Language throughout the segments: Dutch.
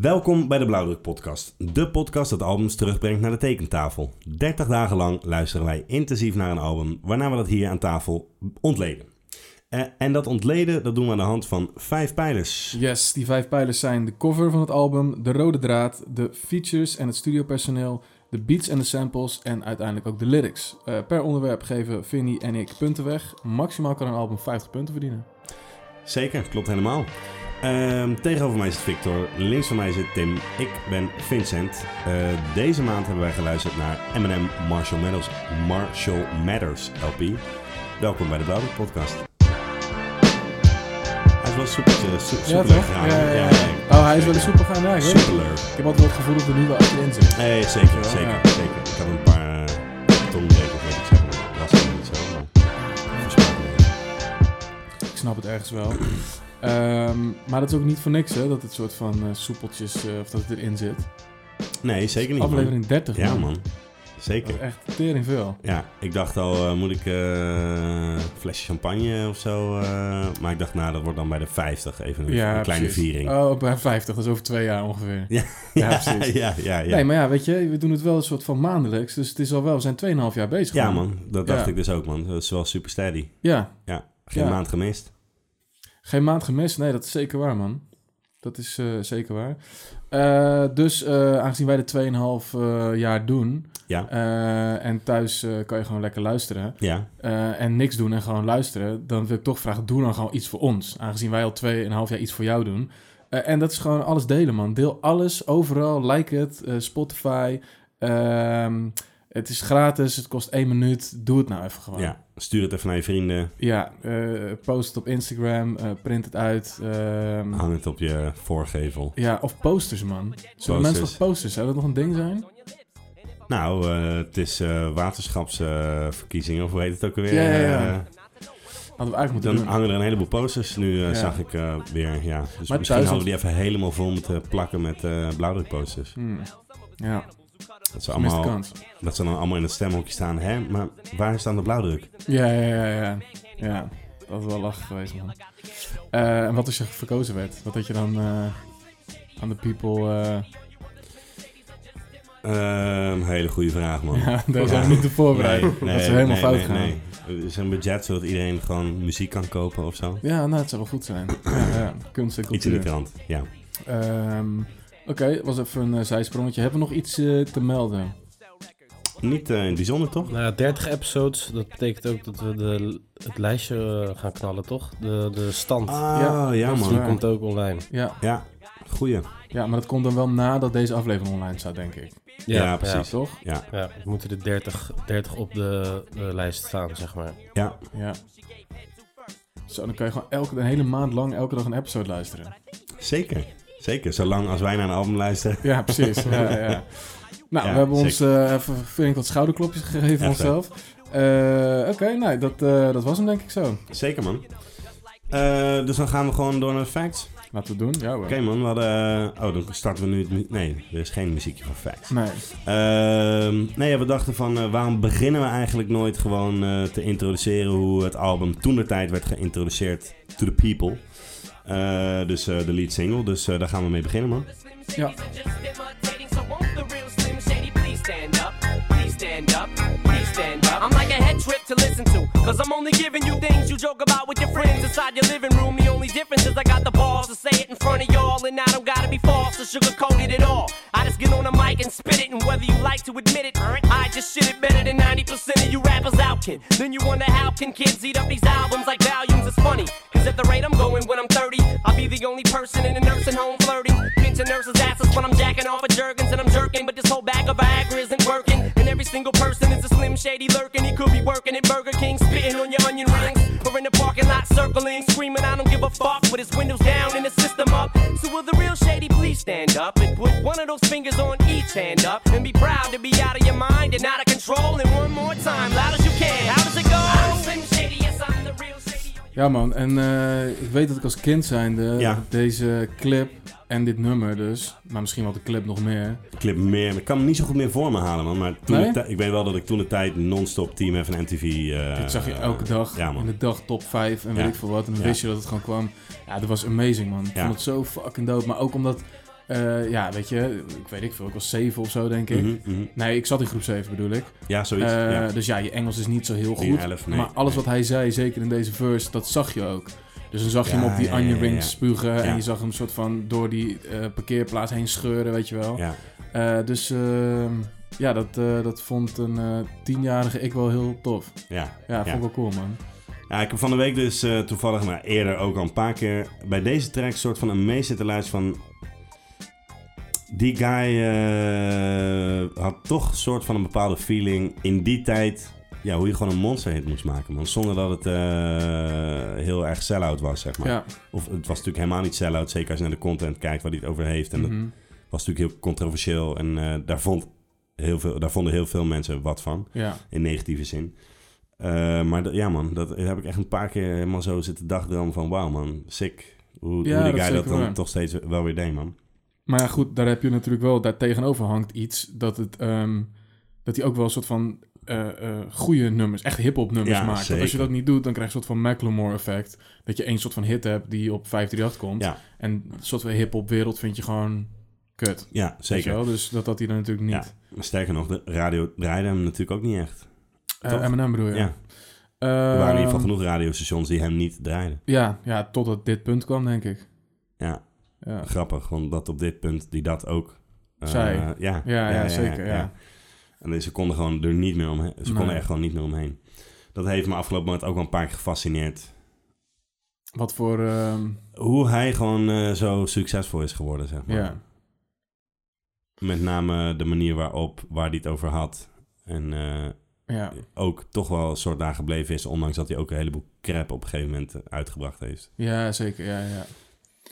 Welkom bij de Blauwdruk Podcast, de podcast dat albums terugbrengt naar de tekentafel. 30 dagen lang luisteren wij intensief naar een album, waarna we dat hier aan tafel ontleden. Eh, en dat ontleden, dat doen we aan de hand van vijf pijlers. Yes, die vijf pijlers zijn de cover van het album, de rode draad, de features en het studiopersoneel, de beats en de samples en uiteindelijk ook de lyrics. Eh, per onderwerp geven Vinnie en ik punten weg. Maximaal kan een album 50 punten verdienen. Zeker, klopt helemaal. Ehm, tegenover mij zit Victor, links van mij zit Tim, ik ben Vincent. Eh, deze maand hebben wij geluisterd naar Eminem Marshall Matters, Marshall Matters LP. Welkom bij de Blauwdruk Podcast. Hij is wel super, eh, super, super toch? Ja, ja, ja. Oh, hij is wel een super gaan ja, ik weet het. Superleuk. Ik heb altijd wel het gevoel dat er nu wel achterin zit. Nee, zeker, Ja. zeker, zeker. Ik had een paar eh, tongbreken, wil ik zeggen. maar Dat was niet zo, maar... volgens mij niet. Ik snap het ergens wel. Ehm, maar dat is ook niet voor niks, hè, dat het soort van eh, soepeltjes, eh, of dat het erin zit. Nee, zeker niet, man. Aflevering 30, Ja, man. Zeker. Dat is echt tering veel. Ja, ik dacht al, eh, moet ik eh, een flesje champagne of zo? eh, maar ik dacht, nou, dat wordt dan bij de 50 even een, een kleine precies. viering. Oh, bij 50, dat is over twee jaar ongeveer. Ja. ja, precies. ja, ja, ja. Nee, maar ja, weet je, we doen het wel een soort van maandelijks. Dus het is al wel, we zijn 2,5 jaar bezig. ja, nu. man. Dat dacht Ja. ik dus ook, man. Dat is wel super steady. Ja, Geen Ja. maand gemist. geen maand gemist. Nee, dat is zeker waar, man. Dat is eh, zeker waar. Eh, dus eh, aangezien wij de 2,5 eh, jaar doen. Ja. eh, en thuis eh, kan je gewoon lekker luisteren. Ja, eh, en niks doen en gewoon luisteren. Dan wil ik toch vragen: doe dan gewoon iets voor ons. Aangezien wij al 2,5 jaar iets voor jou doen. Eh, en dat is gewoon alles delen, man. Deel alles, overal. Like het, eh, Spotify. ehm, het is gratis, het kost één minuut. Doe het nou even gewoon. ja. Stuur het even naar je vrienden. Ja, eh, post het op Instagram, eh, print het uit. ehm, Hang het op je voorgevel. ja, of posters, man. Zullen Posters. mensen toch posters? Zou dat nog een ding zijn? Nou, eh, het is waterschapsverkiezingen, of hoe heet het ook alweer? Ja, ja, ja. Eh, Hadden we eigenlijk moeten dan doen. hangen er een heleboel posters nu, eh, Ja. zag ik eh, weer. Ja. Dus misschien thuis- hadden we die even helemaal vol moeten plakken met eh blauwdrukposters. Hmm. Ja, Dat ze, gemiste allemaal, kans. dat ze dan allemaal in het stemhokje staan. Hè, maar waar staan de blauwdruk? Ja, ja, ja, ja. Ja, dat is wel lachen geweest, man. Eh, en wat als je verkozen werd? Wat had je dan eh, aan de people... eh, Ehm, hele goede vraag, man. ja, daar zijn we niet te voorbereid. dat is helemaal fout nee, gaan. nee. Is er een budget zodat iedereen gewoon muziek kan kopen of zo? Ja, nou, het zou wel goed zijn. Ja, ja. Kunst en Iets in die cultuur. trant, ja. Ehm, Oké, was even een eh, zijsprongetje. Hebben we nog iets eh, te melden? Niet eh, in het bijzonder, toch? Nou ja, 30 episodes, dat betekent ook dat we de, het lijstje eh, gaan knallen, toch? De, de stand. Ah, ja, Ja, dat is Die man. waar. komt ook online. Ja, Ja, goeie. Ja, maar dat komt dan wel nadat deze aflevering online staat, denk ik. Ja, precies. Toch? Ja, Ja, we moeten de 30, 30 op de, eh, lijst staan, zeg maar. ja. Ja. Zo, dan kan je gewoon elke, een hele maand lang elke dag een episode luisteren. zeker. Zeker, zolang als wij naar een album luisteren. Ja, precies. ja, ja. Nou, Ja, we hebben ons eh even, vind ik, wat schouderklopjes gegeven Echt, onszelf. Eh, Oké, nou, dat, eh, dat was hem denk ik zo. Zeker, man. Eh, dus dan gaan we gewoon door naar de facts. Oké, Laten we het doen. Ja, hoor. man, we hadden... eh, oh, dan starten we nu... het mu- Nee, er is geen muziekje van facts. Nee. Ehm, nee, ja, we dachten van eh, waarom beginnen we eigenlijk nooit gewoon eh, te introduceren hoe het album toen de tijd werd geïntroduceerd to the people. Eh, dus eh, de lead single, dus eh, daar gaan we mee beginnen man. Ja. I'm like a head trip to listen to. Cause I'm only giving you things you joke about with your friends inside your living room. The only difference is I got the balls to say it in front of y'all. And I don't gotta be false or sugarcoated at all. I just get on the mic and spit it. And whether you like to admit it, I just shit it better than 90% of you rappers out, kid. Then you wonder how can kids eat up these albums like volumes? It's funny. Cause at the rate I'm going when I'm 30, I'll be the only person in a nursing home flirting. Pinching nurses' asses when I'm jacking off of jerkins and I'm jerking. But this whole bag of Viagra isn't working. And every single person is a slim shady lurking. He could be working at Burger King, spitting on your onion rings. Or in the parking lot circling, screaming, I don't give a fuck. With his windows down and his system up. So will the real shady please stand up and put one of those fingers on each hand up. And be proud to be out of your mind and out of control. And one more time, loud as you can. How does it go? I'm slim shady, yes, I'm the real shady. Ja man, en eh, ik weet dat ik als kind zijnde Ja. deze clip en dit nummer dus, maar misschien wel de clip nog meer, Clip meer, ik kan hem niet zo goed meer voor me halen man, maar toen Nee? de tij- ik weet wel dat ik toen de tijd non-stop Team F en MTV... eh, Dat zag je elke dag. ja, man. in de dag top 5 en Ja. weet ik veel wat. En dan Ja. wist je dat het gewoon kwam. Ja, dat was amazing, man. Ik Ja. vond het zo fucking dope. Maar ook omdat Eh, ja, weet je, ik weet ik veel. Ik was zeven of zo, denk ik. Mhm, mhm. Nee, ik zat in groep 7 bedoel ik. Ja, zoiets. Eh, ja. Dus ja, je Engels is niet zo heel Tien, goed. elf, nee, maar alles nee. wat hij zei, zeker in deze verse, dat zag je ook. Dus dan zag je Ja, hem op die ja, onion ja, ja, rings ja. spugen. Ja. En je zag hem soort van door die eh, parkeerplaats heen scheuren, weet je wel. ja. Eh, dus ehm, ja, dat, eh, dat vond een eh, tienjarige ik wel heel tof. Ja. Ja, vond ik wel cool, man. Ja, ik heb van de week dus eh, toevallig, maar eerder ook al een paar keer bij deze track soort van een meezitten luisteren van... Die guy eh, had toch soort van een bepaalde feeling in die tijd... Ja, hoe je gewoon een monsterhit moest maken, man. Zonder dat het eh, heel erg sell-out was, zeg maar. Ja. Of het was natuurlijk helemaal niet sell-out, zeker als je naar de content kijkt waar hij het over heeft. En dat mhm. was natuurlijk heel controversieel en eh, daar, vond heel veel, daar vonden heel veel mensen wat van. ja. In negatieve zin. Eh, maar dat- ja, man, dat heb ik echt een paar keer helemaal zo zitten dagdromen van... Wauw, man, sick. Hoe, Ja, hoe dat die is guy dat zeker dan waar. toch steeds wel weer deed, man. Maar ja, goed, daar heb je natuurlijk wel, daar tegenover hangt iets dat het, ehm, dat hij ook wel een soort van eh, eh, goede nummers, echt hip-hop nummers Ja, maakt. Want als je zeker. dat niet doet, dan krijg je een soort van Macklemore effect. Dat je één soort van hit hebt die op 538 komt. Ja. En een soort van hip-hop wereld vind je gewoon kut. weet Ja, je zeker. wel? Dus dat had hij dan natuurlijk Ja. niet. Maar Sterker nog, de radio draaide hem natuurlijk ook niet echt. Eh, Toch? Eminem bedoel je? Eh, Ja, er waren in ieder geval Ehm. genoeg radiostations die hem niet draaiden. Ja, ja, totdat dit punt kwam, denk ik. Ja. Ja, Grappig, want dat op dit punt die dat ook... eh, Zij. Ja, ja, ja, ja, zeker. Ja. En dus ze konden gewoon er niet meer omheen. Ze konden Nee. echt gewoon niet meer omheen. Dat heeft me afgelopen maand ook wel een paar keer gefascineerd. Wat voor, ehm, Hoe hij gewoon eh, zo succesvol is geworden, zeg maar. ja. Met name de manier waarop, waar hij het over had. En eh, ja. ook toch wel een soort daar gebleven is, ondanks dat hij ook een heleboel crap op een gegeven moment eh, uitgebracht heeft. Ja, zeker. Ja, ja.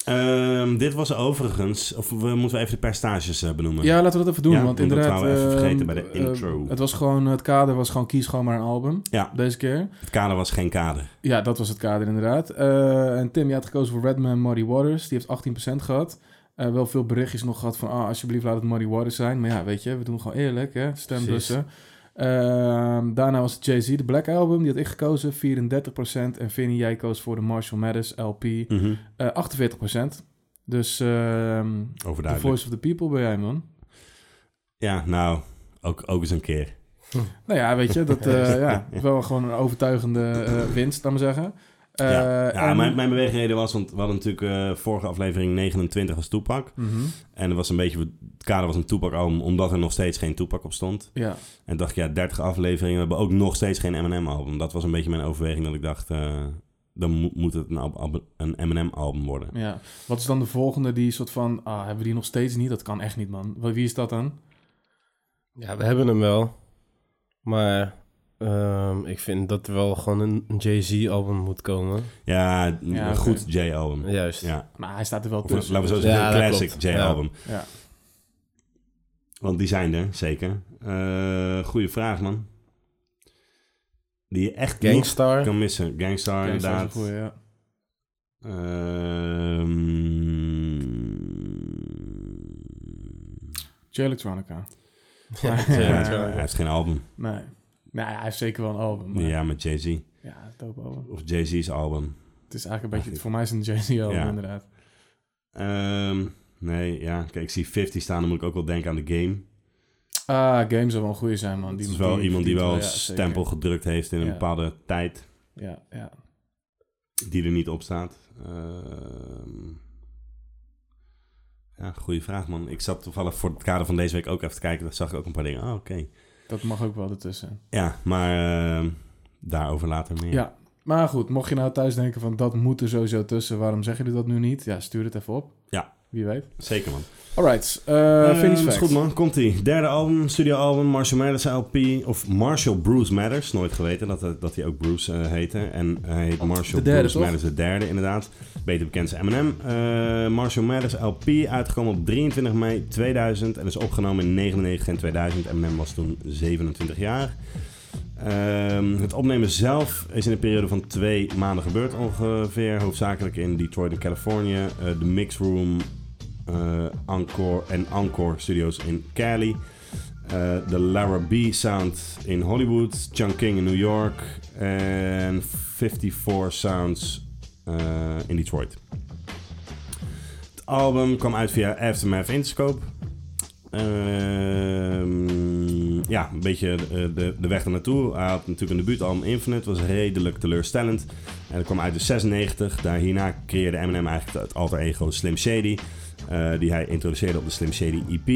Ehm, dit was overigens, of we moeten we even de percentages eh, benoemen. Ja, laten we dat even doen, Ja, want want dat inderdaad... wouden we even ehm, vergeten bij de ehm, intro. het, was gewoon, het kader was gewoon kies gewoon maar een album, Ja. deze keer. Het kader was geen kader. Ja, dat was het kader inderdaad. Eh, en Tim, je had gekozen voor Redman Muddy Waters, die heeft 18% gehad. Eh, wel veel berichtjes nog gehad van, ah, alsjeblieft laat het Muddy Waters zijn. Maar ja, weet je, we doen gewoon eerlijk, hè, stembussen. Ehm, daarna was het Jay-Z, de Black Album, die had ik gekozen, 34%. En Vinnie, jij koos voor de Marshall Mathers LP, eh, Mhm. 48%. Dus ehm The Overduidelijk. Voice of the People ben jij, man. Ja, nou, ook, ook eens een keer. Nou ja, weet je, dat eh ja, wel gewoon een overtuigende eh, winst, laat maar zeggen. Eh, ja, ja en- mijn, mijn beweegreden was, want we hadden natuurlijk eh, vorige aflevering 29 als toepak. Mhm, En er was een beetje, het kader was een toepak omdat er nog steeds geen toepak op stond. ja. En dacht ik, ja, 30 afleveringen. We hebben ook nog steeds geen M&M-album. Dat was een beetje mijn overweging. Dat ik dacht, eh, dan mo- moet het een, al- al- een M&M-album worden. ja. Wat is dan de volgende die soort van, ah, hebben we die nog steeds niet? Dat kan echt niet, man. Wa- Wie is dat dan? Ja, we hebben hem wel. Maar ehm, ik vind dat er wel gewoon een een Jay-Z-album moet komen. Ja, een Ja, oké. goed J-album. Ja. Juist. Maar Nou, hij staat er wel Of tussen. laten we zo dus- zeggen, Ja, een dat classic klopt. J-album. Ja. Want die zijn er, zeker. Eh goeie vraag, man. Die je echt niet Gangstar. kan missen. Gangstar, Oké, dat is wel een inderdaad. goeie, ja. Ehm, J-Electronica. Ja, Ja, ja, ja. hij heeft geen album. Nee. Nou ja, hij heeft zeker wel een album. maar- Ja, Ja, met Jay-Z. het is een dope album. Of Jay-Z's album. Het is eigenlijk een beetje, voor mij is het een Jay-Z album, Ja. inderdaad. Ehm, nee, ja. Kijk, ik zie 50 staan, dan moet ik ook wel denken aan de game. Ah, Game zou wel een goeie zijn, man. Het Die is wel die- iemand die die- wel ja, een zeker. stempel gedrukt heeft in een Ja. bepaalde tijd Ja, ja. die er niet op staat. Ehm, ja, goede vraag, man. Ik zat toevallig voor het kader van deze week ook even te kijken. Daar zag ik ook een paar dingen. Ah, oké. Dat mag ook wel ertussen. Ja, maar ehm, daarover later meer. Ja, maar goed, mocht je nou thuis denken van dat moet er sowieso tussen, waarom zeggen jullie dat nu niet? Ja, stuur het even op. Ja. Wie weet. Zeker, man. Alright, eh Ehm, finish is fact. goed, man. Komt-ie. Derde album, studioalbum, Marshall Mathers LP. Of Marshall Bruce Mathers. Nooit geweten dat, hij- dat hij ook Bruce eh, heette. En hij heet Marshall De derde, Bruce toch? Mathers de derde, inderdaad. Beter bekend als Eminem. Eh, Marshall Mathers LP, uitgekomen op 23 mei 2000. En is opgenomen in 99 en 2000. Eminem was toen 27 jaar. Ehm, het opnemen zelf is in een periode van twee maanden gebeurd ongeveer. Hoofdzakelijk in Detroit en Californië. Eh, de mixroom eh Encore en Encore Studios in Cali. Eh, De Lara B Sound in Hollywood. Chungking in New York. En 54 Sounds eh, in Detroit. Het album kwam uit via Aftermath Interscope. Ehm, ja, een beetje eh, de, de weg ernaartoe. Hij had natuurlijk een debuutalbum Infinite, was redelijk teleurstellend. En dat kwam uit de 96. Daar, hierna creëerde Eminem eigenlijk het alter ego Slim Shady. eh, die hij introduceerde op de Slim Shady EP.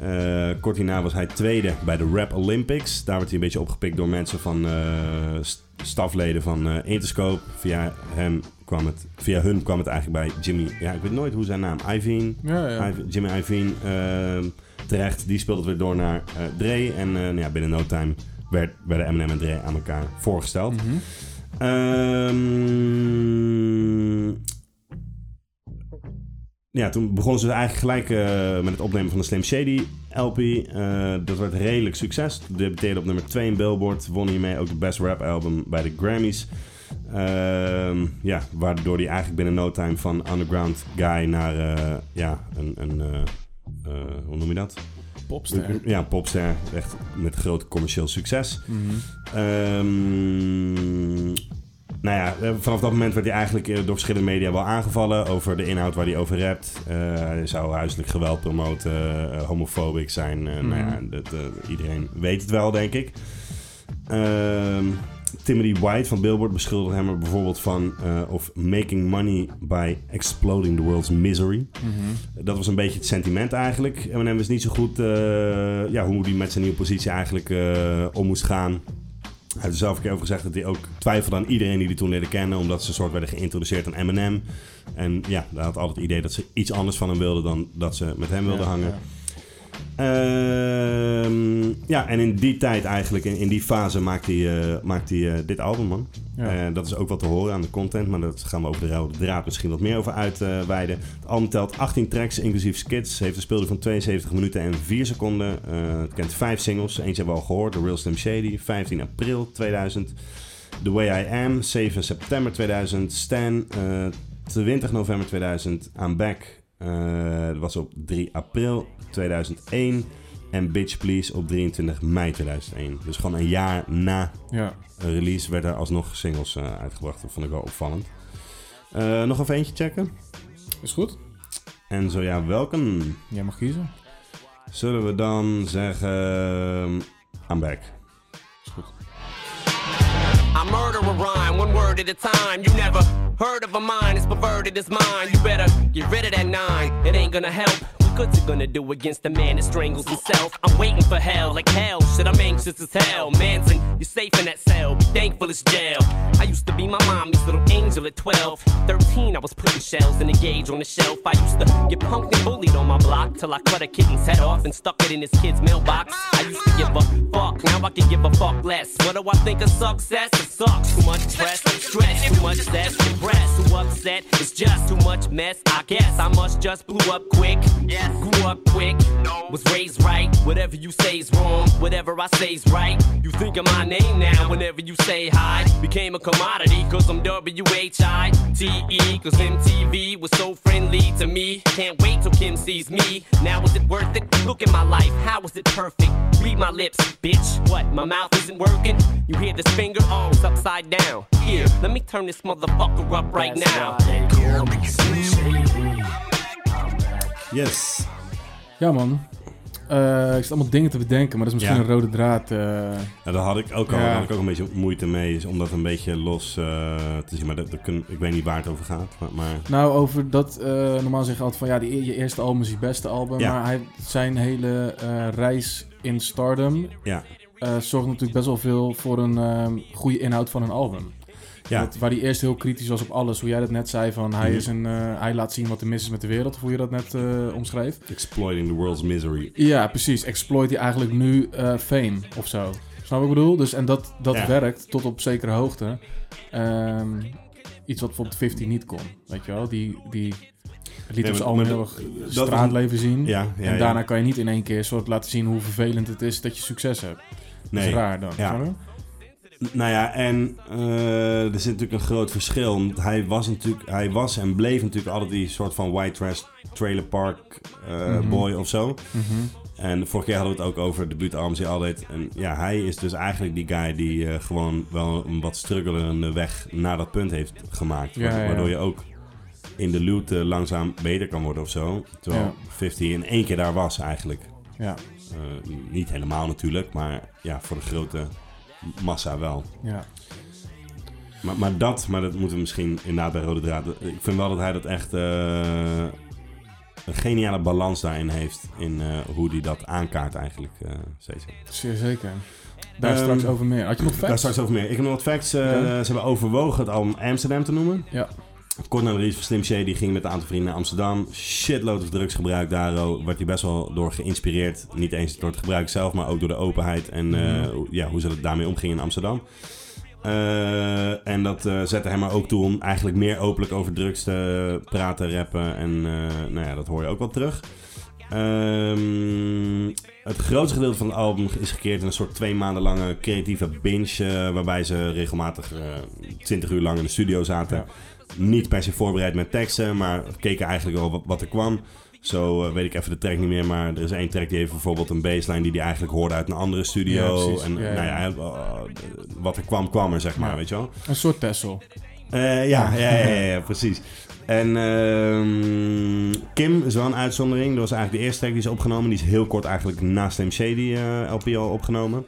Eh, kort hierna was hij tweede bij de Rap Olympics. Daar werd hij een beetje opgepikt door mensen van eh, st- stafleden van eh, Interscope. Via, hem kwam het, via hun kwam het eigenlijk bij Jimmy. Ja, ik weet nooit hoe zijn naam. Iveen. Ja, ja. Ive- Jimmy Iovine ehm, terecht. Die speelde het weer door naar eh, Dre. En eh, nou ja, binnen no time werd, werden Eminem en Dre aan elkaar voorgesteld. Mhm. Ehm, ja, toen begonnen ze eigenlijk gelijk eh, met het opnemen van de Slim Shady LP. Eh, dat werd redelijk succes. Debuteerde op nummer 2 in Billboard. Won hiermee ook de Best Rap Album bij de Grammys. Ehm, ja, waardoor hij eigenlijk binnen no time van underground guy naar eh, ja, een, een eh, eh, hoe noem je dat? Popster. Ja, popster. Echt met groot commercieel succes. Mhm. Ehm, nou ja, eh, vanaf dat moment werd hij eigenlijk eh, door verschillende media wel aangevallen over de inhoud waar hij over rapt. Eh, hij zou huiselijk geweld promoten, eh, homofobisch zijn. Eh, Nou ja, Mhm. dat, eh, iedereen weet het wel, denk ik. Ehm, Timothy White van Billboard beschuldigde hem er bijvoorbeeld van eh, of making money by exploding the world's misery. Mhm. Dat was een beetje het sentiment eigenlijk. Eminem wist niet zo goed eh, ja, hoe hij met zijn nieuwe positie eigenlijk eh, om moest gaan. Hij heeft er zelf een keer over gezegd dat hij ook twijfelde aan iedereen die hij toen leerde kennen. Omdat ze een soort werden geïntroduceerd aan Eminem. En ja, hij had altijd het idee dat ze iets anders van hem wilden dan dat ze met hem wilden Ja, hangen. ja. Ehm, ja, en in die tijd eigenlijk, in, in die fase maakt hij, eh, maakt hij eh, dit album, man. Ja. Eh, dat is ook wat te horen aan de content, maar daar gaan we over de rode draad misschien wat meer over uitweiden. het album telt 18 tracks, inclusief skits, heeft een speelduur van 72 minuten en 4 seconden. Eh, het kent 5 singles, eentje hebben we al gehoord, The Real Slim Shady, 15 april 2000. The Way I Am, 7 september 2000. Stan, eh, 20 november 2000. I'm Back, eh, dat was op 3 april 2001. En Bitch Please op 23 mei 2001. Dus gewoon een jaar na Ja. een release werden er alsnog singles eh, uitgebracht. Dat vond ik wel opvallend. Eh, nog even eentje checken. Is goed? En zo ja, welke? Jij mag kiezen. Zullen we dan zeggen... I'm Back. Is goed. I murder a rhyme, one word at a time. You never heard of a mind as perverted as mine. You better get rid of that nine. It ain't gonna help. What good's it gonna do against the man that strangles himself? I'm waiting for hell, like hell. Shit, I'm anxious as hell. Manson, you're safe in that cell. Be thankful it's jail. I used to be my mommy's little angel at 12. 13, I was putting shells in a gauge on the shelf. I used to get punked and bullied on my block till I cut a kitten's head off and stuck it in his kid's mailbox. I used to give a fuck, now I can give a fuck less. What do I think of success? It sucks. Too much stress, stress, too much stress, depressed. Too upset, it's just too much mess. I guess I must just blew up quick. Yes. Grew up quick, was raised right. Whatever you say is wrong, whatever I say is right. You think of my name now whenever you say hi. Became a commodity, cause I'm W-H-I-T-E. E, Cause MTV was so friendly to me. Can't wait till Kim sees me. Now is it worth it? Look at my life, how is it perfect? Read my lips, bitch. What, my mouth isn't working? You hear this finger? Oh, it's upside down. Here, let me turn this motherfucker up right now. Yes. Ja, man. Eh, ik zit allemaal dingen te bedenken, maar dat is misschien Ja. een rode draad. eh. Nou, daar had ik ook al Ja. daar had ik ook een beetje moeite mee, is om dat een beetje los eh, te zien. Maar dat, dat kun- ik weet niet waar het over gaat. Maar, maar Nou, over dat, eh, normaal zeg je altijd van ja, die, e-, je eerste album is je beste album. Ja. Maar hij, zijn hele eh, reis in stardom ja. eh, zorgt natuurlijk best wel veel voor een eh, goede inhoud van een album. Ja. Dat- waar hij eerst heel kritisch was op alles. Hoe jij dat net zei van hij, Mhm. is een, eh, hij laat zien wat er mis is met de wereld. Of hoe je dat net eh, omschreef. Exploiting the world's misery. Ja, precies. Exploit hij eigenlijk nu eh, fame of zo. Snap wat ik bedoel? Dus, en dat, dat Ja. werkt tot op zekere hoogte. Ehm, iets wat bijvoorbeeld 50 niet kon. Weet je wel? Die, die liet Nee, ons maar- allemaal maar heel dat- erg dat was een- straatleven zien. Ja, ja, en ja. daarna kan je niet in één keer soort laten zien hoe vervelend het is dat je succes hebt. Dat nee. is raar dan. Ja. snap je? Nou ja, en eh, er zit natuurlijk een groot verschil. Want Hij was, natuurlijk, hij was en bleef natuurlijk altijd die soort van white trash trailer park eh, Mhm. boy of zo. Mhm. En de vorige keer hadden we het ook over de buurtarms die altijd... En ja, hij is dus eigenlijk die guy die eh, gewoon wel een wat struggelende weg naar dat punt heeft gemaakt. Ja, ja, ja. Waardoor je ook in de loot eh, langzaam beter kan worden of zo. Terwijl Ja. 50 in één keer daar was eigenlijk. Ja, Eh, niet helemaal natuurlijk, maar ja, voor de grote massa wel. ja. Maar, maar dat, maar dat moeten we misschien inderdaad bij Rode Draad. Ik vind wel dat hij dat echt eh, een geniale balans daarin heeft. In eh, hoe hij dat aankaart eigenlijk eh, steeds. Zeer zeker. Daar Ehm, straks over meer. Had je nog Daar facts? straks over meer. Ik heb nog wat facts. eh, Oké. Ze hebben overwogen het album Amsterdam te noemen. Ja. Kort na de release van Slim Shady ging met een aantal vrienden naar Amsterdam. Shitload of drugsgebruik daar. Werd hij best wel door geïnspireerd. Niet eens door het gebruik zelf, maar ook door de openheid en eh, Mhm. hoe- ja, hoe ze daarmee omgingen in Amsterdam. Eh, en dat eh, zette hem er ook toe om eigenlijk meer openlijk over drugs te praten, rappen. En eh, nou ja, dat hoor je ook wel terug. Ehm, het grootste gedeelte van het album is gekeerd in een soort twee maanden lange creatieve binge. eh, waarbij ze regelmatig eh 20 uur lang in de studio zaten. Ja. Niet per se voorbereid met teksten, maar keken eigenlijk wel wat, wat er kwam. Zo eh, weet ik even de track niet meer, maar er is één track die heeft bijvoorbeeld een baseline die hij eigenlijk hoorde uit een andere Ja, studio. precies. en Ja, nou ja. ja, eh, wat er kwam, kwam er zeg maar, Ja. weet je wel. Een soort Tessel. Eh, ja, ja, ja, ja, ja, precies. En ehm, Kim is wel een uitzondering. Dat was eigenlijk de eerste track die is opgenomen. Die is heel kort eigenlijk na Slim Shady eh, LP al opgenomen.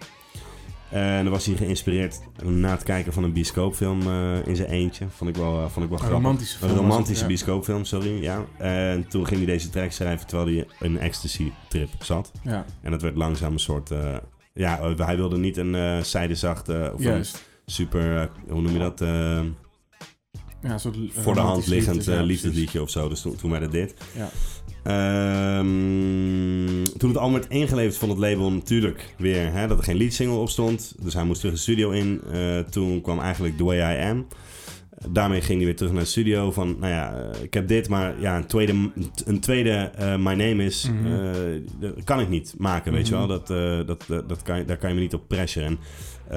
En dan was hij geïnspireerd na het kijken van een bioscoopfilm eh, in zijn eentje. Vond ik wel, eh, vond ik wel Een grappig. romantische film. Een was het, romantische ja. bioscoopfilm, sorry. Ja. En toen ging hij deze track schrijven terwijl hij een ecstasy-trip zat. Ja, En dat werd langzaam een soort... eh, ja, eh, hij wilde niet een eh zijdezachte of een juist. super... eh, hoe noem je dat? eh, Ja, een soort voor de hand liggend eh, liefdeslied. liefdesliedje of zo. Dus toen, toen werd het dit. Ja. Ehm, toen het album werd ingeleverd van het label natuurlijk weer hè, dat er geen leadsingle op stond. Dus hij moest terug de studio in. Eh, toen kwam eigenlijk The Way I Am. Daarmee ging hij weer terug naar de studio van, nou ja, eh, ik heb dit, maar ja, een tweede, een tweede eh, My Name Is, Mhm. eh, dat kan ik niet maken, weet Mhm. je wel. Dat, eh, dat, dat, dat kan, je- daar kan je me niet op pressuren. En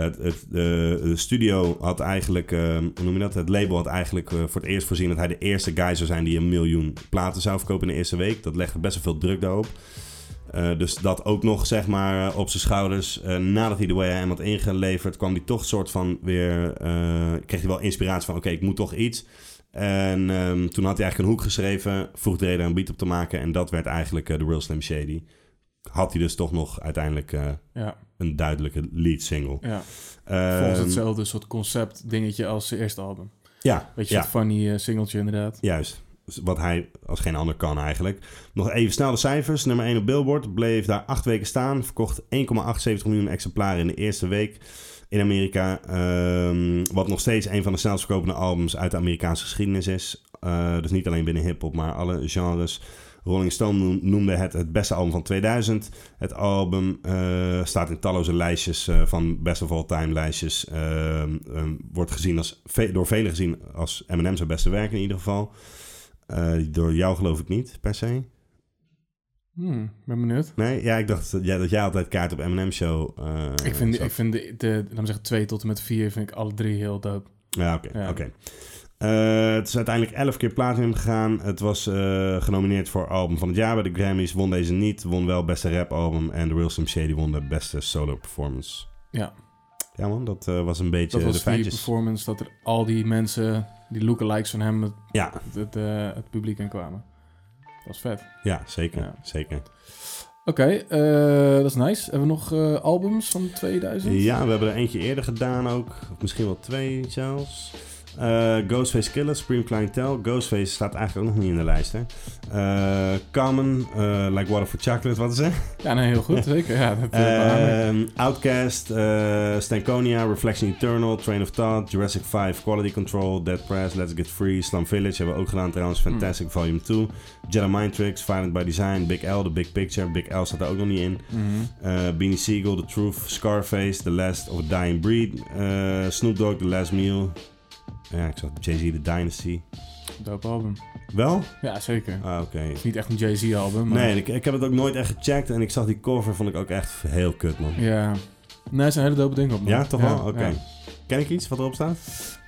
het, het, eh, de studio had eigenlijk, eh, hoe noem je dat? Het label had eigenlijk eh, voor het eerst voorzien dat hij de eerste guy zou zijn die een miljoen platen zou verkopen in de eerste week. Dat legde best wel veel druk daarop. Eh, dus dat ook nog, zeg maar, eh, op zijn schouders. Eh, nadat hij de Way I Am had ingeleverd, kwam hij toch soort van weer... eh, kreeg hij wel inspiratie van, oké, ik moet toch iets. En ehm, toen had hij eigenlijk een hoek geschreven, vroeg de reden een beat op te maken. En dat werd eigenlijk eh, de The Real Slim Shady. Had hij dus toch nog uiteindelijk eh, Ja, een duidelijke lead single. ja. Ehm, volgens hetzelfde soort concept dingetje als zijn eerste album. Ja, Weet je, ja dat funny eh, singeltje inderdaad. juist. Dus Wat hij als geen ander kan eigenlijk. Nog even snel de cijfers. Nummer 1 op Billboard bleef daar acht weken staan. Verkocht 1,78 miljoen exemplaren in de eerste week in Amerika. Ehm, wat nog steeds een van de snelst verkopende albums uit de Amerikaanse geschiedenis is. Eh, dus niet alleen binnen hip-hop, maar alle genres. Rolling Stone noem- noemde het het beste album van 2000. Het album eh, staat in talloze lijstjes eh, van best of all time lijstjes. Ehm, ehm, wordt gezien als, ve- door velen gezien als Eminem zijn beste werk in ieder geval. Eh, door jou geloof ik niet, per se. Hmm, ben benieuwd. Nee, ja, ik dacht dat jij, dat jij altijd kaart op Eminem show. eh, Ik vind, de- zat. ik vind de, de, laten we zeggen, twee tot en met vier vind ik alle drie heel dope. Ja, oké. Ja. oké. Eh, het is uiteindelijk 11 keer platinum gegaan. Het was eh, genomineerd voor album van het jaar bij de Grammys. Won deze niet. Won wel beste rap album. En The Real Slim Shady won de beste solo performance. Ja. Ja man, dat eh, was een beetje Dat de was die feitjes. performance dat er al die mensen, die lookalikes van hem, het, Ja, het, eh, het publiek in kwamen. Dat was vet. ja, zeker. Ja. zeker. Oké, eh, dat is nice. Hebben we nog eh, albums van 2000? Ja, we hebben er eentje eerder gedaan ook. Of misschien wel twee zelfs. Eh, Ghostface Killer, Supreme Clientele. Ghostface staat eigenlijk ook nog niet in de lijst, hè. Eh, Common, eh, Like Water for Chocolate, wat is het? Ja, nee, heel goed, zeker. Ja, dat eh, beamen ik. Ehm Outcast, eh, Stankonia, Reflection Eternal, Train of Thought, Jurassic 5, Quality Control, Dead Press, Let's Get Free, Slum Village hebben we ook gedaan trouwens, Fantastic Volume 2, Jedi Mind Tricks, Violent by Design, Big L, The Big Picture, Big L staat er ook nog niet in, Mhm. eh, Beanie Siegel, The Truth, Scarface, The Last of a Dying Breed, eh, Snoop Dogg, The Last Meal, ja ik zag Jay-Z, The Dynasty, Dope album. wel? Ja, zeker. Het Ah oké. is niet echt een Jay-Z album, maar... Nee, ik, ik heb het ook nooit echt gecheckt en ik zag die cover, vond ik ook echt heel kut man. Ja. Nee, het zijn hele dope dingen op. man. Ja, toch wel? Oké. ja. Ken ik iets wat erop staat?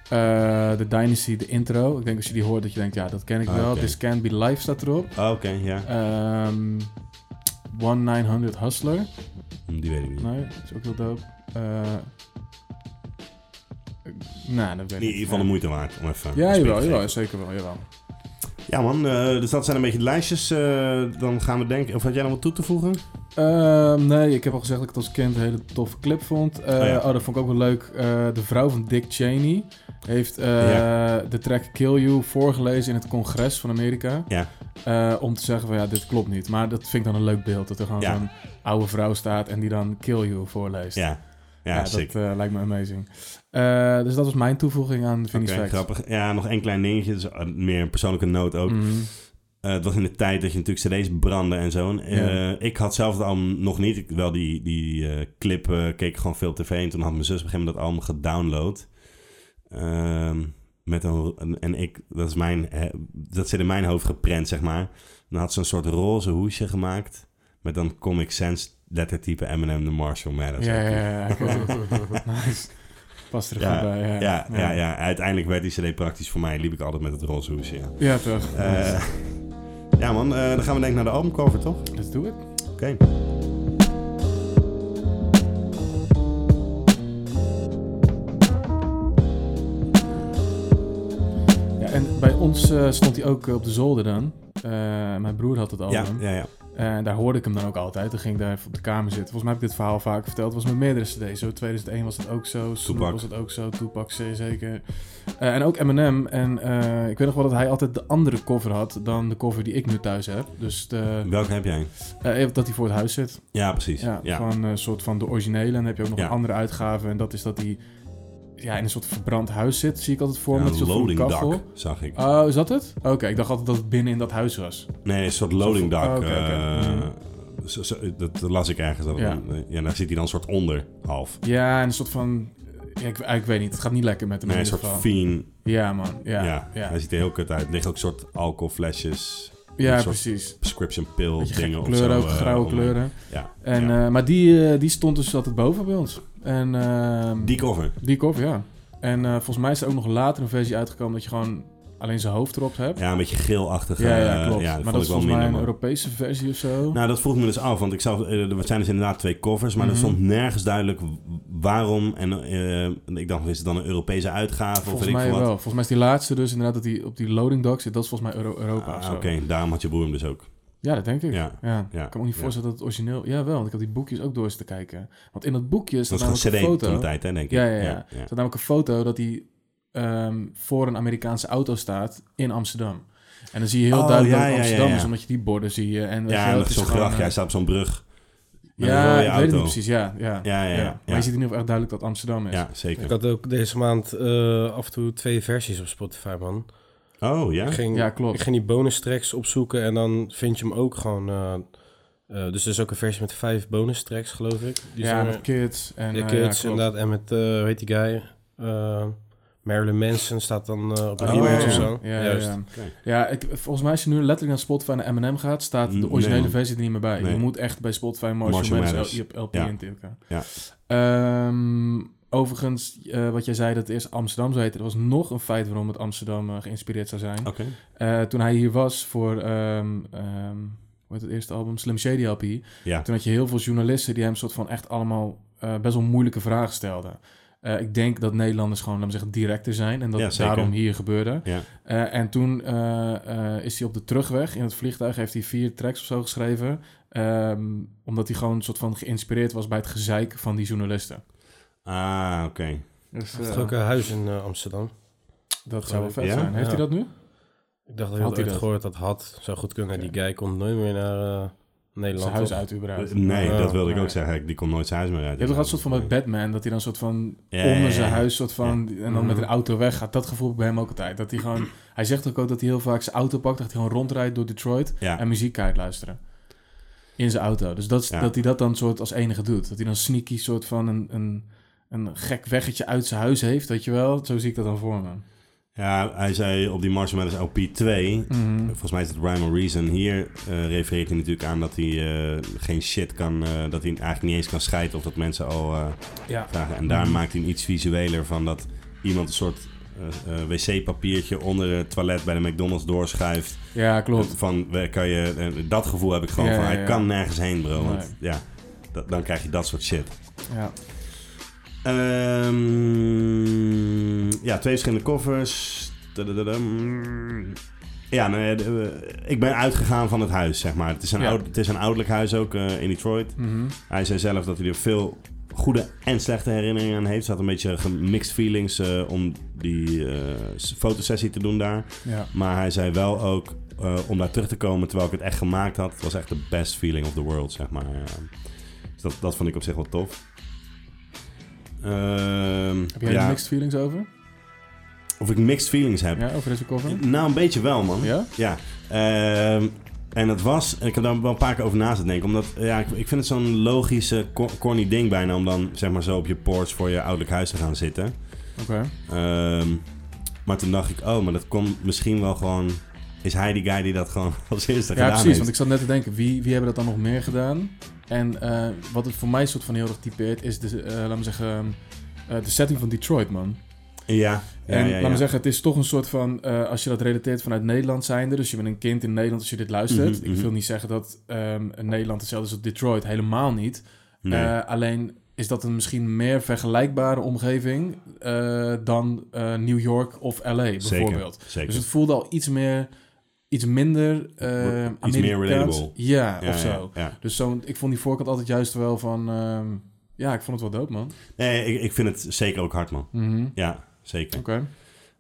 Eh, de Dynasty, de intro. Ik denk als je die hoort dat je denkt, ja, dat ken ik Ah, wel. oké. This Can't Be Life staat erop. Oh, Oké, ja. Ehm 1-900 Hustler. Hm, Die weet ik niet. Nee, dat is ook heel dope. Eh, eh, nou, dat weet In ik ieder geval de moeite waard om even. Ja, een spin jawel, te jawel, geven. zeker wel, jawel. Ja man, eh, dus dat zijn een beetje de lijstjes. eh, dan gaan we denken, of had jij nog wat toe te voegen? Ehm, nee, ik heb al gezegd dat ik het als kind een hele toffe clip vond. Eh, Oh oh, ja. dat vond ik ook wel leuk. Eh, de vrouw van Dick Cheney heeft eh, de track Kill You voorgelezen in het congres van Amerika. Ja. Eh, om te zeggen van ja, dit klopt niet. Maar dat vind ik dan een leuk beeld. Dat er gewoon Ja. zo'n oude vrouw staat en die dan Kill You voorleest. Ja, ja, Ja, sick. dat eh, lijkt me amazing. Eh, dus dat was mijn toevoeging aan Vinnie's Oké, Facts. grappig. Ja, nog één klein dingetje. dus, eh, meer een persoonlijke noot ook. Mhm. Eh, het was in de tijd dat je natuurlijk cd's brandde en zo. En, eh, ik had zelf het album nog niet. Ik, wel die, die eh, clip eh, keek ik gewoon veel tv. En toen had mijn zus op een gegeven moment dat album gedownload. Ehm, met een, en- en ik, dat, is mijn, eh, dat zit in mijn hoofd geprent, zeg maar. En dan had ze een soort roze hoesje gemaakt. Met dan Comic Sans lettertype Eminem de Marshall Mathers. Ja, ja, ja. ik weet het. nice. Past er Ja, goed bij. Ja, Ja, ja, ja. uiteindelijk werd die cd praktisch voor mij. Liep ik altijd met het roze hoesje. Ja, Ja, toch. Eh, ja man, eh, dan gaan we denk ik naar de albumcover, toch? Let's do it. Oké. Ja, en bij ons eh, stond hij ook eh, op de zolder dan. Eh, mijn broer had het Ja, album. ja, ja. En daar hoorde ik hem dan ook altijd. Dan ging ik daar even op de kamer zitten. Volgens mij heb ik dit verhaal vaker verteld. Het was met meerdere cd's. Zo 2001 was het ook zo. Snoop Tupac. was het ook zo. Tupac zeer zeker. Eh, en ook Eminem. En eh, ik weet nog wel dat hij altijd de andere cover had dan de cover die ik nu thuis heb. Dus de, Welke heb jij? eh, dat hij voor het huis zit. Ja, precies. Ja, Ja, ja. gewoon een soort van de originele. En dan heb je ook nog Ja. een andere uitgave. En dat is dat hij ja, in een soort verbrand huis zit. Zie ik altijd voor me. met een zo'n loading kachel. dock, zag ik. Oh, is dat het? Oké, ik dacht altijd dat het binnen in dat huis was. nee, een soort loading dock. Oh, oké, oké. eh, Mhm. zo- zo- dat las ik ergens. Dat Ja. ja. ja, daar zit hij dan een soort onder, half. Ja, en een soort van... Ja, ik, ik weet niet, het gaat niet lekker met hem Nee, in een ieder soort geval. fiend. Ja, man. Ja, Ja, ja. ja. Hij ziet er heel kut uit. Er liggen ook een soort alcoholflesjes, soort precies. prescription pill Beetje gekke dingen of kleuren, zo, ook eh, grauwe online. kleuren. Ja. En, ja. eh, maar die, eh, die stond dus altijd boven bij ons. En, ehm, die cover. die cover, ja. En eh, volgens mij is er ook nog later een versie uitgekomen dat je gewoon alleen zijn hoofd erop hebt. Ja, een beetje geelachtige. Ja, ja, eh, klopt. ja, maar vond dat ik is wel volgens minder. mij een man. Europese versie of zo. Nou, dat vroeg ik me dus af, want ik zag, eh, er zijn dus inderdaad twee covers, maar Mhm. er stond nergens duidelijk w- waarom. En eh, ik dacht, is het dan een Europese uitgave volgens of weet mij ik veel wel. wat? Volgens mij is die laatste dus inderdaad dat die op die loading dock zit. Dat is volgens mij Euro Europa of Ah, zo. Oké, daarom had je broer hem dus ook. Ja, dat denk ik. Ja. Ja, Ja, ik kan me ook niet ja. voorstellen dat het origineel... Ja, wel, want ik heb die boekjes ook door eens te kijken. Want in dat boekje Dat staat is gewoon namelijk een CD foto... toen de tijd, hè, denk ik. Ja, ja, ja. Er staat namelijk een foto dat hij ehm, voor een Amerikaanse auto staat in Amsterdam. En dan zie je heel Oh, duidelijk ja, dat het ja, ja, Amsterdam ja. is, omdat je die borden zie je. En, weet je Ja, wel, en het dat is is zo'n gewoon, gracht, eh, jij staat op zo'n brug. met een Ja, rode ik weet het auto. niet precies, ja. Ja, Ja, ja, ja, Maar ja. je ziet in ieder geval echt duidelijk dat het Amsterdam is. Ja, Ik zeker. had ook deze maand eh, af en toe twee versies op Spotify, man. Oh, ja? Ik ging, Ja, klopt. Ik ging die bonus tracks opzoeken en dan vind je hem ook gewoon... eh, eh, dus er is ook een versie met vijf bonus tracks, geloof ik. Die ja, zijn met kids. En, de eh, kids ja, klopt. inderdaad. En met, eh hoe heet die guy? Eh, Marilyn Manson staat dan eh, op de Oh, remix ja, of ja. zo. Ja, ja, Juist. ja. Oké. Ja, ik, volgens mij als je nu letterlijk naar Spotify en M&M gaat, staat de Nee, originele man. versie er niet meer bij. Nee. Je moet echt bij Spotify Marshall, Marshall Mathers Mathers. L- LP Ja. intikken. Ja. Ehm, overigens, eh, wat jij zei dat het eerst Amsterdam zou heten, er was nog een feit waarom het Amsterdam eh, geïnspireerd zou zijn. Oké. Eh, toen hij hier was voor ehm, ehm, hoe heet het eerste album, Slim Shady LP, Ja. toen had je heel veel journalisten die hem soort van echt allemaal eh, best wel moeilijke vragen stelden. Eh, ik denk dat Nederlanders gewoon, laten we zeggen, directer zijn en dat Ja, het zeker. daarom hier gebeurde. Ja. Eh, en toen eh, eh, is hij op de terugweg in het vliegtuig, heeft hij vier tracks of zo geschreven. ehm, omdat hij gewoon een soort van geïnspireerd was bij het gezeik van die journalisten. Ah, oké. Hij heeft ook een huis in Dus, eh, Amsterdam. dat zou wel vet Ja? zijn. Heeft hij Ja. dat nu? Ik dacht Had dat ik hij had ooit dat? gehoord dat had. Zou goed kunnen. Die guy komt nooit meer naar eh, Nederland. Zijn huis toch? uit überhaupt. Nee, Ja. dat wilde ik Ja. ook zeggen. Die kon nooit zijn huis meer uit. Je hebt toch altijd soort van met Batman, dat hij dan soort van Ja, ja, onder ja, zijn ja. Mhm. huis soort van, en dan met een auto weggaat. Dat gevoel heb ik bij hem ook altijd. Dat hij gewoon, hij zegt ook, ook dat hij heel vaak zijn auto pakt, dat hij gewoon rondrijdt door Detroit Ja. en muziek kijkt luisteren. In zijn auto. Dus dat, is- Ja. dat hij dat dan soort als enige doet. Dat hij dan sneaky soort van een, een, een gek weggetje uit zijn huis heeft, weet je wel. Zo zie ik dat dan voor me. Ja, hij zei op die Marshall Mathers LP 2, Mhm. volgens mij is het Rhyme or Reason, hier eh, refereert hij natuurlijk aan dat hij eh, geen shit kan, eh, dat hij eigenlijk niet eens kan scheiden of dat mensen al eh, Ja. vragen. En Mhm. daar maakt hij hem iets visueler van dat iemand een soort eh, eh, wc-papiertje onder het toilet bij de McDonald's doorschuift. Ja, klopt. Van, we- kan je, eh, dat gevoel heb ik gewoon Ja, van, ja, hij ja. kan nergens heen bro, want Nee. ja, dat- dan krijg je dat soort shit. Ja. Ehm, ja, twee verschillende covers. Tadadadam. Ja, nou ja, de- eh, ik ben uitgegaan van het huis, zeg maar. Het is een, Ja. oud, het is een ouderlijk huis ook eh, in Detroit. Mhm. Hij zei zelf dat hij er veel goede en slechte herinneringen aan heeft. Ze had een beetje gemixed feelings eh, om die eh, s- fotosessie te doen daar. Ja. Maar hij zei wel ook eh, om daar terug te komen terwijl ik het echt gemaakt had. Het was echt de best feeling of the world, zeg maar. Eh, dus dat, dat vond ik op zich wel tof. Ehm, Heb jij ja, er mixed feelings over? Of ik mixed feelings heb? Ja, over deze cover? Nou, een beetje wel, man. Ja? Ja. Ehm, en dat was, ik heb daar wel een paar keer over na te denken. Omdat ja, ik, ik vind het zo'n logische, co- corny ding bijna. Om dan zeg maar zo op je porch voor je ouderlijk huis te gaan zitten. Oké. Ehm, maar toen dacht ik, oh, maar dat komt misschien wel gewoon. Is hij die guy die dat gewoon als eerste Ja, gedaan precies. heeft? Want ik zat net te denken, wie, wie hebben dat dan nog meer gedaan? En eh, wat het voor mij soort van heel erg typeert, is de, eh laat me zeggen, eh, de setting van Detroit, man. Ja, ja, en ja, laat ja. me zeggen, het is toch een soort van, eh, als je dat relateert vanuit Nederland zijnde, dus je bent een kind in Nederland als je dit luistert. Mhm, Ik mhm. wil niet zeggen dat ehm, Nederland hetzelfde is als Detroit, helemaal niet. Nee. Eh, alleen is dat een misschien meer vergelijkbare omgeving eh, dan eh, New York of LA bijvoorbeeld. Zeker, zeker. Dus het voelde al iets meer, iets minder eh Iets Amerikaans. meer relatable. Ja, Ja, of zo. ja, ja. Dus zo'n, ik vond die voorkant altijd juist wel van, ehm, ja, ik vond het wel dope, man. Nee, ik, ik vind het zeker ook hard, man. Mhm. Ja, zeker. Oké.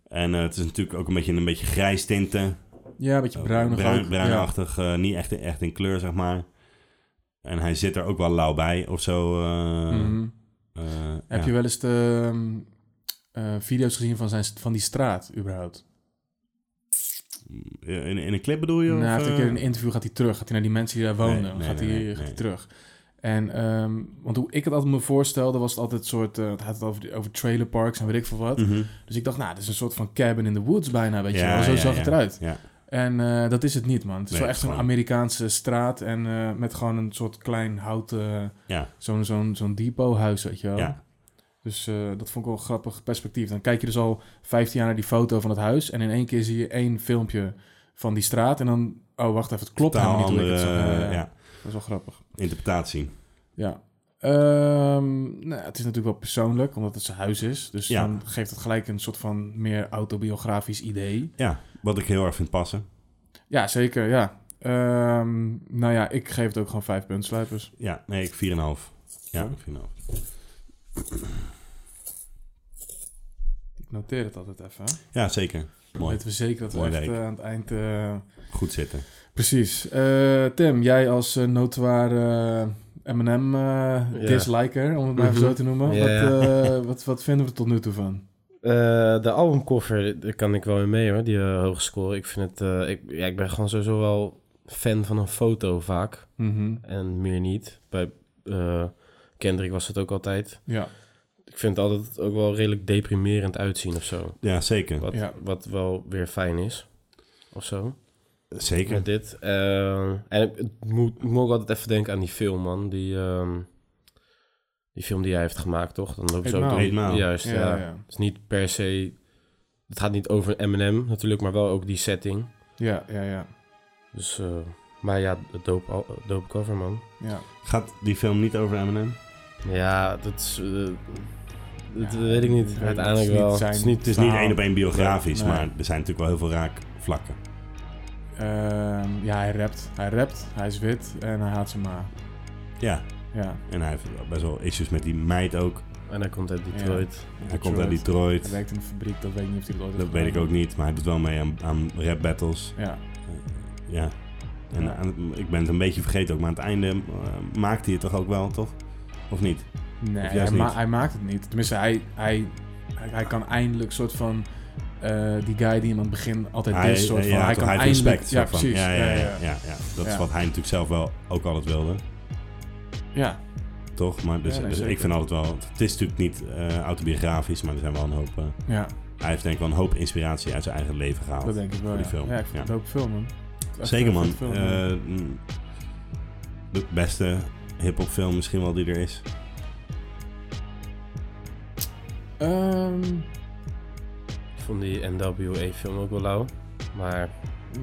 En eh, het is natuurlijk ook een beetje een beetje grijs tinten. Ja, een beetje bruinig Oh, bruin, ook. bruinachtig, eh, niet echt, echt in kleur, zeg maar. En hij zit er ook wel lauw bij of zo. Ja. eh, Mhm. eh, Heb ja. je wel eens de ehm, eh, video's gezien van, zijn, van die straat, überhaupt? Eh, in, in een clip bedoel je? Nou, hij of, heeft een eh? keer in een interview gaat hij terug. Gaat hij naar die mensen die daar wonen. Nee, nee, gaat, nee, hij, nee, gaat hij nee. terug. En, ehm, want hoe ik het altijd me voorstelde, was het altijd een soort... eh, het had het over, over trailerparks en weet ik veel wat. Mhm. Dus ik dacht, nou, dit is een soort van cabin in the woods bijna, weet je Ja, wel. Zo ja, zag ja. het eruit. Ja. En eh, dat is het niet, man. Het is Nee, wel het echt is zo'n gewoon- Amerikaanse straat en eh, met gewoon een soort klein houten... Ja. Zo'n zo'n zo'n depothuis, weet je wel. Ja. Dus eh, dat vond ik wel een grappig perspectief. Dan kijk je dus al 15 jaar naar die foto van het huis. En in één keer zie je één filmpje van die straat. En dan, oh wacht even, het klopt Totaal helemaal niet. hoe ik andere het zag. Ja, ja. eh, ja, Dat is wel grappig. interpretatie. Ja. Ehm, nou, het is natuurlijk wel persoonlijk, omdat het zijn huis is. Dus Ja. dan geeft het gelijk een soort van meer autobiografisch idee. Ja, wat ik heel erg vind passen. Ja, zeker, ja. Ehm, nou ja, ik geef het ook gewoon vijf puntsluipers. Ja, nee, ik 4,5. Ja, 4,5. Ik noteer het altijd even. hè. Ja, zeker. Dan Mooi. weten we zeker dat we Mooi echt werk. eh, aan het eind... eh, Goed zitten. Precies. Eh, Tim, jij als eh, notoire eh, M&M eh, Ja. disliker, om het maar even Mhm. zo te noemen. Ja, Wat, ja. eh, wat, wat vinden we er tot nu toe van? Eh, de albumcover, daar kan ik wel in mee hoor, die eh, hoge score. Ik vind het, eh, ik, ja, ik ben gewoon sowieso wel fan van een foto vaak. Mhm. En meer niet. Bij eh, Kendrick was het ook altijd. Ja, Ik vind het altijd ook wel redelijk deprimerend uitzien of zo. Ja, zeker. Wat, Ja. wat wel weer fijn is. Of zo. Zeker. Met dit. Eh, en ik, het moet, ik moet ook altijd even denken aan die film, man. Die, ehm, die film die hij heeft gemaakt, toch? Dan lopen ze ook Eight door Mile. die- Eight Mile. Juist, ja, oh, ja. ja. ja. Het is niet per se... Het gaat niet over Eminem natuurlijk, maar wel ook die setting. ja, ja, ja. Dus, eh, maar ja, het dope, al- dope cover, man. Ja. Gaat die film niet over Eminem? Ja, dat is... eh, dat Ja, weet het ik niet. is Uiteindelijk niet wel. zijn- Het is niet... Het is niet Nou, één op één biografisch, nee. maar er zijn natuurlijk wel heel veel raakvlakken. Ehm, ja, hij rapt. Hij rapt, hij is wit en hij haat zijn ma. Ja, Ja, en hij heeft best wel issues met die meid ook. En hij komt uit Detroit. Hij komt uit Detroit. hij werkt in een fabriek, dat weet ik niet of hij dat ooit Dat heeft weet ik gedaan. ook niet, maar hij doet wel mee aan, aan rap battles. Ja, Ja. En Ja. aan- ik ben het een beetje vergeten ook, maar aan het einde eh, maakt hij het toch ook wel, toch? Of niet? Nee, Of hij, juist ma- niet? hij maakt het niet. Tenminste, hij, hij, hij, hij kan eindelijk soort van... eh, die guy die hem aan het begin altijd Hij- dist, soort ja, van... hij toch, kan heeft eindelijk... respect, ja, soort van. precies. Ja, ja, ja, ja, ja. Dat is Ja. wat hij natuurlijk zelf wel ook altijd wilde, Ja, toch? Maar dus, Ja, nee, dus ik zeker. vind altijd wel... Het is natuurlijk niet eh, autobiografisch, maar er zijn wel een hoop... eh, ja, hij heeft denk ik wel een hoop inspiratie uit zijn eigen leven gehaald. dat denk ik wel. voor die ja. film. Ja, ik vind Ja. het ook film, man. Het is echt Zeker een man. goed film, Eh, mm, de beste hip-hop film misschien wel die er is. Ehm, Ik vond die NWA-film ook wel lauw. Maar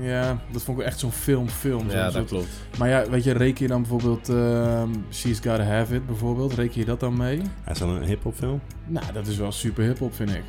ja, dat vond ik wel echt zo'n film-film. zo'n ja, dat soort- klopt. Maar ja, weet je, reken je dan bijvoorbeeld... ehm, She's Gotta Have It bijvoorbeeld, reken je dat dan mee? Hij is dan een hip-hop film? Nou, dat is wel super hip-hop, vind ik.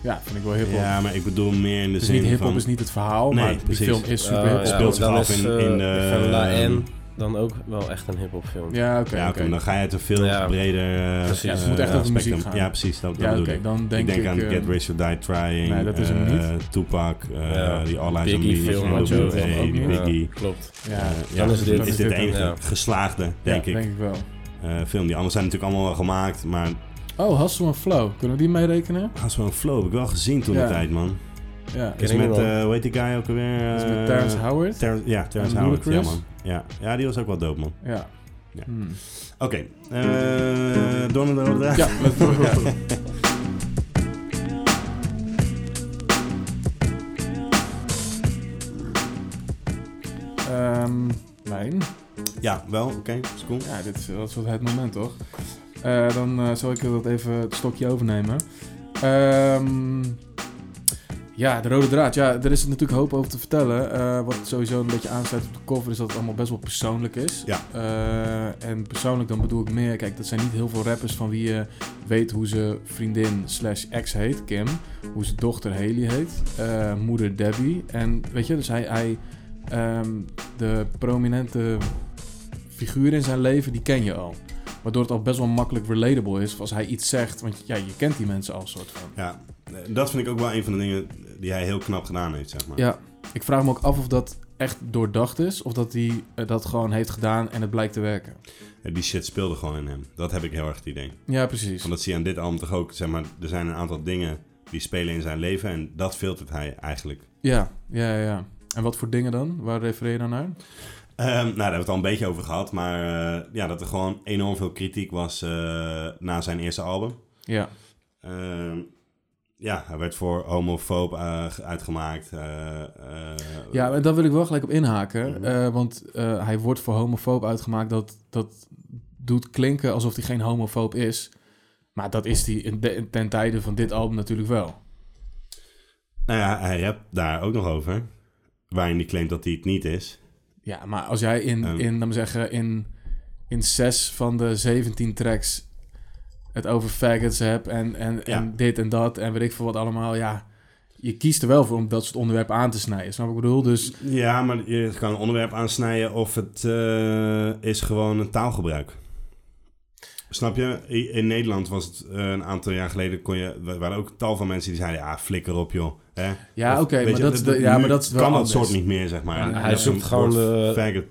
Ja, vind ik wel hiphop. Ja, maar ik bedoel meer in de het is zin niet hiphop, van... is niet het verhaal, Nee, maar precies. die film is super Eh, hiphop. ja. speelt zich dan af is, in- eh, in de- van La N dan ook wel echt een hip-hop film. Ja, oké, ja, oké. oké, maar dan ga je het een veel Ja. breder eh, Precies. Ja, het eh, moet echt over muziek spectrum. gaan. Ja, precies. Dat, dat Ja, oké, bedoel ik. dan denk ik ik... denk aan eh, Get Rich or Die Trying, nee, dat is hem eh, niet. Tupac, eh, Ja. die All Eyes on Biggie Me, film, van want je NWA, hoeft hem ook die niet. Biggie. Klopt. ja, Eh, Dan is dit- is dit de hem. enige ja. geslaagde, denk ik, Denk ik wel. eh, film. Die anders zijn natuurlijk allemaal wel gemaakt, maar Oh, Hustle en Flow. Kunnen we die meerekenen? had zo'n flow heb ik wel gezien toen Ja. de tijd, man. Ja. Ken Is ik met, wel. eh hoe heet die guy ook alweer? Dat is Eh, met Terrence Howard. Ter- ja, Terrence En Howard, ja Ludacris. man. Ja. ja, die was ook wel dope, man. Ja. Ja. Hmm. Oké, eh, door naar de rode draad. Ja, let's do it, ja. Ehm, mijn. Ja, wel, oké, is cool. Ja, dit is, dat is wel het moment, toch? Eh, dan eh, zal ik dat even het stokje overnemen. Ehm, ja, de rode draad. Ja, er is natuurlijk hoop over te vertellen. Eh, wat sowieso een beetje aansluit op de cover is dat het allemaal best wel persoonlijk is. Ja. Eh, en persoonlijk dan bedoel ik meer... Kijk, dat zijn niet heel veel rappers van wie je weet hoe ze vriendin slash ex heet, Kim. Hoe ze dochter Haley heet. eh, moeder Debbie. En weet je, dus hij... hij ehm, de prominente figuren in zijn leven, die ken je al. Waardoor het al best wel makkelijk relatable is als hij iets zegt. Want ja, je kent die mensen al soort van. Ja, eh, dat vind ik ook wel een van de dingen die hij heel knap gedaan heeft, zeg maar. Ja, ik vraag me ook af of dat echt doordacht is. Of dat hij eh, dat gewoon heeft gedaan en het blijkt te werken. Eh, Die shit speelde gewoon in hem. Dat heb ik heel erg het idee. Ja, precies. Want dat zie je aan dit album toch ook, zeg maar, er zijn een aantal dingen die spelen in zijn leven en dat filtert hij eigenlijk. Ja, ja, ja, ja. En wat voor dingen dan? Waar refereer je dan naar? Ehm, nou, daar hebben we het al een beetje over gehad, maar eh, ja, dat er gewoon enorm veel kritiek was eh, na zijn eerste album. Ja, Ehm, ja, hij werd voor homofoob eh, ge- uitgemaakt. eh, eh, ja maar daar wil ik wel gelijk op inhaken. Mhm. eh, want eh, hij wordt voor homofoob uitgemaakt. Dat, dat doet klinken alsof hij geen homofoob is. Maar dat is hij in de- ten tijde van dit album natuurlijk wel. Nou ja, hij rapt daar ook nog over. Waarin hij claimt dat hij het niet is. Ja, maar als jij in, Ehm. in laat me zeggen, in, in zes van de 17 tracks het over faggots hebt en, en, en dit en dat en weet ik veel wat allemaal, ja, je kiest er wel voor om dat soort onderwerpen aan te snijden. Snap je wat ik bedoel? Dus Ja, maar je kan een onderwerp aansnijden of het eh, is gewoon een taalgebruik. Snap je? I- In Nederland was het eh, een aantal jaar geleden, kon je, er waren ook tal van mensen die zeiden, ja, flikker op joh. Hè? ja, Of, oké, weet maar, je, dat is de- ja, nu maar dat is wel kan anders. dat soort niet meer, zeg maar. Ja, Dat hij eh, is zoekt een gewoon woord de- faggot.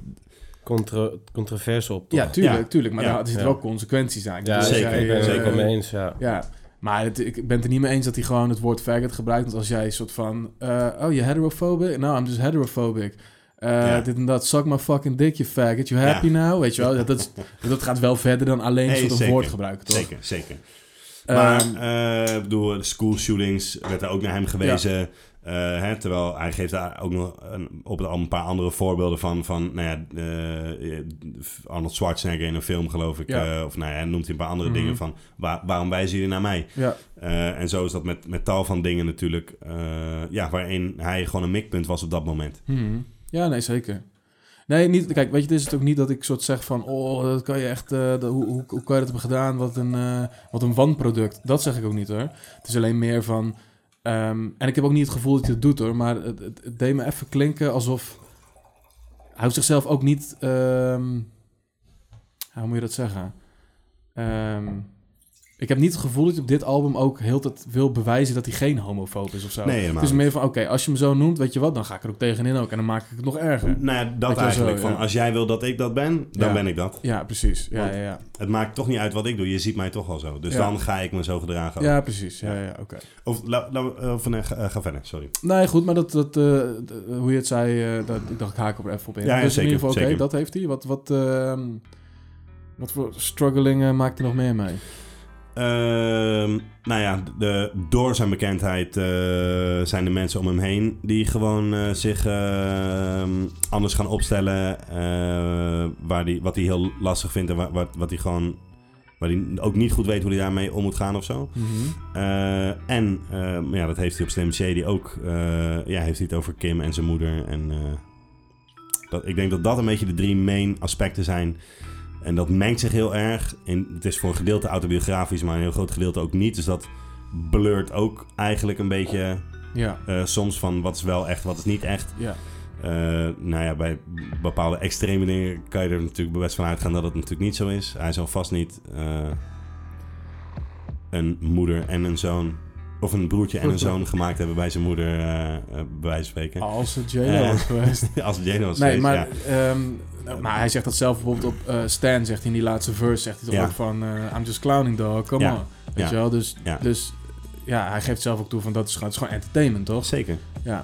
Contra controverse op, toch? Ja, tuurlijk, Ja. tuurlijk, maar Ja. daar er zitten Ja. wel consequenties aan. Ja, Dus als zeker. jij, ik ben het eh, er zeker mee eens, ja. Ja, maar het- ik ben het er niet mee eens dat hij gewoon het woord faggot gebruikt. Want als jij een soort van... eh, oh, je heterophobic? Nou, I'm just heterophobic. Eh, Ja. Dit en dat. Suck my fucking dick, you faggot. You happy now? Weet je wel? Dat, dat, is- dat gaat wel verder dan alleen een Nee, soort zeker. woord gebruiken, toch? Zeker, zeker. Ehm, maar, eh, ik bedoel, de school shootings werd er ook naar hem gewezen. Eh, hè, terwijl hij geeft daar ook nog een, op het album een paar andere voorbeelden van. Van, nou ja, eh, Arnold Schwarzenegger in een film, geloof ik. Ja. eh, of nou ja, hij noemt hij een paar andere Mhm. dingen van, waar, waarom wijzen jullie naar mij? Ja, Eh, en zo is dat met, met tal van dingen natuurlijk. eh, ja, waarin hij gewoon een mikpunt was op dat moment. Hmm. ja nee, zeker. Nee, niet, kijk, weet je, het is het ook niet dat ik soort zeg van... Oh, dat kan je echt... eh, dat- hoe, hoe, hoe kan je dat hebben gedaan? Wat een, eh, wat een wanproduct. Dat zeg ik ook niet, hoor. Het is alleen meer van... ehm, en ik heb ook niet het gevoel dat hij het doet, hoor. Maar het, het, het deed me even klinken alsof... Hij hoeft zichzelf ook niet... ehm, ja, hoe moet je dat zeggen? Ehm, ik heb niet het gevoel dat hij op dit album ook heel dat wil bewijzen dat hij geen homofoob is of zo. Nee, helemaal het is niet. meer van, oké, als je me zo noemt, weet je wat, dan ga ik er ook tegenin ook. En dan maak ik het nog erger. Nou ja, dat Dat was eigenlijk. zo, van, ja. Als jij wil dat ik dat ben, dan Ja. ben ik dat. Ja, precies. Ja, Want- ja, ja. Het maakt toch niet uit wat ik doe. Je ziet mij toch al zo. Dus Ja. dan ga ik me zo gedragen. ook. ja, precies. Ja, ja, oké. Of, la, la, of nee, ga, eh, ga verder, sorry. Nee, goed, maar dat, dat, eh, d- hoe je het zei, eh, dat, ik dacht, ik haak op er even op in. Ja, ja, dus zeker, in ieder geval, oké, zeker. dat heeft hij. Wat, wat, ehm, wat voor struggling eh, maakt hij nog meer mee? Ehm, nou ja, de, door zijn bekendheid eh, zijn er mensen om hem heen die gewoon eh, zich ehm, anders gaan opstellen. eh, waar die, wat hij heel lastig vindt en wa- wat, wat hij gewoon. Waar hij ook niet goed weet hoe hij daarmee om moet gaan of zo. Mhm. Eh, en ehm, ja, dat heeft hij op Slim Shady ook. eh, ja, heeft hij het over Kim en zijn moeder. En eh, dat, ik denk dat dat een beetje de drie main aspecten zijn. En dat mengt zich heel erg. En het is voor een gedeelte autobiografisch, maar een heel groot gedeelte ook niet. Dus dat blurt ook eigenlijk een beetje Ja, eh, soms van wat is wel echt, wat is niet echt. ja. Eh, nou ja, bij bepaalde extreme dingen kan je er natuurlijk best van uitgaan dat het natuurlijk niet zo is. Hij zal vast niet eh, een moeder en een zoon, of een broertje en een zoon gemaakt hebben bij zijn moeder, eh, eh, bij wijze van spreken. Als het Eh. J-Lo was geweest. Als het Jane was Ah. Nee, geweest, maar, ja. ehm, maar hij zegt dat zelf bijvoorbeeld op eh, Stan, zegt hij in die laatste verse, zegt hij toch Ja. ook van, eh, I'm just clowning dog, come Ja. on. Weet Ja. je wel, dus Ja. dus ja, hij geeft zelf ook toe van dat is gewoon, het is gewoon entertainment, toch? Zeker. Ja.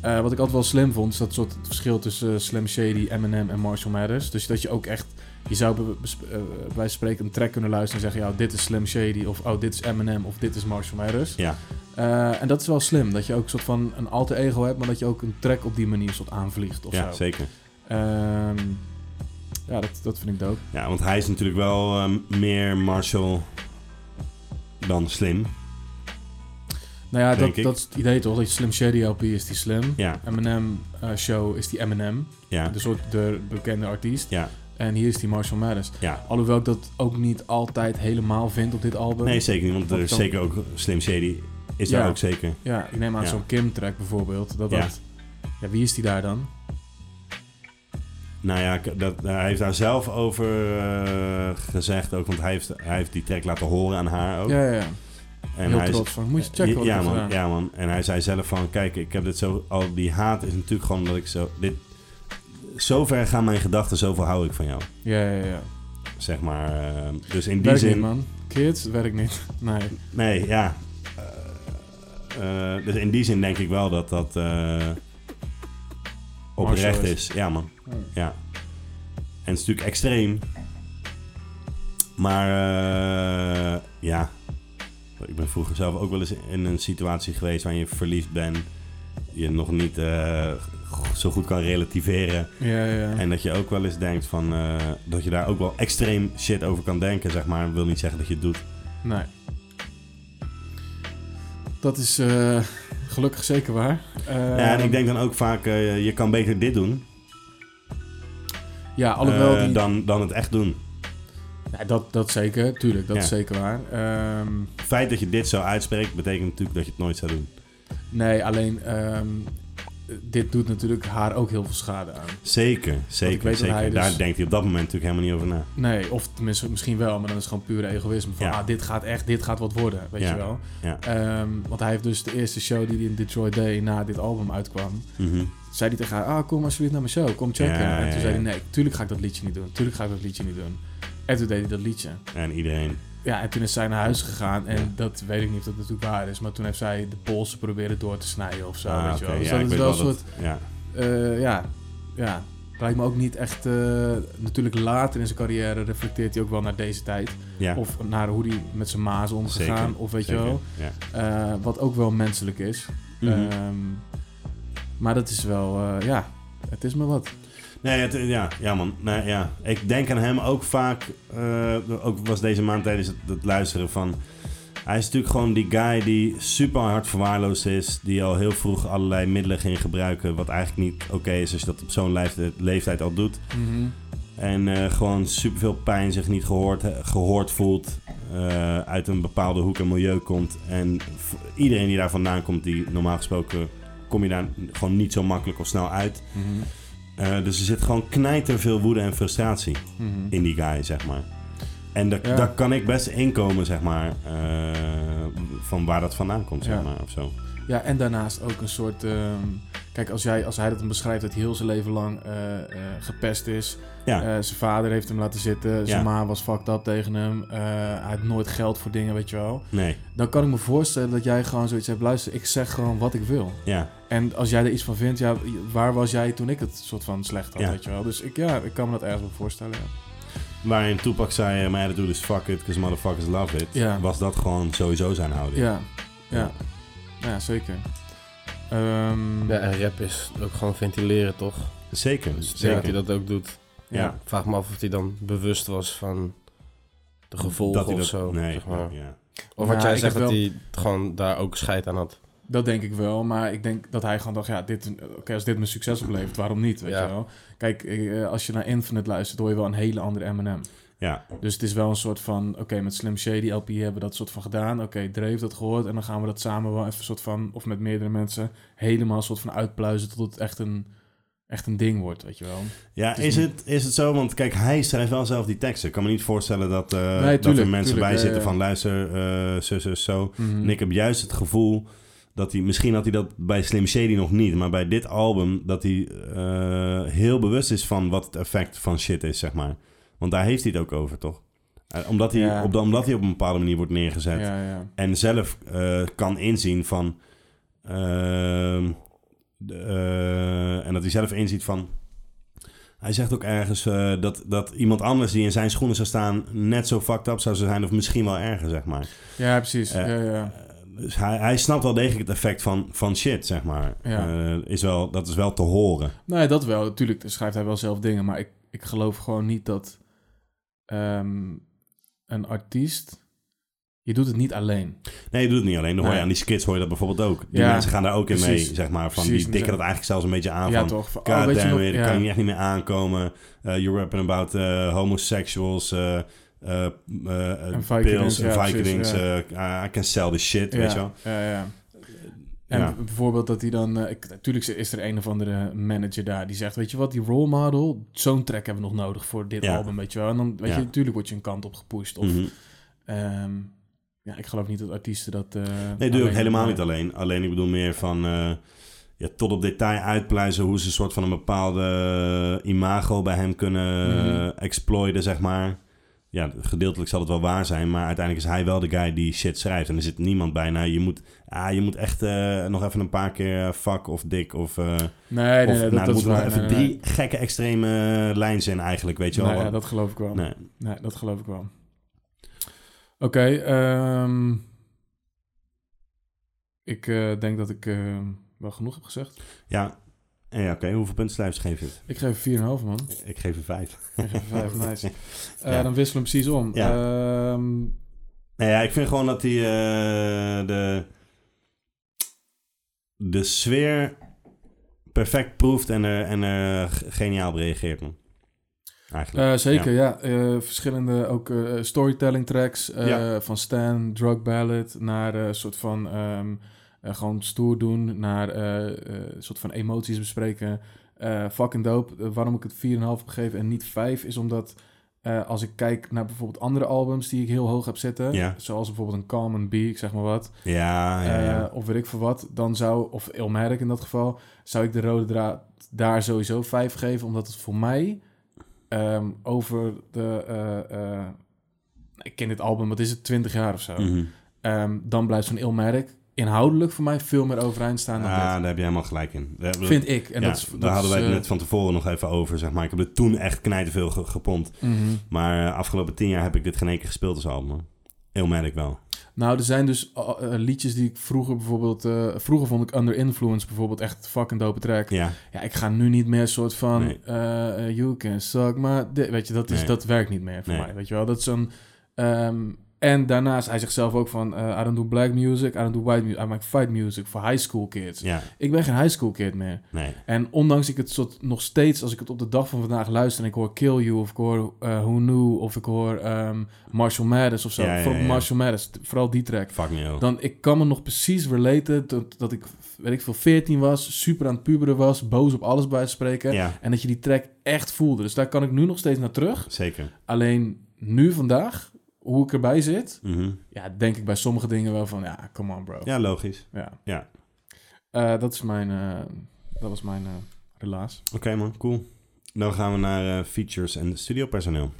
Eh, wat ik altijd wel slim vond, is dat soort het verschil tussen eh, Slim Shady, Eminem en Marshall Mathers. Dus dat je ook echt, je zou bij- bij- eh, bij wijze van spreken een track kunnen luisteren en zeggen, ja, dit is Slim Shady, of oh, dit is Eminem, of dit is Marshall Mathers. Ja. Eh, en dat is wel slim, dat je ook een soort van een alter ego hebt, maar dat je ook een track op die manier soort aanvliegt of Ja, zo. zeker. Ehm, ja, dat, dat vind ik dope. Ja, want hij is natuurlijk wel ehm, meer Marshall dan slim. Nou ja, Denk dat, ik. dat is het idee toch, dat je Slim Shady LP is die Slim. Ja, Eminem eh, Show is die Eminem, ja, de soort de bekende artiest. ja, En hier is die Marshall Mathers. ja. Alhoewel ik dat ook niet altijd helemaal vind op dit album. Nee, zeker niet, want er is dan- zeker ook Slim Shady is Ja. daar ook zeker. Ja, ik neem aan Ja. zo'n Kim-track bijvoorbeeld. Dat Ja. dat, ja, wie is die daar dan? Nou ja, k- dat, hij heeft daar zelf over eh, gezegd ook, want hij heeft, hij heeft die track laten horen aan haar ook. Ja, ja, ja. en Heel hij trots van, moet je checken wat ja, ik heb man, gedaan. ja man, en hij zei zelf van, kijk, ik heb dit zo, al die haat is natuurlijk gewoon dat ik zo, dit, zo ver gaan mijn gedachten, zoveel hou ik van jou, Ja, ja, ja. zeg maar. eh, dus in die Werkt niet, zin, man. Kids, werkt niet. Nee. Nee, ja. Eh, eh, dus in die zin denk ik wel dat dat eh, oprecht Martial is. is. Ja, man. Ja. Ja. En het is natuurlijk extreem. Maar eh, ja. Ik ben vroeger zelf ook wel eens in een situatie geweest waar je verliefd bent. Je nog niet eh, go- zo goed kan relativeren. Ja, ja. En dat je ook wel eens denkt van... eh, dat je daar ook wel extreem shit over kan denken, zeg maar. wil niet zeggen dat je het doet. Nee. Dat is eh, gelukkig zeker waar. Eh, Ja, en ik denk dan ook vaak, eh, je kan beter dit doen Ja, alhoewel eh, die... dan, dan het echt doen. Ja, dat, dat zeker, tuurlijk. Dat Ja. is zeker waar. Ehm, Het feit dat je dit zo uitspreekt, betekent natuurlijk dat je het nooit zou doen. nee, alleen... ehm, dit doet natuurlijk haar ook heel veel schade aan. Zeker, ik weet zeker, dat hij zeker. dus- Daar denkt hij op dat moment natuurlijk helemaal niet over na. Nee, of tenminste misschien wel, maar dan is het gewoon pure egoïsme. Van, Ja. ah, dit gaat echt, dit gaat wat worden, weet Ja. je wel. Ja. Ehm, want hij heeft dus de eerste show die hij in Detroit deed na dit album uitkwam. Mhm. Zei hij tegen haar, ah, kom alsjeblieft naar mijn show, kom checken. Ja, en toen ja, zei ja. hij, nee, tuurlijk ga ik dat liedje niet doen. Tuurlijk ga ik dat liedje niet doen. En toen deed hij dat liedje. En iedereen. Ja, en toen is zij naar huis gegaan. En Ja. dat weet ik niet of dat natuurlijk waar is. Maar toen heeft zij de polsen proberen door te snijden of zo, Ah, weet oké, je wel. ja, Dus ik dat is weet wel een wel soort, dat- Ja, eh, ja, ja. Lijkt me ook niet echt, eh, natuurlijk later in zijn carrière reflecteert hij ook wel naar deze tijd. ja. Of naar hoe hij met zijn maas omgegaan. Zeker, Of weet zeker. je wel. Ja. Eh, wat ook wel menselijk is. Mhm. Ehm, maar dat is wel, eh, ja, het is maar wat. Nee, het, eh, ja, ja man. Nee, ja. Ik denk aan hem ook vaak, eh, ook was deze maand tijdens het, het luisteren van... Hij is natuurlijk gewoon die guy die super hard verwaarloosd is. Die al heel vroeg allerlei middelen ging gebruiken. Wat eigenlijk niet oké is als je dat op zo'n leeftijd, leeftijd al doet. Mhm. En eh, gewoon superveel pijn, zich niet gehoord, eh, gehoord voelt. eh, uit een bepaalde hoek en milieu komt. En v- iedereen die daar vandaan komt, die normaal gesproken kom je daar gewoon niet zo makkelijk of snel uit. Mhm. Eh, dus er zit gewoon knijter veel woede en frustratie Mhm. in die guy, zeg maar. En daar, Ja. daar kan ik best inkomen, zeg maar, eh, van waar dat vandaan komt, Ja. zeg maar, of zo. Ja, en daarnaast ook een soort. ehm, kijk, als, jij, als hij dat dan beschrijft, dat hij heel zijn leven lang eh, eh, gepest is. Ja. Eh, zijn vader heeft hem laten zitten. Zijn Ja. ma was fucked up tegen hem. eh, hij had nooit geld voor dingen, weet je wel. Nee, Dan kan ik me voorstellen dat jij gewoon zoiets hebt. Luister, ik zeg gewoon wat ik wil. ja, En als jij er iets van vindt, ja, waar was jij toen ik het soort van slecht had, Ja. weet je wel? Dus ik, ja, ik kan me dat ergens wel voorstellen, ja. Waarin Tupac zei, eh, my attitude is fuck it, because motherfuckers love it. Ja. Was dat gewoon sowieso zijn houding. Ja, ja. Ja. Ja, zeker. Ehm, Ja, en rap is ook gewoon ventileren, toch? Zeker, Dus ik denk zeker. dat hij dat ook doet. ja. Ik vraag me af of hij dan bewust was van de gevolgen hij of zo. Nee, zeg maar. ja. Of wat Nou, jij ik zegt, heb dat wel- hij gewoon daar ook scheid aan had. Dat denk ik wel, maar ik denk dat hij gewoon dacht, ja, dit, oké, als dit me succes oplevert, waarom niet, weet Ja. je wel? Kijk, eh, als je naar Infinite luistert, hoor je wel een hele andere Eminem. Ja, Dus het is wel een soort van, oké, met Slim Shady LP hebben we dat soort van gedaan. Oké, Dre heeft dat gehoord en dan gaan we dat samen wel even soort van, of met meerdere mensen, helemaal soort van uitpluizen tot het echt een, echt een ding wordt, weet je wel. ja Het is is, niet- het, is het zo? Want kijk, hij schrijft wel zelf die teksten. Ik kan me niet voorstellen dat, eh, dat er tuurlijk, mensen tuurlijk, bij ja, zitten ja. van luister, eh zo, zo, zo. Mhm. En ik heb juist het gevoel dat hij, misschien had hij dat bij Slim Shady nog niet, maar bij dit album, dat hij eh, heel bewust is van wat het effect van shit is, zeg maar. Want daar heeft hij het ook over, toch? Eh, omdat, hij, Ja. op de- omdat hij op een bepaalde manier wordt neergezet Ja, ja. en zelf eh, kan inzien van. ehm, de, eh, en dat hij zelf inziet van. Hij zegt ook ergens eh, dat, dat iemand anders die in zijn schoenen zou staan. net zo fucked up zou zijn, of misschien wel erger, zeg maar. ja, precies. Eh, ja, ja. Dus hij, hij snapt wel degelijk het effect van, van shit, zeg maar. Ja. Eh, is wel, dat is wel te horen. Nou ja, dat wel. Natuurlijk schrijft hij wel zelf dingen, maar ik, ik geloof gewoon niet dat ehm, een artiest... Je doet het niet alleen. Nee, je doet het niet alleen. Dan hoor je Nee. aan die skits hoor je dat bijvoorbeeld ook. Die Ja. mensen gaan daar ook in mee, Precies. zeg maar. Van Precies. die dikken dat eigenlijk zelfs een beetje aan ja, van... toch? Van, oh, God weet je damn nog- it, daar ja. kan je echt niet meer aankomen. Eh, you're rapping about eh, homosexuals, eh eh eh, eh, En Vikings, pills, en ja, Vikings. precies, eh, I can sell the shit, Ja, weet je wel. Ja, ja. En Ja. b- bijvoorbeeld dat hij dan... eh, ik- natuurlijk is er een of andere manager daar die zegt... Weet je wat, die role model, zo'n track hebben we nog nodig voor dit Ja. album, weet je wel. En dan, weet Ja. je, natuurlijk word je een kant op gepusht. Of, Mhm. ehm, ja, ik geloof niet dat artiesten dat... eh, Nee, doe ik alleen- helemaal niet alleen. Alleen ik bedoel meer van... eh, ja, tot op detail uitpluizen hoe ze een soort van een bepaalde eh, imago bij hem kunnen Mhm. eh, exploiten, zeg maar. Ja, gedeeltelijk zal het wel waar zijn, maar uiteindelijk is hij wel de guy die shit schrijft. En er zit niemand bij. Nou, je moet, ah, je moet echt eh, nog even een paar keer eh, fuck of dik of... eh, Nee, nee, nee, of, nou, dat, er dat is moeten nog waar. even Nee, nee, drie nee. gekke extreme eh, lijnen zijn eigenlijk, weet je wel. Nou ja, dat geloof ik wel. nee. Nee, dat geloof ik wel. Oké, ehm, ik eh, denk dat ik ehm, wel genoeg heb gezegd. ja. En ja, oké, hoeveel punten sluis geef je het? Ik geef 4,5 man. Ik geef er vijf. Ik geef 5, nice. Eh, Ja. Dan wisselen we precies om. Ja. Ehm, Nou ja, ik vind gewoon dat die eh, de, de sfeer perfect proeft en er en, er g- geniaal op reageert, man. Eigenlijk. eh, zeker, ja. Eh, verschillende ook eh, storytelling tracks. eh, Ja. Van Stan, Drug Ballad, naar eh, een soort van ehm, eh, gewoon stoer doen. Naar eh, eh, een soort van emoties bespreken. Eh, fucking dope. Eh, waarom ik het 4,5 heb gegeven en niet 5 is omdat... eh, als ik kijk naar bijvoorbeeld andere albums die ik heel hoog heb zitten... Ja. zoals bijvoorbeeld een Common B, ik zeg maar wat... ja, Ah, ja, ja. eh, of weet ik veel wat, dan zou, of Ilmerk in dat geval, zou ik de rode draad daar sowieso vijf geven, omdat het voor mij ehm, over de, eh, eh, ik ken dit album, wat is het, 20 jaar of zo, Mhm. Ehm, dan blijft zo'n Ilmerk inhoudelijk voor mij veel meer overeind staan dan Ah, dit. daar heb je helemaal gelijk in. We hebben- Vind ik. En ja, dat is, dat daar hadden is, wij het eh, net van tevoren nog even over, zeg maar. Ik heb het toen echt knijterveel ge- gepompt. mhm. Maar eh, afgelopen tien jaar heb ik dit geen één keer gespeeld als album. hoor. Heel merk wel. Nou, er zijn dus al- eh, liedjes die ik vroeger bijvoorbeeld... eh, vroeger vond ik Under Influence bijvoorbeeld echt fucking dope track. Ja, Ja, ik ga nu niet meer soort van... Nee. eh, you can suck, maar... di- Weet je, dat, is, Nee. dat werkt niet meer voor Nee. mij, weet je wel. Dat is een... ehm, en daarnaast, hij zegt zelf ook van... eh, I don't do black music, I don't do white music. I make fight music voor high school kids. ja, Ik ben geen high school kid meer. nee. En ondanks ik het soort nog steeds, als ik het op de dag van vandaag luister en ik hoor Kill You of ik hoor eh, Who Knew of ik hoor ehm Marshall Mathers of zo. Ja, ja, Vooral ja. Marshall Mathers, t- vooral die track. Fuck me, joh. Dan ik kan me nog precies relaten dat, dat ik, weet ik veel, 14 was, super aan het puberen was, boos op alles bij spreken. Ja, En dat je die track echt voelde. Dus daar kan ik nu nog steeds naar terug. zeker. Alleen nu vandaag, hoe ik erbij zit, Mhm. ja, denk ik bij sommige dingen wel van, ja, come on bro. Ja, logisch. Ja. Ja. Eh, dat is mijn, eh, dat was mijn eh relaas. Oké man, cool. Dan gaan we naar eh, features en studiopersoneel.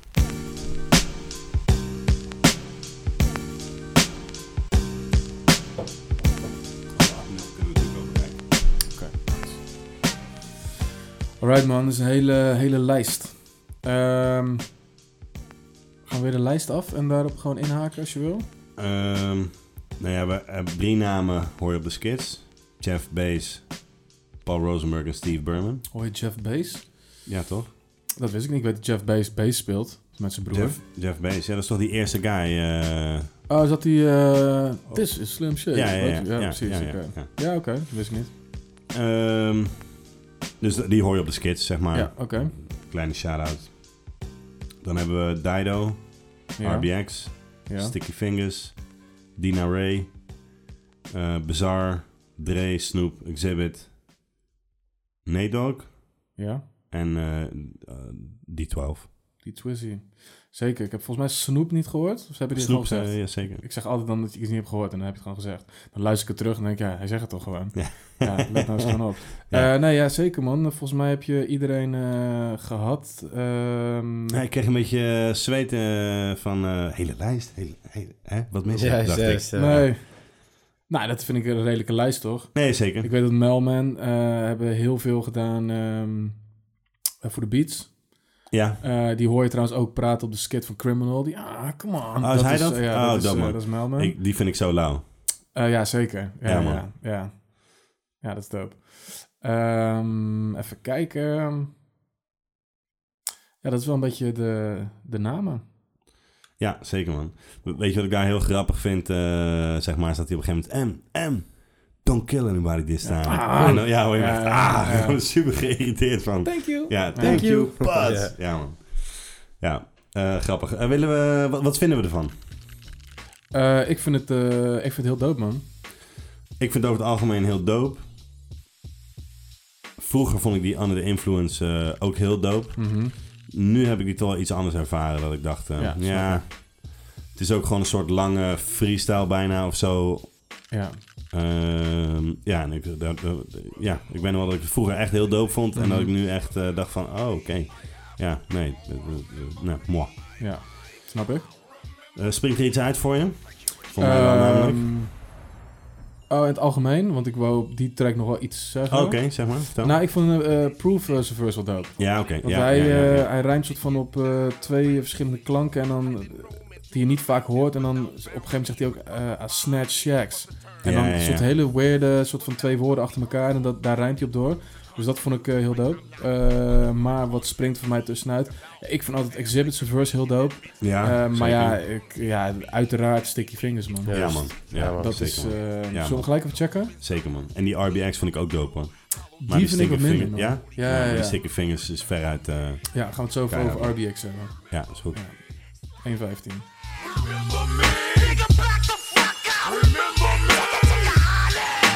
Alright man, dat is een hele, hele lijst. Ehm, gaan we weer de lijst af en daarop gewoon inhaken als je wil? Ehm nou ja, we hebben drie namen hoor je op de skits. Jeff Bass, Paul Rosenberg en Steve Berman. Hoor je Jeff Bass? Ja, toch? Dat wist ik niet. Ik weet dat Jeff Bass bass speelt met zijn broer. Jeff, Jeff Bass. Ja, dat is toch die eerste guy? eh, Oh, is dat die... eh This is Slim Shady. Oh. ja, ja, ja, Wat? precies. ja, ja, oké. ja. Ja, oké. Wist ik niet. Ehm, dus die hoor je op de skits, zeg maar. Ja, oké. Kleine shout-out. Dan hebben we Dido, Ja, RBX, ja. Sticky Fingers, Dina Ray, eh, Bizarre, Dre, Snoop, Exhibit, Nadog ja, en eh, eh, D12. die Twizzy. Zeker. Ik heb volgens mij Snoep niet gehoord. Of hebben die Snoop, het gewoon gezegd? eh, ja zeker. Ik zeg altijd dan dat ik iets niet heb gehoord en dan heb je het gewoon gezegd. Dan luister ik het terug en denk ik, ja, hij zegt het toch gewoon. Ja. Ja, let nou eens gewoon op. Ja. Eh, nee, ja, zeker man. Volgens mij heb je iedereen eh, gehad. Ehm, Ja, ik kreeg een beetje eh, zweet eh, van eh, hele lijst, hele, hele, hè? wat mensen Ja, eh, dacht ik. juist, ja. nee. Nou, dat vind ik een redelijke lijst, toch? Nee, zeker. Ik weet dat Melman eh, hebben heel veel gedaan ehm, eh, voor de beats. ja. Eh, die hoor je trouwens ook praten op de skit van Criminal. Die, ah, come on. Oh, is hij dat? eh, ja, Oh, dat, is, dat eh, man. dat is Melman. Ik, die vind ik zo lauw. Eh, ja, zeker. Ja, Ja, ja, man. ja, ja. Ja, dat is dope. Ehm, even kijken. Ja, dat is wel een beetje de, de namen. Ja, zeker man. We- Weet je wat ik daar heel grappig vind? eh, zeg maar, staat hij op een gegeven moment... M, M, don't kill anybody this time. Ah. En dan- ja, hoor je me Ja, echt... ja, Ah, ja. ik word super geïrriteerd van. Thank you. Ja, thank Thank you, you. but... Ja, Ja. man. Ja, eh, grappig. Eh, willen we, wat, wat vinden we ervan? Eh, ik, vind het, eh, ik vind het heel dope, man. Ik vind het over het algemeen heel dope. Vroeger vond ik die Under the Influence eh, ook heel dope. Mhm. Nu heb ik die toch wel iets anders ervaren. Dat ik dacht, eh, Ja, ja, snap het is ook gewoon een soort lange freestyle bijna of zo. Ja. Ehm, ja, en ik, dat- dat- ja, ik ben wel dat ik het vroeger echt heel dope vond. En dat Mhm. ik nu echt eh, dacht van, oh, oké. Ja, nee. eh, eh, eh, nou, moi. ja, snap ik. Eh, springt er iets uit voor je? Voor mij wel namelijk. Ehm, oh, in het algemeen, want ik wou op die track nog wel iets zeggen. Oh, oké, zeg maar. Vertel. Nou, ik vond eh eh, Proof eh, zijn verse wel dope. ja, oké. Want ja, hij, ja, ja, ja. eh, hij rijmt soort van op eh, twee verschillende klanken en dan eh, die je niet vaak hoort. En dan op een gegeven moment zegt hij ook eh I snatch shacks. En Ja, dan ja, een ja. soort hele weirde soort van twee woorden achter elkaar en dat, daar rijmt hij op door. Dus dat vond ik eh, heel dope. Eh, maar wat springt voor mij tussenuit? Ik vond altijd Exhibit zijn verse heel dope. Ja, Eh, maar zeker. ja, ik, ja, uiteraard Sticky Fingers, man. Ja, man. Ja, Ja, man. dat zeker, is... man. eh man. zullen we gelijk even checken? Zeker, man. En die RBX vond ik ook dope, hoor. Die, vind ik wat sticker minder, finger- man. Ja? Ja, ja, maar Die ja. sticker fingers is veruit... eh Ja, gaan we het zo even Ja, man. over RBX hebben. ja, is goed. 1.15.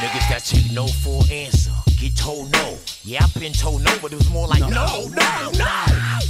Niggas that cheat no full answer. Get told no. Yeah, I've been told no, but it was more like no, no, no.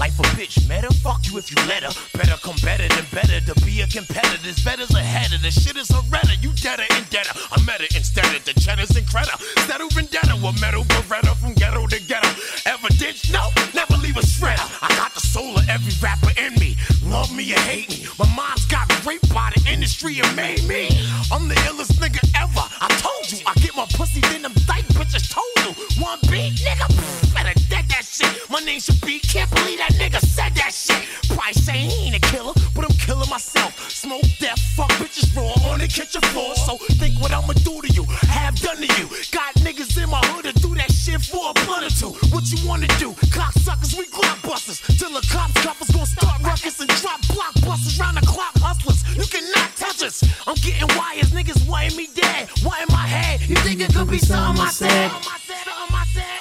Life a bitch, meta. Fuck you if you let her. Better come better than better to be a competitor. This better's ahead of the shit is a redder. You deader and deader. I'm meta instead of the cheddars and credit. Settle vendetta with metal beretta from ghetto to ghetto. Ever did? No, never leave a shredder. I got the soul of every rapper in me. Love me or hate me. My mind's got raped by the industry and made me. I'm the illest nigga ever. I told you, I get my pussy, then them dyke bitches told you. One beat, nigga, pff, better dead that shit. My name should be, can't believe that nigga said that shit. Probably say he ain't a killer, but I'm killing myself. Smoke that fuck bitches raw on the kitchen floor. So think what I'ma do to you, have done to you. Got niggas in my hood to do that shit for a blunt or two. What you wanna do? Cocksuckers, we glock busters. Till the cops cuff us, gonna start ruckus and drop blockbusters round the clock hustlers. You cannot touch us. I'm getting wires, niggas wanting me dead. Why in my head? You think it could be something I said? Something I said, something I said.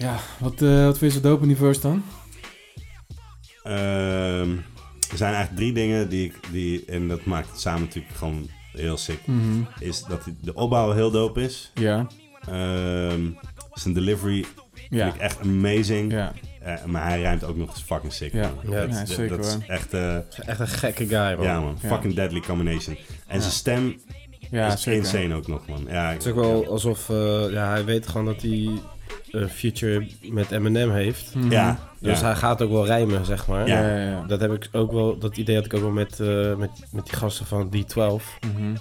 Ja, wat, eh, wat vind je zo dope in die verse dan? Ehm, er zijn eigenlijk drie dingen die ik... Die, en dat maakt het samen natuurlijk gewoon heel sick. Is dat die- de opbouw heel dope is. Mhm. Ja, Ehm, zijn delivery vind ja, ik echt amazing. ja, Eh, maar hij rijmt ook nog eens fucking sick. Ja. man. Ja, dat, ja, dat- zeker, dat is hoor. echt... eh, Echt een gekke guy, man. ja, man. Ja. Fucking deadly combination. En zijn stem ja is zeker. insane ook nog, man. Ja, ik- Het is ook wel alsof eh, ja, hij weet gewoon dat hij een future met Eminem heeft. Ja, Dus ja. hij gaat ook wel rijmen, zeg maar. Ja. Mhm. Ja, ja, ja. Dat, heb ik ook wel, dat idee had ik ook wel met, eh, met, met die gasten van D12. Mhm.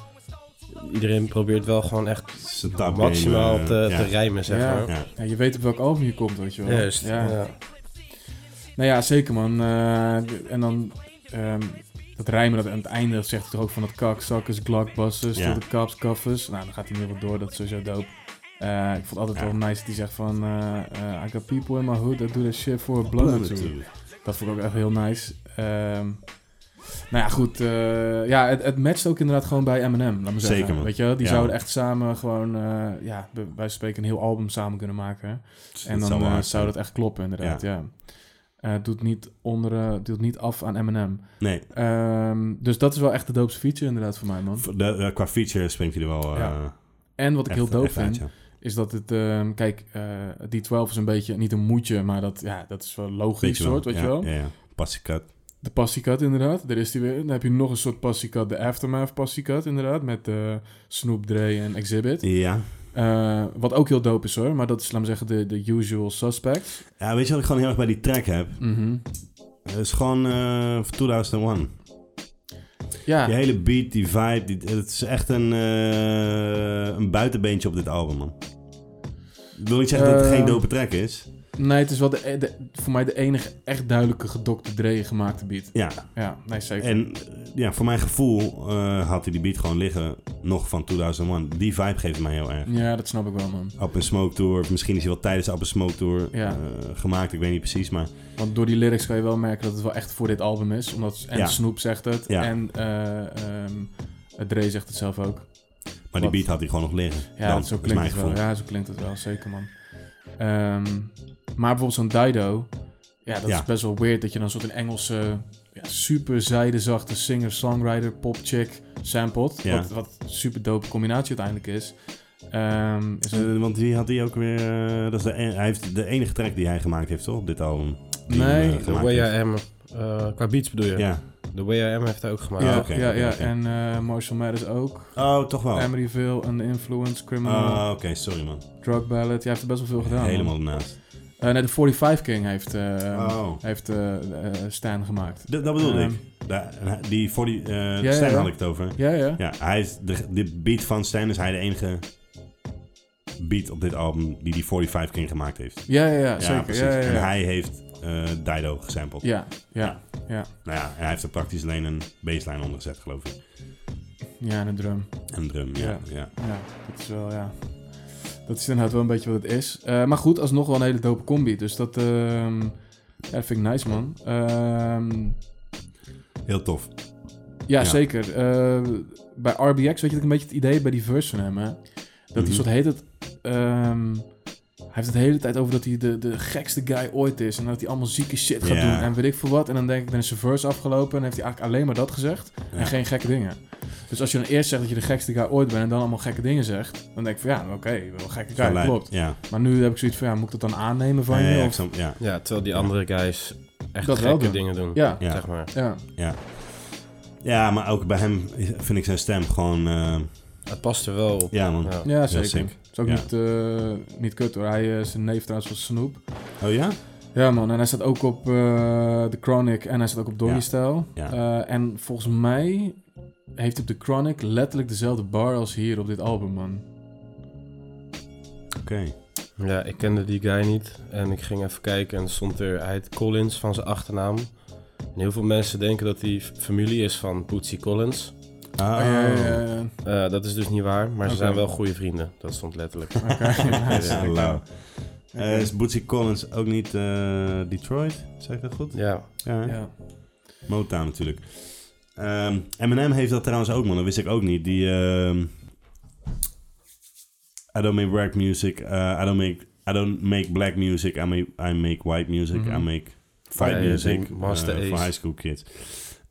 Iedereen probeert wel gewoon echt Zijn tap game, maximaal eh, te, ja. te rijmen, zeg Ja. maar. Ja. Ja, je weet op welk album je komt, weet je wel. Juist. Ja. ja. Nou ja, zeker man. Eh, en dan ehm, dat rijmen dat aan het einde, dat zegt hij toch ook van dat kakzakkers, glockbusters, Ja. tot de cops, coffers. Nou, dan gaat hij nu wat door, dat is sowieso dope. Eh, ik vond altijd Ja. wel nice die zegt van eh, eh, I got people in my hood that do that shit for a blunt or Blubber two." too. Dat vond ik ook echt heel nice. Ehm, nou ja, goed. eh, ja, het, het matcht ook inderdaad gewoon bij Eminem, laat me zeggen. Zeker, man. Weet je, wel? die Ja, zouden man. echt samen gewoon... eh, ja, bij- wij spreken een heel album samen kunnen maken. Dat En dan zou eh, zou, wel hard zou zijn. dat echt kloppen, inderdaad, ja. Eh, doet, niet onder, eh, doet niet af aan Eminem. Nee, Ehm, dus dat is wel echt de doopste feature inderdaad voor mij, man. v- de- eh, qua feature springt hij er wel eh, Ja. En wat ik echt, heel dope echt uit, vind, ja. is dat het... ehm, kijk, eh, die 12 is een beetje, niet een moetje, maar dat, ja, dat is wel logisch Weet soort, weet ja, je wel. Ja, ja. Passiekat. De passiekat inderdaad, daar is die weer. Dan heb je nog een soort passiekat, de Aftermath passiekat inderdaad, met eh Snoop Dre en Exhibit. Ja. Eh, wat ook heel dope is hoor, maar dat is, laat maar zeggen, de, de usual suspects. ja, weet je wat ik gewoon heel erg bij die track heb? Mhm. Het is gewoon eh 2001. Ja, Ah. Die hele beat, die vibe, die- het is echt een, eh, een buitenbeentje op dit album, man. Ik wil niet zeggen dat het Eh, geen dope track is. nee, het is wel de, de- voor mij de enige echt duidelijke gedokte Dre gemaakte beat. Ja, Ja, nee, zeker. en eh, ja, voor mijn gevoel eh, had hij die beat gewoon liggen nog van 2001. Die vibe geeft mij heel erg. Ja, dat snap ik wel man. Up in Smoke Tour, of misschien is hij wel tijdens Up in Smoke Tour Ja. eh, gemaakt, ik weet niet precies, maar Want door die lyrics kan je wel merken dat het wel echt voor dit album is. Omdat, en Ja. Snoop zegt het, Ja. en eh, ehm, Dre zegt het zelf ook. Maar Wat? die beat had hij gewoon nog liggen. Ja, Dan, dat zo is klinkt mijn het gevoel. wel. Ja, zo klinkt het wel, zeker man. Ehm, maar bijvoorbeeld zo'n Dido, ja, dat Ja. is best wel weird dat je dan een soort een Engelse ja, super zijdezachte singer-songwriter popchick samplet. Ja. Wat, wat een super dope combinatie uiteindelijk is. Ehm, is het- Eh, want die had hij ook weer... eh, dat is de, en- hij heeft de enige track die hij gemaakt heeft, toch? Op dit album. Die Nee, hem, eh, The The gemaakt Way heeft. I Am. eh, qua beats bedoel je? Ja. The Way I Am heeft hij ook gemaakt. ja, oké, ja, oké, ja, oké. en eh, Marshall Mathers ook. Oh, toch wel. Emeryville, An Influence, Criminal, Ah, Oké, sorry man. Drug Ballad. Ja, hij heeft er best wel veel gedaan. man. Helemaal ernaast. Eh, nee, de 45 King heeft, eh, Oh. heeft eh, eh, Stan gemaakt. D- dat bedoelde Ehm. ik. Da- die voor die... eh ja, Stijn ja. had ik het over. Ja, ja. Ja, hij is de, de beat van Stijn is hij de enige beat op dit album die die 45 King gemaakt heeft. Ja, ja, ja, Ja, zeker. precies. Ja, ja, ja. En hij heeft eh, Dido gesampled. ja, ja, ja. Nou ja, en hij heeft er praktisch alleen een baseline onder gezet, geloof ik. Ja, en een drum. En drum, ja. Ja. ja. Ja, dat is wel, ja. Dat is inderdaad wel een beetje wat het is. Eh, maar goed, alsnog wel een hele dope combi. Dus dat, ehm, ja, dat vind ik nice, man. Ehm, Heel tof. ja, Ja. zeker. Eh, bij RBX weet je dat ik een beetje het idee heb bij die verse van hem, hè? Dat Mhm. die soort heet het... ehm, hij heeft het de hele tijd over dat hij de, de gekste guy ooit is. En dat hij allemaal zieke shit gaat Ja. doen. En weet ik veel wat. En dan denk ik, dan is zijn verse afgelopen. En heeft hij eigenlijk alleen maar dat gezegd. Ja. En geen gekke dingen. Dus als je dan eerst zegt dat je de gekste guy ooit bent. En dan allemaal gekke dingen zegt. Dan denk ik van ja, nou, oké, wel gekke guy, Gelijk. klopt. Ja. Maar nu heb ik zoiets van ja, moet ik dat dan aannemen van Ja, je? ja, ik of, snap- ja. Ja, terwijl die andere guys echt Dat wel gekke doen. dingen doen. ja, Ja. Zeg maar. ja. ja, maar ook bij hem vind ik zijn stem gewoon... eh, Het past er wel op. ja, man. Ja, zeker. sick. Het is ook Ja. niet, eh, niet kut hoor. Hij, eh, zijn neef trouwens was Snoep. Oh ja? Ja man, en hij staat ook op eh The Chronic en hij staat ook op Doggy Ja. Style. Ja. Eh, en volgens mij heeft hij op The Chronic letterlijk dezelfde bar als hier op dit album, man. Oké. Ja, ik kende die guy niet. En ik ging even kijken en er stond er... Hij heet Collins van zijn achternaam. En heel veel mensen denken dat hij f- familie is van Bootsy Collins. Ah, Eh, eh, Eh, dat is dus niet waar, maar ze Oké. zijn wel goede vrienden. Dat stond letterlijk. oké, nice. ja, ja, Ah, lauw. Eh, is Bootsy Collins ook niet eh, Detroit? Zeg ik dat goed? Ja, Ja. hè? Ja. Motown natuurlijk. Ehm, Eminem heeft dat trouwens ook, man. Dat wist ik ook niet. Die... ehm, I don't make black music. eh, I, don't make, I don't make black music. I make, I make white music. Mhm. I make fight Ja, ja, music. die Master eh, voor Ace. high school kids.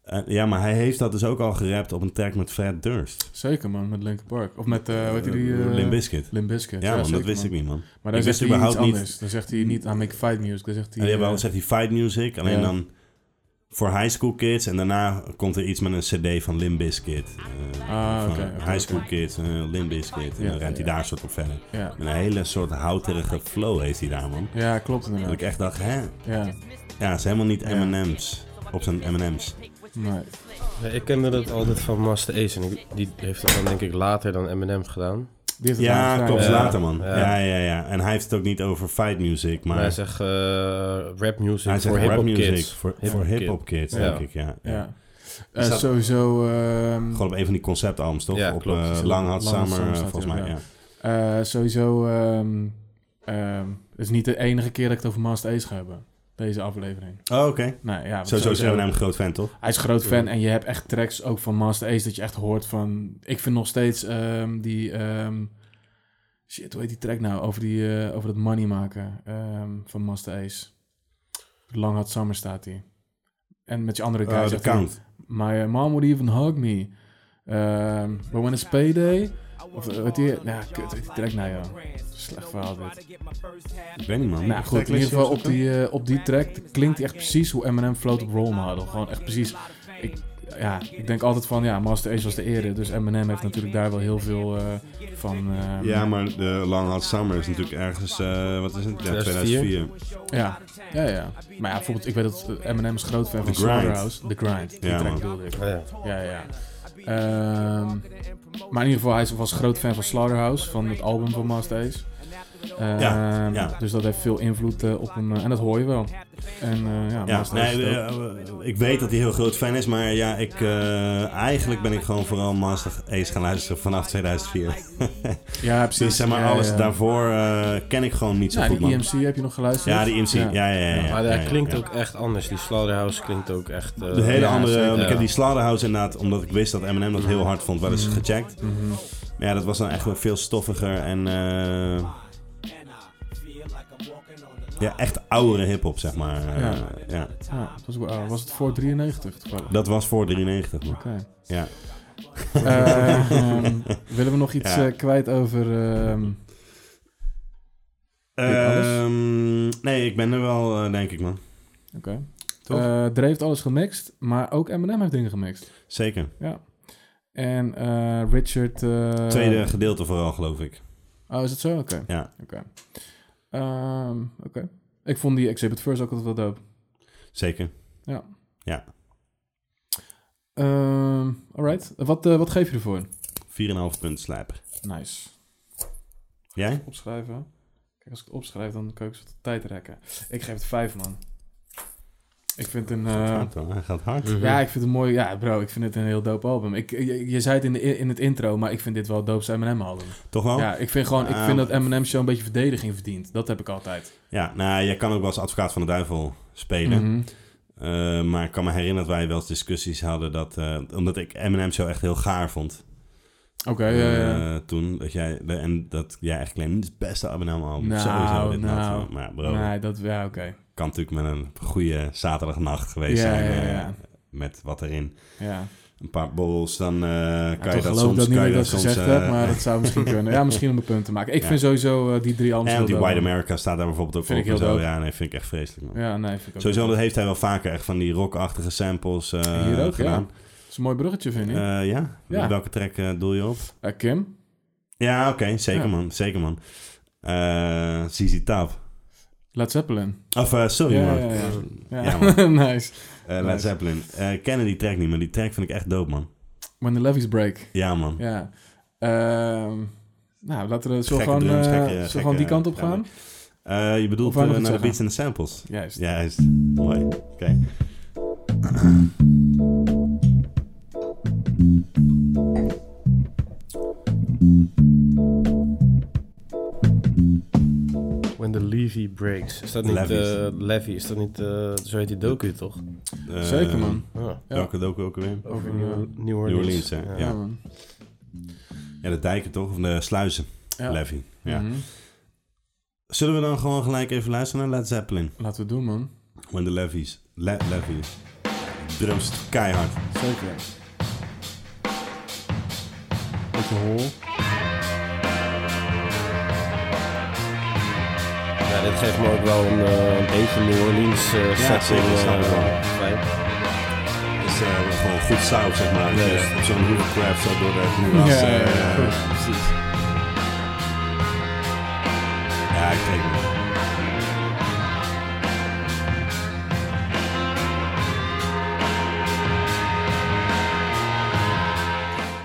Eh, ja, maar hij heeft dat dus ook al gerapt op een track met Fred Durst. Zeker man, met Linkin Park. Of met, eh weet je die... Eh, eh, Limp Bizkit. Limp Bizkit. Ja, man, dat zeker, wist ik niet, man. Ik Maar dan wist zegt hij iets überhaupt niet- anders. Dan zegt hij niet, I make fight music. Dan zegt hij... En ja, wel eh, zegt hij fight music, alleen Ja. dan voor high school kids. En daarna komt er iets met een cd van Limp Bizkit. Eh, Ah, van oké, oké, high school kids, eh, Limp Bizkit. En Ja, dan rent hij ja. daar soort op verder. ja. Een hele soort houterige flow heeft hij daar, man. ja, klopt Dat inderdaad. ik echt dacht, hè? Ja, Ja, het is helemaal niet Ja. M&M's. Op zijn M&M's. nee. Ja, ik kende dat altijd van Master Ace. En ik- die heeft dat dan denk ik later dan Eminem gedaan. Die heeft het Ja, aangevraagd. klopt. ja. Later, man. Ja. Ja, ja, ja. En hij heeft het ook niet over fight music, Maar hij maar... zegt eh, rap music Hij voor zegt rap hip-hop music kids. voor Hip-hop voor kid. hip-hop kids, Ja. denk ik, ja. Ja. ja. Eh, Is dat- sowieso... ehm, Gewoon op een van die conceptalbums, toch? Ja, op klopt. eh, Is het Lang Hot Lang Hot Summer, Summer eh, staat volgens er, mij, ja. ja. Eh, sowieso, ehm, ehm, het is niet de enige keer dat ik het over Master Ace ga hebben. Deze aflevering. Oh, oké. Nee, ja, want Sowieso is Eminem een groot fan, toch? Hij is groot fan en je hebt echt tracks ook van Master Ace dat je echt hoort van... Ik vind nog steeds ehm, die... ehm, shit, hoe heet die track nou? Over, die, eh, over het money maken ehm, van Master Ace. Lang had zomer staat hij. En met je andere guys. Eh, De zegt Count. hij, My eh, mom would even hug me. Ehm, but when it's payday... Of eh, wat die... Nou, kut, die track nou ja. Slecht verhaal dit. Ik weet niet, man. Nou goed, in ieder geval op die, eh, op die track klinkt hij echt precies hoe Eminem float op Role Model. Gewoon echt precies... Ik, ja, ik denk altijd van, ja, Master Ace was de ere. Dus Eminem heeft natuurlijk daar wel heel veel eh, van... eh, Ja, maar de Long Hot Summer is natuurlijk ergens, eh, wat is het? Ja, 2004. 2004. Ja, ja, ja. Maar ja, bijvoorbeeld, ik weet dat eh, Eminem is groot fan The van Grind. Slaughterhouse. The Grind. Die Ja, track man. bedoelde ik. Oh ja. Ja, ja. Ehm, maar in ieder geval, hij was groot fan van Slaughterhouse, van het album van Master Ace. Ehm, Ja, ja. Dus dat heeft veel invloed eh, op hem. eh, en dat hoor je wel. En eh, ja, Ja, Master Ace nee, is dope. eh, eh, ik weet dat hij heel groot fan is, maar ja, ik, eh, eigenlijk ben ik gewoon vooral Master Ace gaan luisteren vanaf 2004. ja, precies. Dus zeg maar, Ja, alles ja. daarvoor eh, ken ik gewoon niet zo Ja, goed, die E man. EMC heb je nog geluisterd? Ja, die IMC. Ja, ja, ja. ja, Maar ja, dat ja, klinkt ja. ook echt anders. Die Slaughterhouse klinkt ook echt... eh, De hele Ja, andere, zeker. want ik heb Ja. die Slaughterhouse inderdaad, omdat ik wist dat Eminem dat heel hard vond, wel eens gecheckt. Mhm. Maar ja, dat was dan echt wel veel stoffiger en eh, ja, echt oudere hip-hop, zeg maar. Eh, Ja. Ja. Ja, dat was, wel- ah, was het voor 93 toevallig? Dat was voor 93, man. Oké. Ja. Eh, ehm, willen we nog iets Ja. eh, kwijt over... ehm, alles? Ehm, nee, ik ben er wel, eh, denk ik, man. Oké. Toch? Eh, Dre heeft alles gemixt, maar ook Eminem heeft dingen gemixt. Zeker. En eh, Richard... eh, Tweede gedeelte vooral, geloof ik. Oh, is het zo? Oké. Ja. Oké. Ehm, Oké. Ik vond die Exhibit First ook altijd wel dope. Zeker. Ehm, alright. Wat, eh, wat geef je ervoor? 4,5 punt slijper. Nice. Jij? Opschrijven. Kijk, als ik het opschrijf, dan kan ik zo de tijd rekken. Ik geef het vijf, man. Ik vind een... eh, Hard, hoor. Hij gaat hard. Ja, ik vind het mooi. Ja, bro, ik vind het een heel dope album. Ik, je, je zei het in, de, in het intro, maar ik vind dit wel het doopste M&M-album. Toch wel? Ja, ik vind gewoon, ik Ah. vind dat Eminem Show een beetje verdediging verdient. Dat heb ik altijd. Ja, nou, jij kan ook wel als advocaat van de duivel spelen. Mhm. Eh, maar ik kan me herinneren dat wij wel eens discussies hadden dat... eh, omdat ik Eminem zo echt heel gaar vond Oké, ja, ja. eh, toen. Dat jij, de- en dat jij echt claimde, dit is het beste Eminem album. Nou, Sowieso dit nou. nou. Maar bro, Nee, dat, ja, oké. kan natuurlijk met een goede zaterdagnacht geweest Ja, zijn. ja, eh, ja. met wat erin. Ja. Een paar borrels, dan eh, Ja, kan je dat toch geloof ik soms... dat niet kan meer je dat dat ik soms, gezegd eh, heb, maar dat zou misschien kunnen. Ja, misschien om een punt te maken. Ik Ja. vind sowieso eh, die drie albums En heel die dope. White America staat daar bijvoorbeeld ook Vind op. ik heel en zo. dope. Ja, nee, vind ik echt vreselijk. man. Ja, nee, vind ik ook Sowieso, dope. dat heeft hij wel vaker echt van die rockachtige samples eh, Hier ook, gedaan. ja. Dat is een mooi bruggetje, vind ik. Eh, ja? Ja. Met welke track eh, doel je op? Eh, Kim? Ja, oké. zeker Ja. man. Zeker man. Eh ZZ Top. Led Zeppelin. Of eh, sorry Ja, man. ja, ja. Ja, Ja, man. nice. Eh, Led Nice. Zeppelin. Eh, ik kennen die track niet, maar die track vind ik echt dope man. When the Levees Break. Ja man. Ja. Ehm, nou, laten we zo Gekke gewoon, drums, eh, gekke- zullen we gekke- gewoon die kant op ja, gaan. Eh, je bedoelt Of wou je eh, nog iets naar de zeggen? beats en de samples. Juist. Ja, juist. Mooi. Oké. When the Levy Breaks. Is dat niet... Levies. eh, Levy, is dat niet... eh, zo heet die docu, toch? Eh, Zeker, man. Ja. Ja. Welke docu ook weer? Over Over, New, eh, New Orleans. Orleans, hè? Ja, Ja. man. Ja, de dijken toch? Of de sluizen. Ja. Levy. Ja. Mhm. Zullen we dan gewoon gelijk even luisteren naar Led Zeppelin? Laten we het doen, man. When the Levies. Le Levies. Drums keihard. Zeker. Beetje hol. Ja, dit geeft me ook wel een, eh, een beetje New Orleans eh setting, zeker, eh, snap ik wel. vibe. is eh, gewoon goed saus, zeg maar. Ja, Dus ja. Op zo'n hoevencraft zo door de eh, moeras. Ja, Ja, ja, ja. precies. Ja, ik denk wel.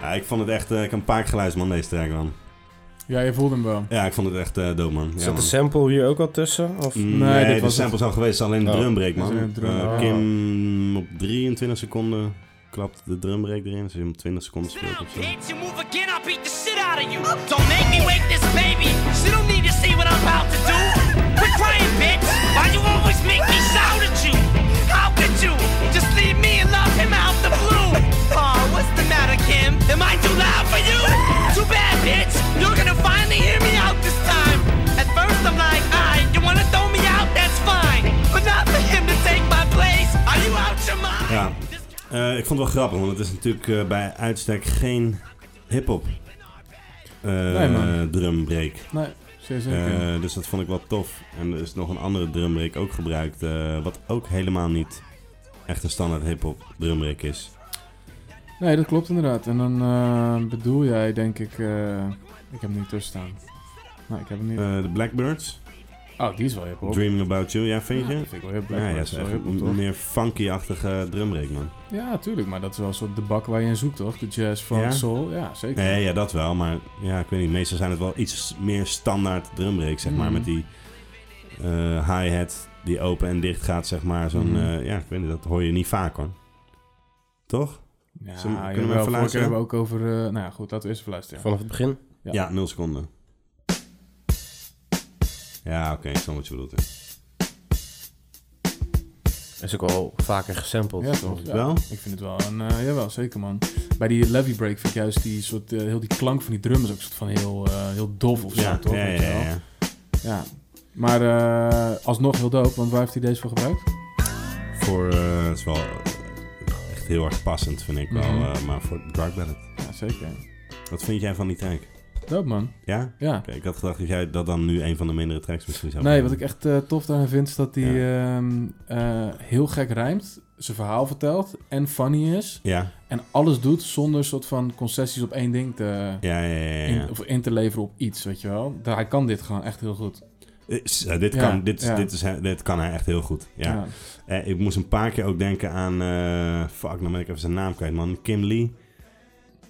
Ja, ik vond het echt, eh, ik heb een paar keer geluisterd man, deze track man. Ja, je voelde hem wel. Ja, ik vond het echt eh dope man. Ja, Zat de man. Mm. sample hier ook al tussen? Of? Nee, Nee, dit de was samples al geweest, alleen de Oh, drumbreak man. dat is een drum- Eh, oh. Kim op 23 seconden klapt de drumbreak erin, dus je hem 20 seconden Sit speelt down, of zo. bitch. You move again, I'll beat the shit out of you. Don't make me wake this baby. She don't need to see what I'm about to do. Quit crying, bitch. Why you always make me shout at you? How could you just leave me and love him out the blue? Aw, what's the matter, Kim? Am I too loud for you? Too bad, bitch. You're gonna finally hear me out this time. At first, I'm like, I, you wanna throw me out? That's fine. But not for him to Ja. Eh, ik vond het wel grappig, want het is natuurlijk eh, bij uitstek geen hip-hop eh Nee, man. drumbreak. Nee, zeer Eh, zeker. dus dat vond ik wel tof. En er is nog een andere drumbreak ook gebruikt, eh, wat ook helemaal niet echt een standaard hip-hop drumbreak is. Nee, dat klopt inderdaad. En dan eh, bedoel jij, denk ik... eh, ik heb hem niet tussen staan. Nee, ik heb hem niet... Eh, de Blackbirds, oh, die is wel hip-hop. Dreaming About You, ja, Ja, vind je? dat vind ik wel hip-hop. Ja, ja, dat dat is is wel echt hip-hop, een toch? meer funky-achtige drumbreak, man. Ja, tuurlijk. Maar dat is wel een soort de bak waar je in zoekt, toch? De jazz, funk, Ja? soul. Ja, zeker. Nee, ja, dat wel. Maar ja, ik weet niet. Meestal zijn het wel iets meer standaard drumbreaks, zeg maar. Mhm. Met die eh, hi-hat die open en dicht gaat, zeg maar. Zo'n, Mhm. eh, ja, ik weet niet, dat hoor je niet vaak, hoor. Toch? Ja, Zullen we- jawel, kunnen we even vorige keer luisteren? hebben we ook over... eh, nou ja, goed, laten we eerst even luisteren. Vanaf het begin? Ja, Ja. nul seconden. Ja, oké, ik snap wat je bedoelt. hè. Is ook wel vaker gesampled. Ja, toch? Ja. Wel? Ik vind het wel een... eh, jawel, zeker, man. Bij die levy break vind ik juist die soort... eh, heel die klank van die drum is ook soort van heel, eh, heel dof of zo, Ja, toch? ja, Weet ja, je wel? ja, ja. Ja. Maar eh, alsnog heel dope, want waar heeft hij deze voor gebruikt? Voor, eh, het is wel eh, echt heel erg passend, vind ik wel. Mhm. eh, maar voor Dark Ballad. Ja, zeker. Wat vind jij van die track? Dope, man. Ja? Ja. Oké, ik had gedacht dat jij dat dan nu een van de mindere tracks misschien zou Nee, vinden. wat ik echt eh, tof daarin vind, is dat hij ehm, eh, heel gek rijmt, zijn verhaal vertelt en funny is. Ja, En alles doet zonder soort van concessies op één ding te... ja, ja, ja. ja, ja. In, of in te leveren op iets, weet je wel. Da- Hij kan dit gewoon echt heel goed. Is- eh, dit, Ja, kan, dit, is- ja. dit, is, hij- dit kan hij echt heel goed. Ja. Eh, ik moest een paar keer ook denken aan... eh, fuck, nou ben ik even zijn naam kwijt, man. Kim Lee.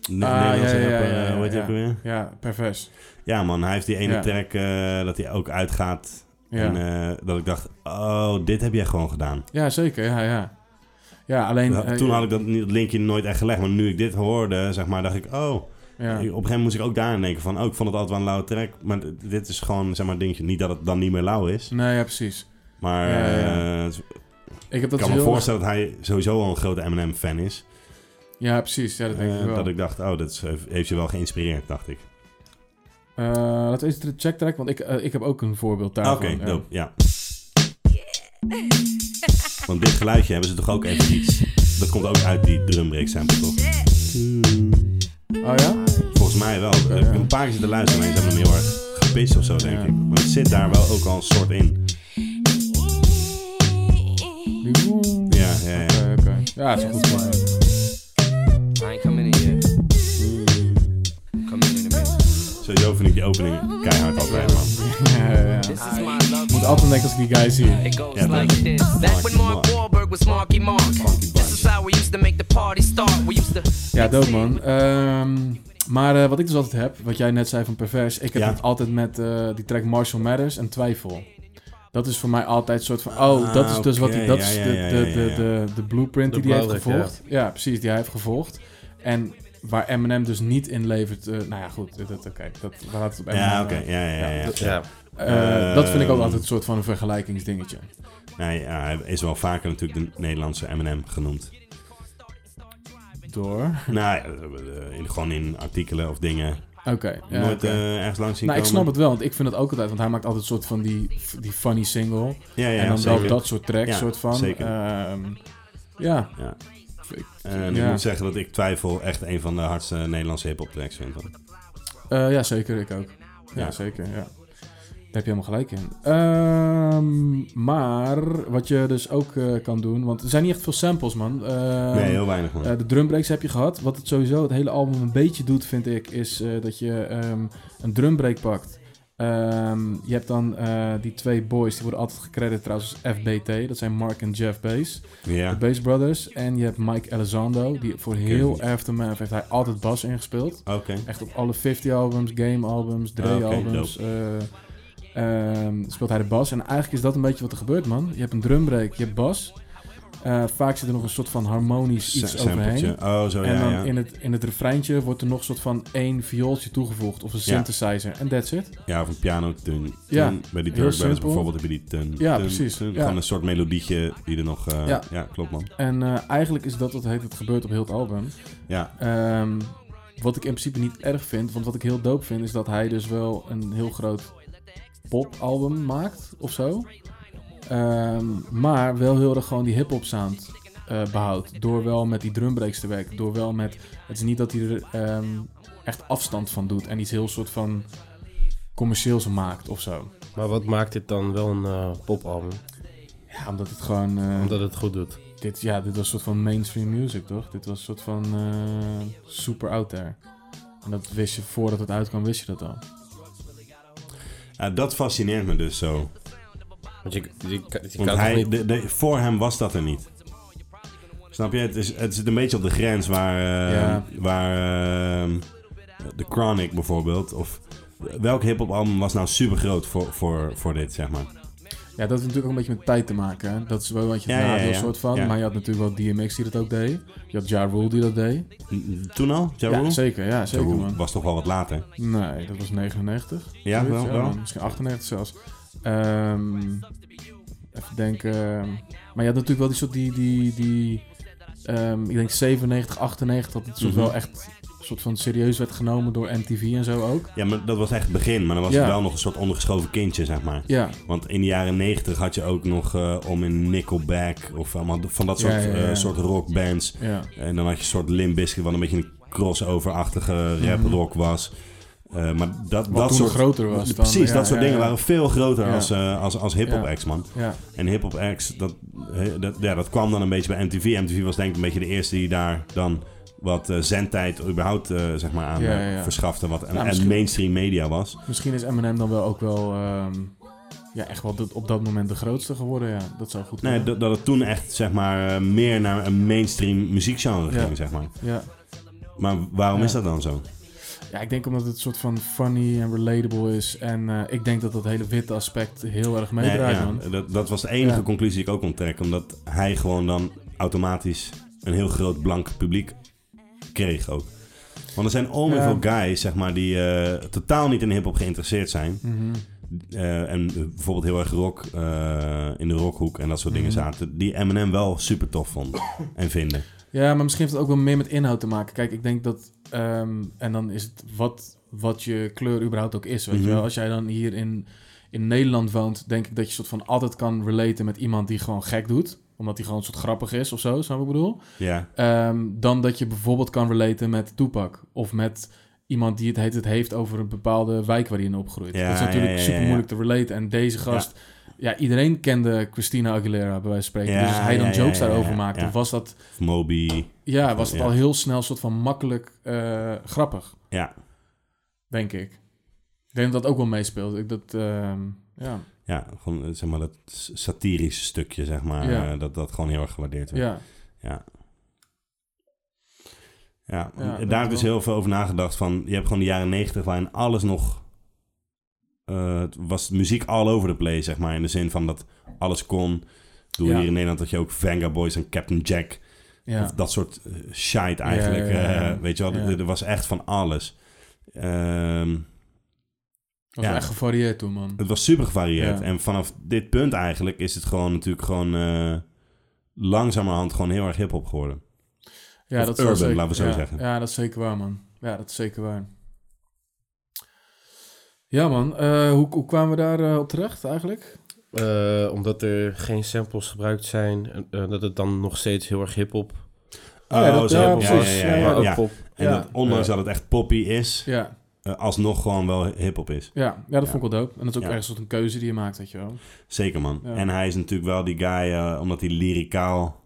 Ne- Ah, Nederlandse ja, ja, rapper, ja, eh, hoe heet die ja. ook alweer? Ja, pervers. Ja, man, hij heeft die ene Ja. track eh, dat hij ook uitgaat. Ja, En eh, dat ik dacht, oh, dit heb jij gewoon gedaan. ja zeker. Ja, ja. Ja, alleen... Nou, eh, Toen had ik dat, dat linkje nooit echt gelegd. Maar nu ik dit hoorde, zeg maar, dacht ik, oh... Ja. Op een gegeven moment moest ik ook daarin denken van... Oh, ik vond het altijd wel een lauwe track. Maar d- dit is gewoon, zeg maar, een dingetje. Niet dat het dan niet meer lauw is. Nee, ja, precies. Maar Ja, ja, eh, ja. het- Ik heb ik dat kan heel me erg- voorstellen dat hij sowieso al een grote Eminem-fan is. Ja, precies. Ja, dat denk ik Eh, wel. dat ik dacht, oh, dat is- heeft je wel geïnspireerd, dacht ik. Eh, laten we eens de checktrack, want ik, eh, ik heb ook een voorbeeld Ah, daarvan. Oké, ja. dope, ja. Want dit geluidje hebben ze toch ook even iets... Dat komt ook uit die drumbreak sample, toch? Oh ja? Volgens mij wel. Ik heb een paar keer zitten luisteren en ze hebben hem heel erg gepist of zo, denk Ja. ik. Maar het zit daar wel ook al een soort in. Die woe. Ja, ja, ja. Oké, oké. Ja, is een goed man. I ain't coming in yet. Come in in a minute. Sowieso vind ik die opening keihard altijd, man. Ja, ja, ja. This is my love. Ik moet altijd denken als ik die guy zie. It goes Yeah, like but- this. Back when Mark Marky Wahlberg was Marky Mark. This is how we used to make the party start. We used to. Ja, dope man. Ehm, maar eh, wat ik dus altijd heb, wat jij net zei van pervers, ik heb Ja. het altijd met eh, die track Marshall Matters en Twijfel. Dat is voor mij altijd een soort van, oh, dat is dus wat Ah, oké, hij, dat ja, is ja, de, ja, de, ja, de, ja. de, de blueprint De die hij heeft blauwdruk, ja. gevolgd. Ja. precies, die hij heeft gevolgd. En waar Eminem dus niet in levert, eh, nou ja, goed, dat, dat- oké, dat we laten het op Eminem. Ja, oké. houden. Ja, ja, ja. ja. Ja. Eh, dat vind ik ook Ehm. altijd een soort van een vergelijkingsdingetje. Nee, ja, hij is wel vaker natuurlijk de Nederlandse Eminem genoemd. Door. Oké, nou, ja, eh, in, gewoon in artikelen of dingen. ja, Nooit oké. eh, ergens langs zien Nou, ik komen. snap het wel, want ik vind het ook altijd, want hij maakt altijd een soort van die, die funny single. Ja, ja, en dan zeker. wel dat soort tracks, Ja, soort van. zeker. Ehm, ja. Ja. Ik- En Eh, dus ik Ja. moet zeggen dat ik twijfel echt een van de hardste Nederlandse hip-hop tracks vind. hoor. eh, ja, zeker. Ik ook. Ja, Ja. zeker. Ja. Daar heb je helemaal gelijk in. Ehm, maar wat je dus ook eh, kan doen, want er zijn niet echt veel samples, man. Ehm, nee, heel weinig man. eh, de drumbreaks heb je gehad. Wat het sowieso het hele album een beetje doet, vind ik, is eh, dat je ehm, een drumbreak pakt. Ehm, je hebt dan eh, die twee boys, die worden altijd gecrediteerd trouwens als FBT. Dat zijn Mark en Jeff Bass. ja. De Bass Brothers. En je hebt Mike Elizondo. Die voor heel Aftermath heeft hij altijd bas ingespeeld. Oké. Echt op alle 50 albums, game albums, Dre Ah, Oké, albums. eh, ehm, speelt hij de bas. En eigenlijk is dat een beetje wat er gebeurt, man. Je hebt een drumbreak, je hebt bas. Eh, vaak zit er nog een soort van harmonisch iets Sa- overheen. sampletje. Oh, zo En ja, dan ja. In, het, in het refreintje wordt er nog een soort van één viooltje toegevoegd. Of een Ja. synthesizer. En that's it. Ja, of een piano. Dun, dun. Ja, Bij die heel Dirk Brothers simpel. bijvoorbeeld heb je die... Dun, Ja, dun, precies, dun. ja. Gewoon een soort melodietje die er nog... eh, ja. Ja. klopt man. En eh, eigenlijk is dat wat heet, het gebeurt op heel het album. Ja, Ehm, wat ik in principe niet erg vind, want wat ik heel dope vind, is dat hij dus wel een heel groot popalbum maakt of zo. Ehm, maar wel heel erg gewoon die hip-hop sound eh, eh, behoudt. Door wel met die drumbreaks te werken. Door wel met... Het is niet dat hij er ehm, echt afstand van doet. En iets heel soort van commercieels maakt of zo. Maar wat maakt dit dan wel een eh, popalbum? Ja, omdat het gewoon... eh, Omdat het goed doet. dit, ja, dit was een soort van mainstream music, toch? Dit was een soort van eh, super out there. En dat wist je voordat het uitkwam, wist je dat al. Ja, dat fascineert me dus zo. Want je, je, je kan Want toch hij, niet... de, de- voor hem was dat er niet. Snap je? Het, is, het zit een beetje op de grens waar, eh, Ja. waar eh, de Chronic bijvoorbeeld. Of welk hip-hop album was nou super groot voor, voor, voor dit, zeg maar. Ja, dat heeft natuurlijk ook een beetje met tijd te maken. Hè? Dat is wel wat je Ja, het ja, nadeel ja. soort van. Ja. Maar je had natuurlijk wel DMX die dat ook deed. Je had Ja Rule die dat deed. N- Toen al? Ja, Ja, zeker. Ja, zeker man. was toch wel wat later. Nee, dat was 99. Ja, Zoiets, wel, wel. man. Misschien 98 zelfs. Ehm, even denken. Maar je had natuurlijk wel die soort die... die, die ehm, ik denk 97, 98 dat het soort Mhm. wel echt soort van serieus werd genomen door MTV en zo ook. Ja, maar dat was echt het begin. Maar dan was Ja. het wel nog een soort ondergeschoven kindje, zeg maar. Ja, Want in de jaren 90 had je ook nog eh, om in Nickelback of allemaal van dat soort, Ja, ja, ja. eh, soort rockbands. ja. Eh, En dan had je een soort Limp Bizkit, wat een beetje een crossover-achtige rap rock was. Eh, maar dat, Wat dat toen soort... groter was dan. precies, Ja, dat soort ja, dingen ja. waren veel groter Ja. als, eh, als, als hip-hop acts, man. Ja, En hip-hop acts, dat, he- dat, ja, dat kwam dan een beetje bij MTV. MTV was denk ik een beetje de eerste die daar dan wat eh, zendtijd überhaupt eh, zeg maar aan Ja, eh, ja, ja. verschafte. Wat en, Nou, en misschien- mainstream media was. misschien is Eminem dan wel ook wel... ehm, ja, echt wel dat- op dat moment de grootste geworden. Ja, dat zou goed Nee, kunnen. dat, dat het toen echt zeg maar eh, meer naar een mainstream muziekgenre Ja. ging, zeg maar. Ja. Maar waarom Ja. is dat dan zo? ja, ik denk omdat het soort van funny en relatable is. En eh, ik denk dat dat hele witte aspect heel erg Nee, meedraait, ja, man. dat, dat was de enige Ja. conclusie die ik ook kon trekken. Omdat hij gewoon dan automatisch een heel groot blank publiek kreeg ook. Want er zijn ongeveer Ja. veel guys, zeg maar, die eh, totaal niet in hip-hop geïnteresseerd zijn. Mhm. Eh, en bijvoorbeeld heel erg rock, eh, in de rockhoek en dat soort Mhm. dingen zaten. Die Eminem wel super tof vonden en vinden. Ja, maar misschien heeft het ook wel meer met inhoud te maken. Kijk, ik denk dat. ehm, en dan is het wat, wat je kleur überhaupt ook is. Weet Mhm. je wel, als jij dan hier in, in Nederland woont, denk ik dat je soort van altijd kan relaten met iemand die gewoon gek doet. Omdat hij gewoon een soort grappig is of zo, snap je wat ik bedoel? Ja, Ehm, dan dat je bijvoorbeeld kan relaten met Toepak. Of met iemand die het, heet, het heeft over een bepaalde wijk waar hij in opgroeit. Ja, dat is ja, natuurlijk ja, ja, super moeilijk te relaten. En deze gast... Ja. iedereen kende Christina Aguilera, bij wijze van spreken. Ja, dus als hij dan ja, ja, jokes ja, daarover ja, maakte, ja. was dat of Moby. ja, was het Ja. al heel snel een soort van makkelijk eh, grappig, Ja, denk ik. Ik denk dat dat ook wel meespeelt. Ik dat, ehm, ja, ja gewoon, eh, zeg maar dat s- satirische stukje, zeg maar. Ja. eh, dat dat gewoon heel erg gewaardeerd werd. ja, Ja. Ja, Ja, dat daar heb ik dus wel. heel veel over nagedacht. Van, je hebt gewoon de jaren negentig waarin alles nog... eh, het was muziek all over the place, zeg maar. In de zin van dat alles kon. Doe Ja. hier in Nederland dat je ook Vanga Boys en Captain Jack... ja. Of dat soort eh, shite eigenlijk. Ja, ja, ja, ja. eh, weet je wel, Ja. er, er was echt van alles. Ehm, was wel ja. echt gevarieerd toen, man. het was super gevarieerd. Ja. En vanaf dit punt eigenlijk is het gewoon natuurlijk gewoon... eh, langzamerhand gewoon heel erg hiphop geworden. Ja, Of dat is wel urban, zeker- laten we zo ja, zeggen. Ja, dat is zeker waar, man. Ja, dat is zeker waar. Ja, man. eh, hoe, hoe kwamen we daar eh, op terecht eigenlijk? Eh, omdat er geen samples gebruikt zijn, en, eh, dat het dan nog steeds heel erg hip-hop... Oh, Ja, dat- Oh, zo, ja, ja, precies. ja, ja, Ja, ja, ook ja. pop. En Ja. dat ondanks dat het echt poppy is, Ja, eh, alsnog gewoon wel hip-hop is. ja, ja dat Ja. vond ik wel dope. En dat is ook Ja. ergens een soort een keuze die je maakt, weet je wel. Zeker, man. Ja. En hij is natuurlijk wel die guy, eh, omdat hij lyricaal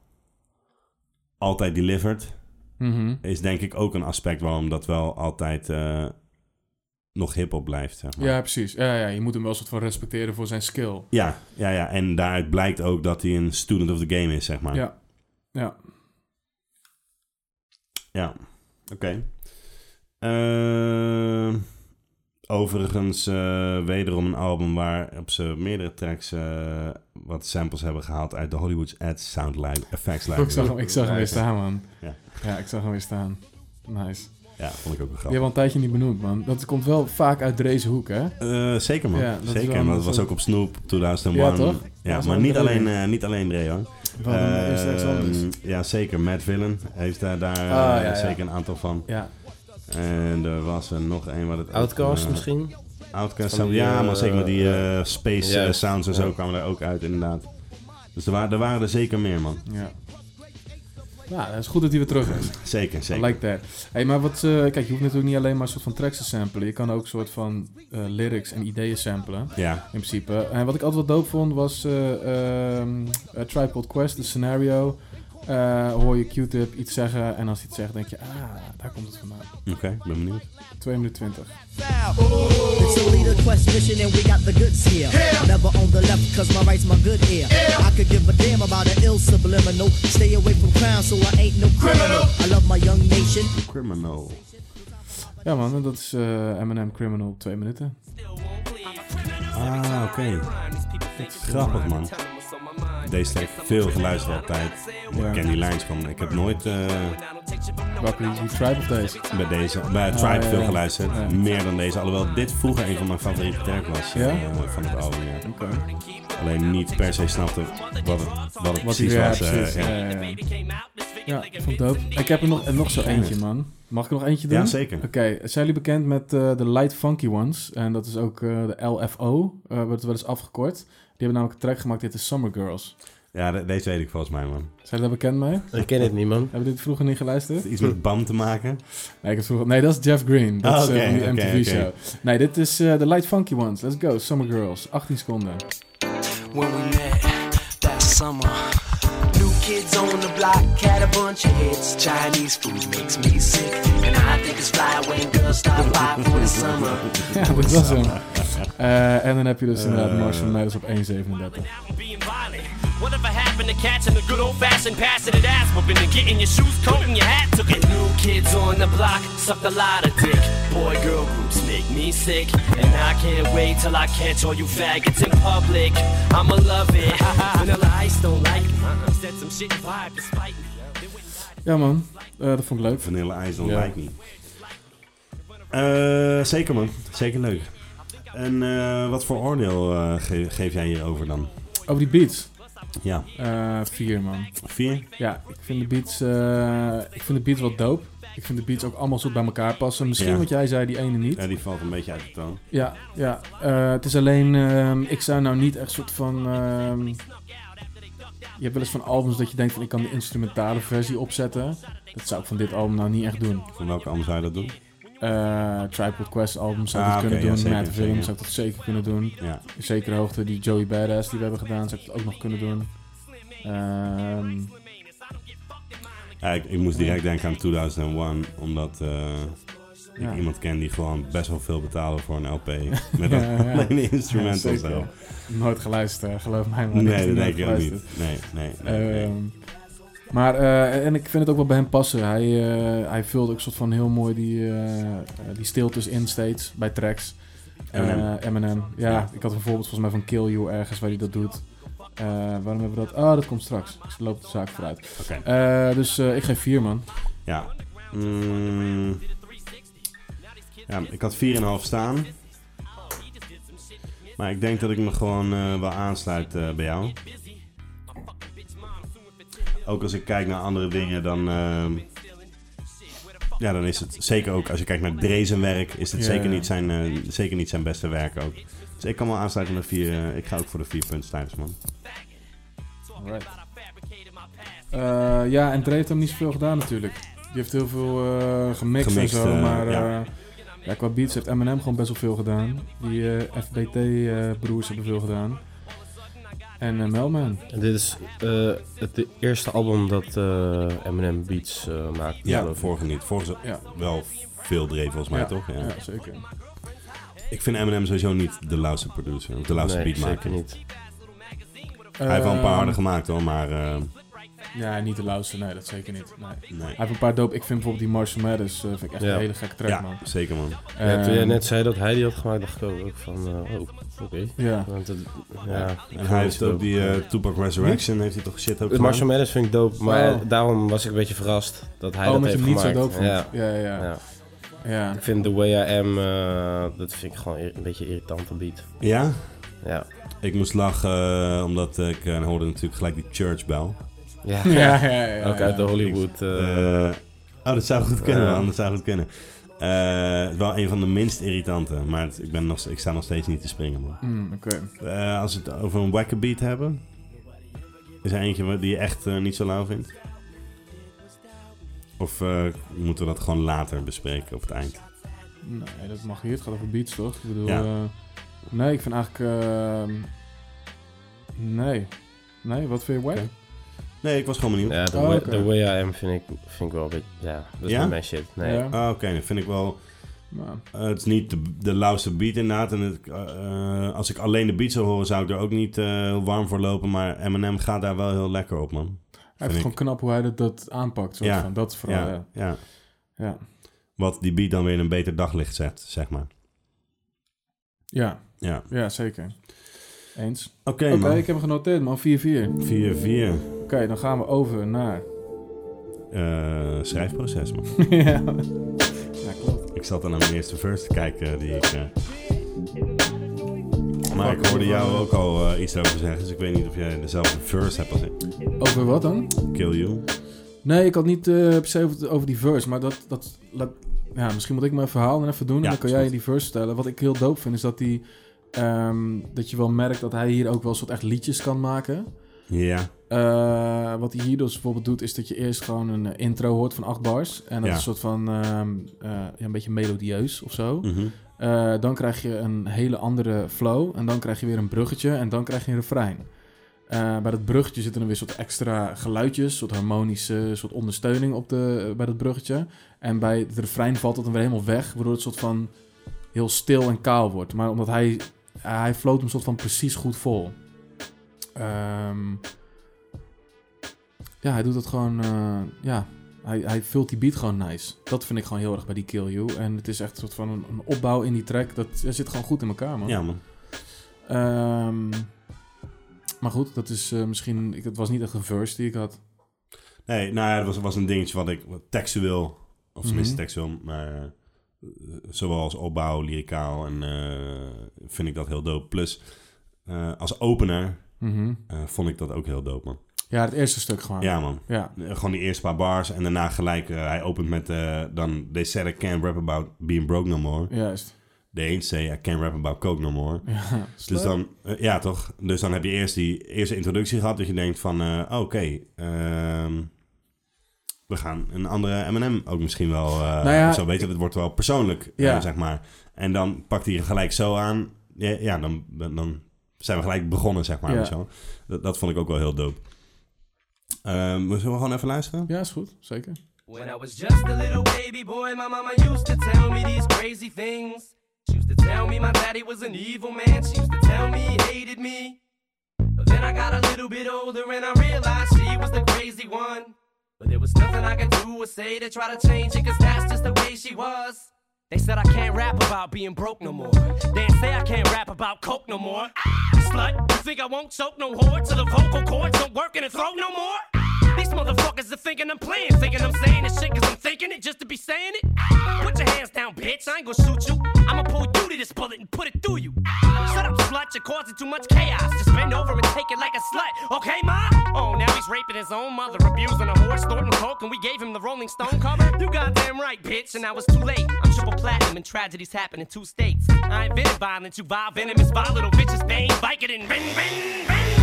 altijd delivered, Mhm. is denk ik ook een aspect waarom dat wel altijd eh, nog hip-hop blijft. Zeg maar. Ja, precies. Ja, ja, je moet hem wel een soort van respecteren voor zijn skill. Ja, ja, ja. En daaruit blijkt ook dat hij een student of the game is, zeg maar. Ja. Ja. Ja. Oké. Ehm, overigens, eh, wederom een album waar op ze meerdere tracks eh, wat samples hebben gehaald uit de Hollywood's Ads Sound li- Effects Ik zag, hem, Library. ik zag hem weer staan, man. Ja. Ja. ik zag hem weer staan. Nice. Ja, vond ik ook wel Die grappig. hebben we al een tijdje niet benoemd, man. Dat komt wel vaak uit deze hoek, hè? Eh, zeker man, Ja, dat is wel zeker. Maar dat een was soort- ook op Snoop 2001. Ja, toch? Ja, Dat is maar wel niet een alleen, reden. eh, niet alleen Dre hoor. Wat Eh, een eerste iets eh, anders. Ah, Ehm, ja, zeker. Matt Villen heeft daar, daar eh, ja, ja. zeker een aantal van. Ja, En er was er nog een wat het ook, Outcast eh, misschien? Outcast Van die, ja, maar eh, zeker met die eh, space eh, juist, sounds en zo ja. kwamen er ook uit, inderdaad. Dus er, wa- er waren er zeker meer, man. ja. Nou, dat is goed dat hij weer terug is. Zeker, I zeker. like that. Hey, maar wat, eh, kijk, je hoeft natuurlijk niet alleen maar een soort van tracks te samplen. Je kan ook een soort van eh, lyrics en ideeën samplen. Ja, In principe. En wat ik altijd wel dope vond was eh ehm A Tribe Called Quest, de scenario. Eh, hoor je Q-tip iets zeggen en als hij het zegt denk je, ah, daar komt het vandaan. oké, ik ben benieuwd. 2 minuten 20. It's a leader quest mission and we got the goods here. Never on the left cause my right's my good ear. I could give a damn about an ill subliminal. Stay away from crime so I ain't no criminal. I love my young nation. Criminal. Ja man, dat is eh Eminem Criminal 2 minuten. Ah, oké. Grappig, man. Deze heb ik veel geluisterd altijd. Ja. Ik ken die lijns van. Ik heb nooit eh, Welke die Tribe of deze? bij deze, bij Tribe Ah, ja, ja. veel geluisterd. Ja. Meer dan deze. Alhoewel dit vroeger een van mijn favoriete tracks was Ja? eh, van het album. ja. Oké. Alleen niet per se snapte wat het, wat het Wat precies ja, was. eh, precies. ja. Ja, ja, ja. Ja, ik vond het dope. Ik heb er nog, nog zo eentje, man. Mag ik er nog eentje doen? Ja, zeker. Oké, zijn jullie bekend met eh, de Light Funky Ones? En dat is ook eh, de LFO, eh wordt wel eens afgekort. Die hebben namelijk een track gemaakt, dit is Summer Girls. Ja, de- deze weet ik volgens mij, man. Zijn jullie daar bekend mee? Ik ken het niet, man. Hebben jullie dit vroeger niet geluisterd? Iets met BAM te maken. Nee, ik heb vroeger... nee dat is Jeff Green. Dat Ah, is eh, oké, van die oké, MTV oké. show. Nee, dit is eh, de Light Funky Ones. Let's go, Summer Girls. 18 seconden. when we met that summer. New kids on the block had a bunch of hits. Chinese food makes me sick, and I think it's fly when girls stop by for the summer. Ja, dit was hem. Eh, en dan heb je dus inderdaad Marshall Mathers op 1,37. being violent. Whatever happened to catching the good old fashioned passing it ass whooping and getting your shoes coat and your hat took it? New kids on the block sucked a lot of dick. Boy girl groups make me sick, and I can't wait till I catch all you faggots in public. I'ma love it. Vanilla Ice don't like me. Uh-uh. Said some shit and vibe despite me. They wouldn't lie to Ja man, Eh, dat vond ik leuk. Vanilla Ice Don't Ja. Like Me. Eh, zeker, man. Zeker leuk. En eh, wat voor oordeel eh, ge- geef jij hierover dan? Over die beats. Ja, Eh, vier man. vier? Ja, ik vind de beats, eh, ik vind de beats wel dope. Ik vind de beats ook allemaal zo bij elkaar passen. Misschien Ja. wat jij zei, die ene niet. Ja, die valt een beetje uit de toon. Ja, ja. Eh, het is alleen, ehm, ik zou nou niet echt soort van. ehm, je hebt wel eens van albums dat je denkt van ik kan de instrumentale versie opzetten. Dat zou ik van dit album nou niet echt doen. Van welke album zou je dat doen? Eh Tripod Quest album zou ik Ah, dat oké, kunnen ja, doen. zeker, Matt Film zeker. zou ik dat zeker kunnen doen. Ja. In zekere hoogte die Joey Badass die we hebben gedaan, zou ik dat ook nog kunnen doen. Ehm, Ja, ik, ik moest direct denken aan 2001, omdat eh, Ja. ik iemand ken die gewoon best wel veel betaalde voor een LP. Met Ja, een ja. alleen een instrument Ja, of zeker. zo. Nooit geluisterd, eh, geloof mij. maar Nee, dat nooit denk ik ook geluisterd. niet. Nee, nee, nee. nee. Ehm, maar, eh, en ik vind het ook wel bij hem passen. Hij, eh, hij vult ook soort van heel mooi die, eh, eh, die stiltes in steeds bij tracks. Eminem. Eh, Eminem. Ja, Ja. ik had een voorbeeld volgens mij van Kill You ergens waar hij dat doet. Eh, waarom hebben we dat? Ah, dat komt straks. Dus loopt de zaak vooruit. Oké. Eh, dus eh, ik geef vier, man. Ja. Mm. ja. Ik had 4,5 staan. Maar ik denk dat ik me gewoon eh, wel aansluit eh, bij jou. Ook als ik kijk naar andere dingen, dan. ehm, ja, dan is het zeker ook. Als je kijkt naar Drezen werk, is het Ja, zeker, ja. Niet zijn, eh, zeker niet zijn beste werk ook. Dus ik kan wel aansluiten met vier. eh, ik ga ook voor de vier punten tijdens, man. Eh, ja, en Dre heeft hem niet zoveel gedaan natuurlijk. Die heeft heel veel eh, gemixt, Gemixt, en zo, eh, maar... eh, ja. ja. qua beats heeft Eminem gewoon best wel veel gedaan. Die eh, FBT-broers hebben veel gedaan. En eh, Melman. En dit is eh, het de eerste album dat eh, Eminem Beats eh, maakt. Ja, geloof ik. vorige niet. Vorige is Ja. wel veel dreven volgens mij, ja, toch? Ja, zeker. Ik vind Eminem sowieso niet de lauwste producer, of de lauwste Nee, beatmaker. zeker niet. Hij heeft wel een paar Ehm, harde gemaakt hoor, maar eh, Ja, niet de lauwste, nee, dat zeker niet. Nee. Hij nee. heeft een paar dope... Ik vind bijvoorbeeld die Marshall Mathers eh, vind ik echt Ja. een hele gekke track, man. Ja, zeker man. ja, toen jij Ehm, net zei dat hij die had gemaakt, dacht ik ook van, eh, oh, oké. Ja. Want het- ja, ik En vond hij het heeft dope. ook die eh, Tupac Resurrection, heeft hij toch shit ook Het Marshall gedaan? Mathers vind ik dope, maar Oh. daarom was ik een beetje verrast dat hij Oh, dat met heeft hem niet zo gemaakt. dope vond. Ja. ja, ja. ja. Ja. Ik vind The Way I Am, eh, dat vind ik gewoon ir- een beetje een irritante beat. Ja, Ja. ik moest lachen eh, omdat ik eh, hoorde natuurlijk gelijk die church bell. Ja. Ja, ja, ja, ja. Ook uit de Hollywood. eh, Eh, oh, dat zou goed kunnen Ja. man, dat zou goed kunnen. Eh, wel een van de minst irritante, maar het- ik, ben nog, ik sta nog steeds niet te springen man. Mm, Oké. Eh, als we het over een wacker beat hebben, is er eentje die je echt eh, niet zo lauw vindt? Of eh, moeten we dat gewoon later bespreken op het eind? Nee, dat mag hier. Het gaat over beats, toch? Ik bedoel, Ja. eh, nee, ik vind eigenlijk... ehm, nee. Nee, wat vind je wack? Oké. Nee, ik was gewoon benieuwd. Ja, de, Oh, way, oké. the way I am vind ik, vind ik wel een beetje... Ja, dat is Ja? niet mijn shit. Nee. Ja. Ah, Oké, dat vind ik wel... Nou, eh, het is niet de, de lauwste beat inderdaad. En het, eh, eh, als ik alleen de beat zou horen, zou ik er ook niet eh, heel warm voor lopen. Maar Eminem gaat daar wel heel lekker op, man. hij ik. vindt gewoon knap hoe hij dat, dat aanpakt. Soort Ja. van. Dat is vooral, Ja, ja. ja. Ja. Wat die beat dan weer in een beter daglicht zet, zeg maar. Ja. Ja. ja, zeker. Eens. Oké, Oké, man. ik heb hem genoteerd, man. 4-4. Oké, 4-4. dan gaan we over naar... eh, schrijfproces, man. ja. ja, klopt. Ik zat dan naar mijn eerste verse te kijken die ik... eh, Maar ik hoorde jou ook al eh, iets over zeggen, dus ik weet niet of jij dezelfde verse hebt als ik. Over wat dan? Kill You. Nee, ik had niet eh, per se over, over die verse, maar dat, dat, laat- ja, misschien moet ik mijn verhaal dan even doen Ja, en dan kan is jij goed. die verse vertellen. Wat ik heel dope vind is dat die, ehm, dat je wel merkt dat hij hier ook wel een soort echt liedjes kan maken. Ja, Eh, wat hij hier dus bijvoorbeeld doet, is dat je eerst gewoon een eh, intro hoort van acht bars. En dat Ja. is een soort van, ehm, eh, ja, een beetje melodieus of zo. mhm. Eh, dan krijg je een hele andere flow. En dan krijg je weer een bruggetje. En dan krijg je een refrein. Eh, bij dat bruggetje zitten er weer soort extra geluidjes. soort harmonische soort ondersteuning op de, eh, bij dat bruggetje. En bij het refrein valt dat dan weer helemaal weg. Waardoor het soort van heel stil en kaal wordt. Maar omdat hij... Hij floot hem soort van precies goed vol. Ehm, ja, hij doet dat gewoon... eh, ja, hij, hij vult die beat gewoon nice. Dat vind ik gewoon heel erg bij die Kill You. En het is echt een soort van een, een opbouw in die track. Dat, dat zit gewoon goed in elkaar, man. ja man. Ehm, maar goed, dat is eh, misschien... Ik, het was niet echt een verse die ik had. Nee, nou ja, dat was, was een dingetje wat ik wat textueel, of tenminste Mhm. textueel, maar eh, zowel als opbouw, lyricaal en eh, vind ik dat heel dope. Plus, eh, als opener Mhm. eh, vond ik dat ook heel dope man. Ja, het eerste stuk gewoon. Ja man. Ja. Eh, Gewoon die eerste paar bars en daarna gelijk, eh, hij opent met eh, dan, they said I can't rap about being broke no more. Juist. They ain't say I can't rap about coke no more. Ja. Dus dan, eh, ja toch? Dus dan heb je eerst die eerste introductie gehad dat je denkt van, eh, oké, ehm, we gaan een andere M&M ook misschien wel eh, Nou ja, zo weten. Het wordt wel persoonlijk, eh, Ja. zeg maar. En dan pakt hij je gelijk zo aan. Ja, ja dan, dan, dan zijn we gelijk begonnen, zeg maar. Ja. met Zo. Dat, dat vond ik ook wel heel dope. Ehm, zullen we gewoon even luisteren? Ja, is goed. Zeker. When I was just a little baby boy, my mama used to tell me these crazy things. She used to tell me my daddy was an evil man. She used to tell me he hated me. But then I got a little bit older and I realized she was the crazy one. But there was nothing I could do or say to try to change it, cause that's just the way she was. They said I can't rap about being broke no more. They ain't say I can't rap about coke no more. Ah, slut, you think I won't choke no whore till the vocal cords don't work in the throat no more? Ah, These motherfuckers are thinking I'm playing, thinking I'm saying this shit cause I'm thinking it just to be saying it. Ah, Put your hands down, bitch, I ain't gonna shoot you. I'ma pull you to this bullet and put it through you. Ah, Shut up, slut, you're causing too much chaos. Just bend over and take it like a slut, okay, ma? Oh, now he's raping his own mother, abusing a whore, snorting coke, and we gave him the Rolling Stone cover? You goddamn right, bitch, and I was too late. I'm triple platinum, and tragedies happen in two states. I invented violence, you vile, venomous, vile little bitches, vein, bike it and ring, ring, ring.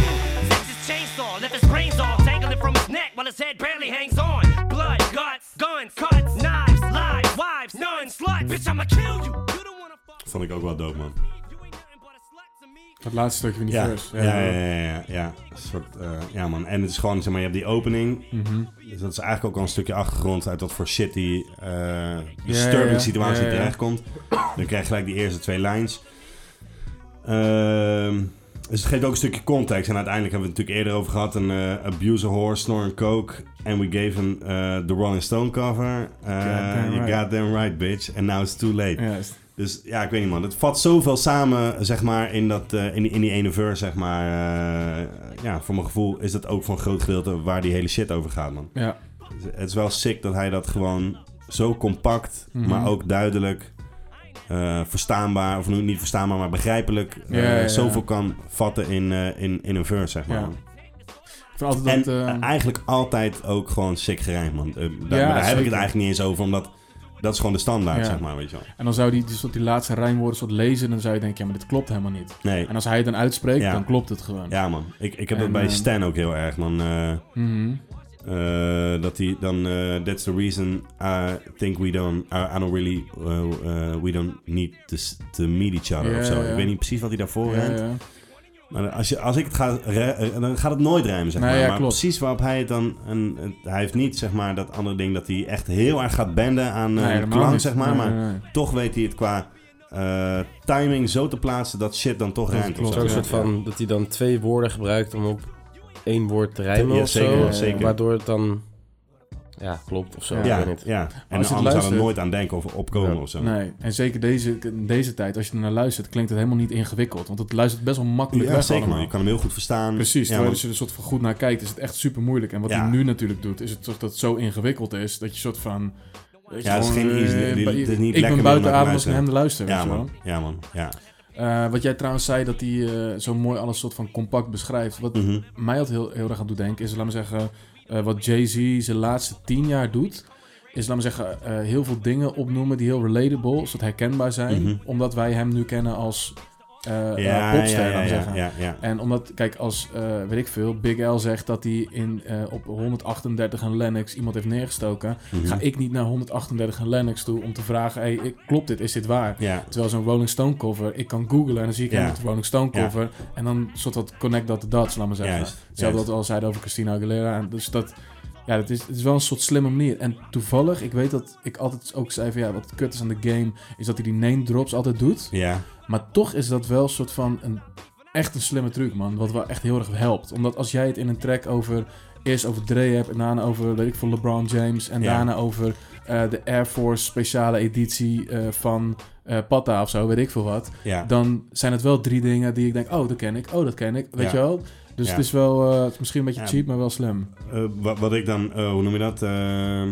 Fix his chainsaw, left his brains all dangling from his neck while his head barely hangs on. Blood, guts, guns, cuts, knives, lies, wives, none, sluts. Bitch, I'ma kill you. You don't wanna fuck. Vond ik ook wel dope, man. You ain't nothing but a slut to me. Het laatste stukje van die Ja, verse. ja, ja, ja, ja, ja. Een soort, eh, ja man. En het is gewoon, zeg maar, je hebt die opening. Mhm. Dus dat is eigenlijk ook al een stukje achtergrond uit wat voor shit die eh, disturbing ja. situatie Ja, ja, ja. terechtkomt. Dan krijg je gelijk die eerste twee lines. Ehm, dus het geeft ook een stukje context. En uiteindelijk hebben we het natuurlijk eerder over gehad. Een eh abuser whore, snor en coke. And we gave him eh, the Rolling Stone cover. Eh, Goddamn you right. goddamn right, bitch. And now it's too late. Juist. Dus ja, ik weet niet man. Het vat zoveel samen, zeg maar, in, dat, eh, in, die- in die ene verse, zeg maar. eh, ja, voor mijn gevoel is dat ook voor een groot gedeelte waar die hele shit over gaat, man. Ja. Het is wel sick dat hij dat gewoon zo compact, Mhm. maar ook duidelijk, eh, verstaanbaar, of nu niet verstaanbaar, maar begrijpelijk, eh, Ja, ja, ja. zoveel kan vatten in, eh, in, in een verse, zeg maar. Ja. man. Ik vind altijd En dat... eh, eh, eigenlijk altijd ook gewoon sick gerijmd, man. Eh, daar maar Ja, daar heb ik zeker. het eigenlijk niet eens over, omdat dat is gewoon de standaard, Ja. zeg maar, weet je wel. En dan zou die, die, soort- die laatste rijmwoorden soort lezen, dan zou je denken, ja, maar dit klopt helemaal niet. Nee, En als hij het dan uitspreekt, Ja. dan klopt het gewoon. Ja, man. Ik, ik heb En, dat bij eh, Stan ook heel erg, man. Eh, Mhm. eh, dat hij dan eh, that's the reason I think we don't I, I don't really eh, eh, we don't need to, s- to meet each other Ja, of zo. ja. Ik weet niet precies wat hij daarvoor Ja, ruimt. ja. Maar als, je, als ik het ga, re- eh, dan gaat het nooit rijmen, zeg Nee, maar. ja, maar klopt. precies waarop hij het dan... En, het- hij heeft niet, zeg maar, dat andere ding dat hij echt heel erg gaat benden aan eh, Nee, de helemaal klank, niet. zeg maar. Nee, maar nee, nee. toch weet hij het qua eh, timing zo te plaatsen dat shit dan toch Dat rijmt. of klopt, zo. Zo'n ja. soort van dat hij dan twee woorden gebruikt om op één woord te rijmen Ja, of zeker, zo. ja, zeker. Waardoor het dan ja, klopt of zo. Ja. Ik Ja, weet niet. ja. en als je het anders zou er luistert- nooit aan denken of opkomen Ja. of zo. Nee, en zeker deze, in deze tijd, als je er naar luistert, klinkt het helemaal niet ingewikkeld. Want het luistert best wel makkelijk Ja, weg zeker man. allemaal. Je kan hem heel goed verstaan. Precies, Ja, terwijl want- als je er soort van goed naar kijkt, is het echt super moeilijk. En wat Ja. hij nu natuurlijk doet, is het toch dat het zo ingewikkeld is dat je soort van. weet je, Ja, het is gewoon, geen easy- eh, dit- dit is niet ik lekker meer ben om naar buiten te adem als ik naar luisteren. hem luister. ja, weet je wel. man. ja, man. Ja. Eh, wat jij trouwens zei, dat hij eh, zo mooi alles soort van compact beschrijft. Wat Mhm. mij altijd heel, heel erg aan doet denken, is laat maar zeggen, eh, wat Jay-Z zijn laatste tien jaar doet. Is laat maar zeggen, eh, heel veel dingen opnoemen die heel relatable, zodat herkenbaar zijn. Mhm. Omdat wij hem nu kennen als eh Ja, eh, ja, popster, laat ja, maar ja, zeggen. ja, ja. En omdat, kijk, als, eh, weet ik veel, Big L zegt dat hij in, eh, op 138 en Lennox iemand heeft neergestoken, Mhm. ga ik niet naar 138 en Lennox toe om te vragen, hey, ik- klopt dit, is dit waar? Ja. Terwijl zo'n Rolling Stone cover, ik kan googlen en dan zie ik Ja. hem met de Rolling Stone Ja. cover en dan soort wat connect dat de dots, laat maar zeggen. Juist, Hetzelfde juist. wat we al zeiden over Christina Aguilera. En dus dat, ja, dat is, het is wel een soort slimme manier. En toevallig, ik weet dat ik altijd ook zei van, ja, wat kut is aan de game, is dat hij die name drops altijd doet. Ja. Maar toch is dat wel een soort van een, echt een slimme truc, man. Wat wel echt heel erg helpt. Omdat als jij het in een track over eerst over Dre hebt en daarna over, weet ik veel, LeBron James en Ja. daarna over eh, de Air Force speciale editie eh, van eh Patta of zo, weet ik veel wat. Ja. Dan zijn het wel drie dingen die ik denk, oh, dat ken ik, oh, dat ken ik, weet Ja. je wel? Dus Ja. het is wel, eh, het is misschien een beetje Ja. cheap, maar wel slim. Eh, wat, wat ik dan, eh, hoe noem je dat? Ehm,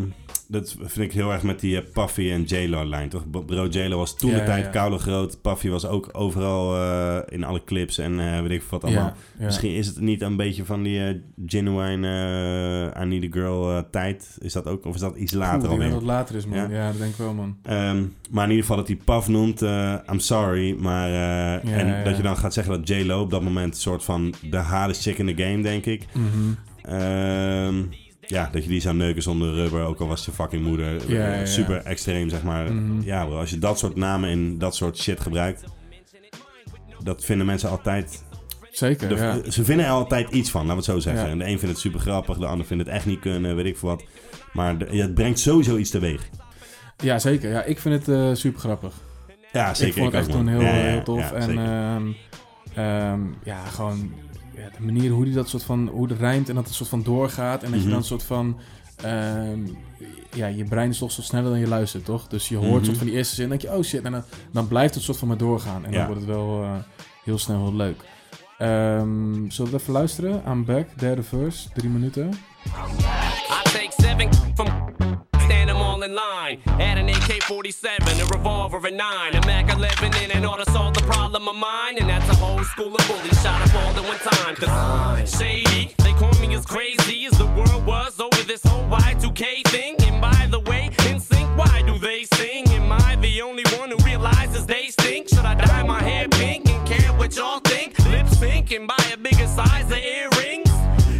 dat vind ik heel erg met die eh, Puffy en J-Lo-lijn, toch? B- Bro, J-Lo was toen de Ja, tijd ja. koude groot. Puffy was ook overal eh, in alle clips en eh, weet ik veel wat allemaal. Ja, ja. Misschien is het niet een beetje van die eh, genuine eh I Need a Girl eh, tijd. Is dat ook, of is dat iets Oeh, later ik denk alweer? dat het later is, man. Ja. Ja. dat denk ik wel, man. Ehm, maar in ieder geval dat hij Paf noemt, eh, I'm sorry. Maar, eh, Ja, en ja, ja. dat je dan gaat zeggen dat J-Lo op dat moment een soort van de hardest chick in the game, denk ik. Mhm. Ehm, ja, dat je die zou neuken zonder rubber, ook al was je fucking moeder. Ja, ja, ja. Super extreem, zeg maar. Mhm. Ja, bro, als je dat soort namen en dat soort shit gebruikt, dat vinden mensen altijd. Zeker, de- ja. Ze vinden er altijd iets van, laten we het zo zeggen. Ja. En de een vindt het super grappig, de ander vindt het echt niet kunnen, weet ik veel wat. Maar de- het brengt sowieso iets teweeg. Ja, zeker. Ja, ik vind het eh super grappig. Ja, zeker. ik vond het ook, echt toen man. heel, eh, Ja, ja, heel tof. ja, en zeker. ehm, ehm, ja, gewoon ja, de manier hoe die dat soort van, hoe het rijmt en dat het soort van doorgaat. En dat Mhm. je dan een soort van, ehm, ja, je brein is toch zo sneller dan je luistert, toch? Dus je hoort Mhm. soort van die eerste zin en denk je, oh shit, en dan, dan blijft het soort van maar doorgaan. En Ja. dan wordt het wel eh, heel snel heel leuk. Ehm, zullen we even luisteren? I'm back, derde verse, drie minuten. I take seven from stand them all in line. Add an AK-47, a revolver, a nine, a Mac 11, in an order solve the problem of mine. And that's a whole school of bullies shot up all at one time. Cause I'm shady. They call me as crazy as the world was over this whole Y2K thing. And by the way, in sync, why do they sing? Am I the only one who realizes they stink? Should I dye my hair pink and care what y'all think? Lip sync and buy a bigger size of earrings.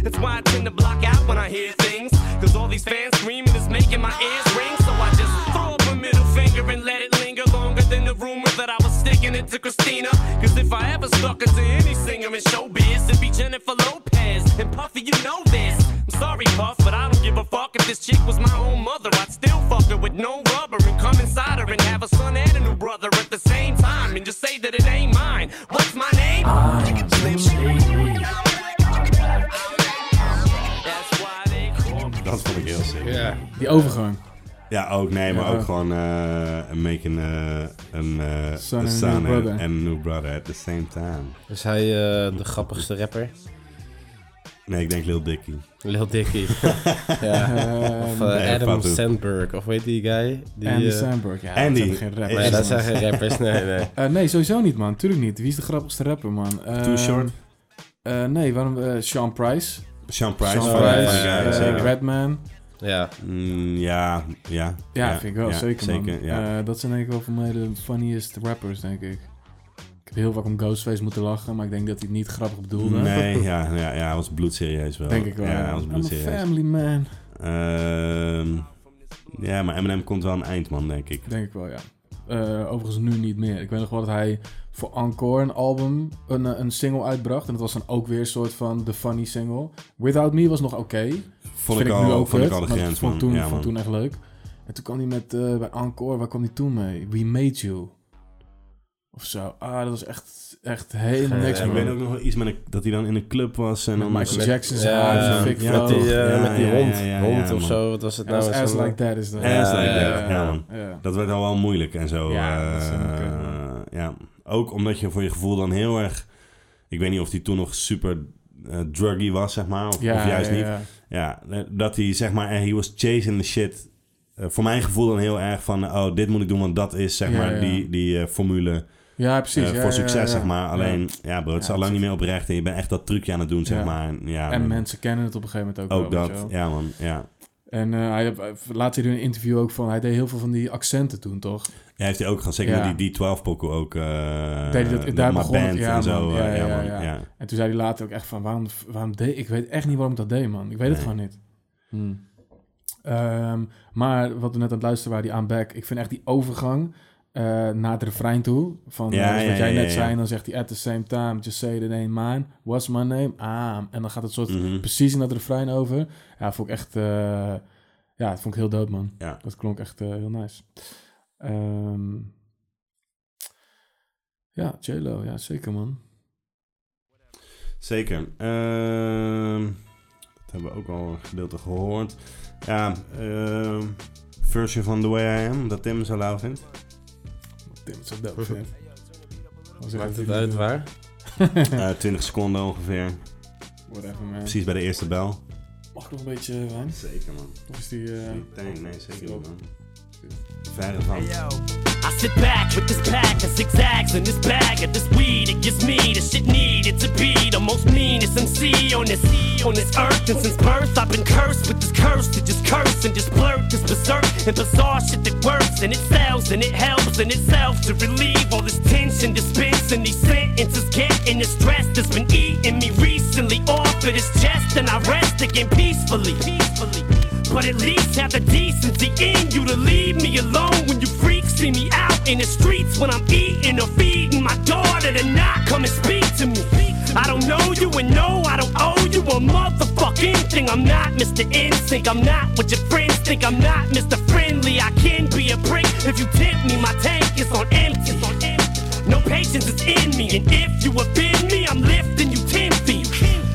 That's why I tend to block out when I hear things. Cause all these fans screaming is making my ears ring. So I just throw up a middle finger and let it linger longer than the rumor that I was sticking it to Christina. Cause if I ever stuck it to any singer in showbiz, it'd be Jennifer Lopez. And Puffy, you know this. I'm sorry, Puff, but I don't give a fuck if this chick was my own mother. I'd still fuck her with no rubber and come inside her and have a son and a new brother at the same time and just say that it ain't mine. What's my name? That's why they call me. Dat vond ik heel sick. Ja, Ja. Die overgang. ook nee, maar Ja. ook gewoon eh making eh, een eh, Son a and a son new brother. and a new brother at the same time. Is hij eh, de grappigste rapper? Nee, ik denk Lil Dicky. Lil Dicky. ja. Of eh, Nee, Adam Fatu. Sandberg. Of weet die guy? Die, Ehm, Andy eh, Samberg. Ja, Andy. dat zijn geen rappers. nee, Is- dat zijn geen rappers. Nee, nee. Eh, nee, sowieso niet, man. Tuurlijk niet. Wie is de grappigste rapper, man? Ehm, Short? eh, nee, waarom? eh, Sean Price. Sean Price. oh, Sean van- Price, van Guy, eh, zeker. Redman. Ja. Mm, ja, ja. Ja, vind ik wel. ja, zeker, man. ja. Eh, dat zijn denk ik wel voor mij de funniest rappers, denk ik. Ik heb heel vaak om Ghostface moeten lachen, maar ik denk dat hij het niet grappig bedoelde. Nee, ja, ja, ja, hij was bloedserieus wel. Denk ik wel. Ja, hij was I'm a bloedserieus. family man. Ehm, ja, maar Eminem komt wel aan het eind, man, denk ik. Denk ik wel, ja. Eh, overigens nu niet meer. Ik weet nog wel dat hij voor Encore een album, een, eh, een single uitbracht. En dat was dan ook weer een soort van de funny single. Without Me was nog oké. Vond Vind ik, ik, al, nu ook vond ik vet, al de maar grens, vond man. Toen, ja, vond man. toen echt leuk. En toen kwam hij met, eh, bij Encore, waar kwam hij toen mee? We Made You. Of zo. Ah, dat was echt, echt helemaal Geen niks, Ja, ik man. weet ook nog wel iets met een- dat hij dan in een club was. En Met dan Michael met- Jackson zijn ja, dus haar, zijn ja, fik ja, vrouw. Met die, eh, Ja, met die ja, hond, ja, ja, hond ja, of man. zo, wat was het Ja, dat nou? was Ass Zo'n- Like That is dat. Ass Like Ja, ja, That, ja, man. ja. Dat werd al wel moeilijk en zo. Ja, dat is eh, ook, eh, ja. Ook omdat je voor je gevoel dan heel erg... Ik weet niet of hij toen nog super eh, druggy was, zeg maar. Of, Ja, of juist ja, niet. ja. Ja, dat hij zeg maar, eh, he was chasing the shit. Eh, voor mijn gevoel dan heel erg van, oh, dit moet ik doen, want dat is zeg Ja, maar ja. die, die eh, formule Ja, precies. eh, ja, voor ja, succes, ja. zeg maar. Alleen, ja, bro, het is Ja, al lang precies. niet meer oprecht en je bent echt dat trucje aan het doen, zeg Ja. maar. En, ja, En man, mensen kennen het op een gegeven moment ook, ook wel. weet je dat, wel. ja man, ja. En eh, hij, hij- laat hij er in een interview ook van... Hij deed heel veel van die accenten toen, toch? Ja, heeft hij ook gedaan, zeker Ja. met die D12-pokoe ook. eh Deed hij dat- maar daar begon het, band ja, en zo. eh, man. Ja, ja, ja, man, ja. ja. En toen zei hij later ook echt van... Waarom, waarom deed... Ik weet echt niet waarom ik dat deed, man. Ik weet het Nee. Hmm. gewoon niet. Ehm, maar wat we net aan het luisteren waren, die aan back. Ik vind echt die overgang eh, naar het refrein toe. Van Ja, eh, dus ja, wat jij ja, net ja, zei. ja. En dan zegt hij at the same time. Just say the name mine. What's my name? Ah. En dan gaat het soort Mhm. precies in dat refrein over. Ja, vond ik echt... eh, ja, dat vond ik heel dood, man. Ja. Dat klonk echt eh, heel nice. Ehm, ja, J-Lo. Ja, zeker, man. Zeker. Ehm, dat hebben we ook al een gedeelte gehoord. Ja, ehm, version van The Way I Am, dat Tim zo lauw vindt. Tim is zo dood, vind ik. Was Maakt echt- het uit waar? Eh 20 seconden ongeveer. Whatever, man. Precies bij de eerste bel. Mag ik nog een beetje wijn? Zeker man. Of is die... eh, Nee, nee, zeker niet, man. Verre van. I sit back with this pack of zigzags and this bag of this weed. It gives me the shit needed to be the most meanest MC on this on this earth. And since birth, I've been cursed with this curse to just curse and just blurt this berserk and bizarre shit that works and it sells and it helps in itself to relieve all this tension dispensing these sentences getting the stress that's been eating me recently off of this chest and I rest again peacefully. peacefully. But at least have the decency in you to leave me alone when you freaks see me out in the streets when I'm eating or feeding my daughter to not come and speak to me. I don't know you and no, I don't owe you a motherfucking thing. I'm not Mr. Instinct, I'm not what your friends think. I'm not Mr. Friendly, I can be a prick if you tip me. My tank is on empty. It's on empty. No patience is in me, and if you offend me, I'm lifting you ten feet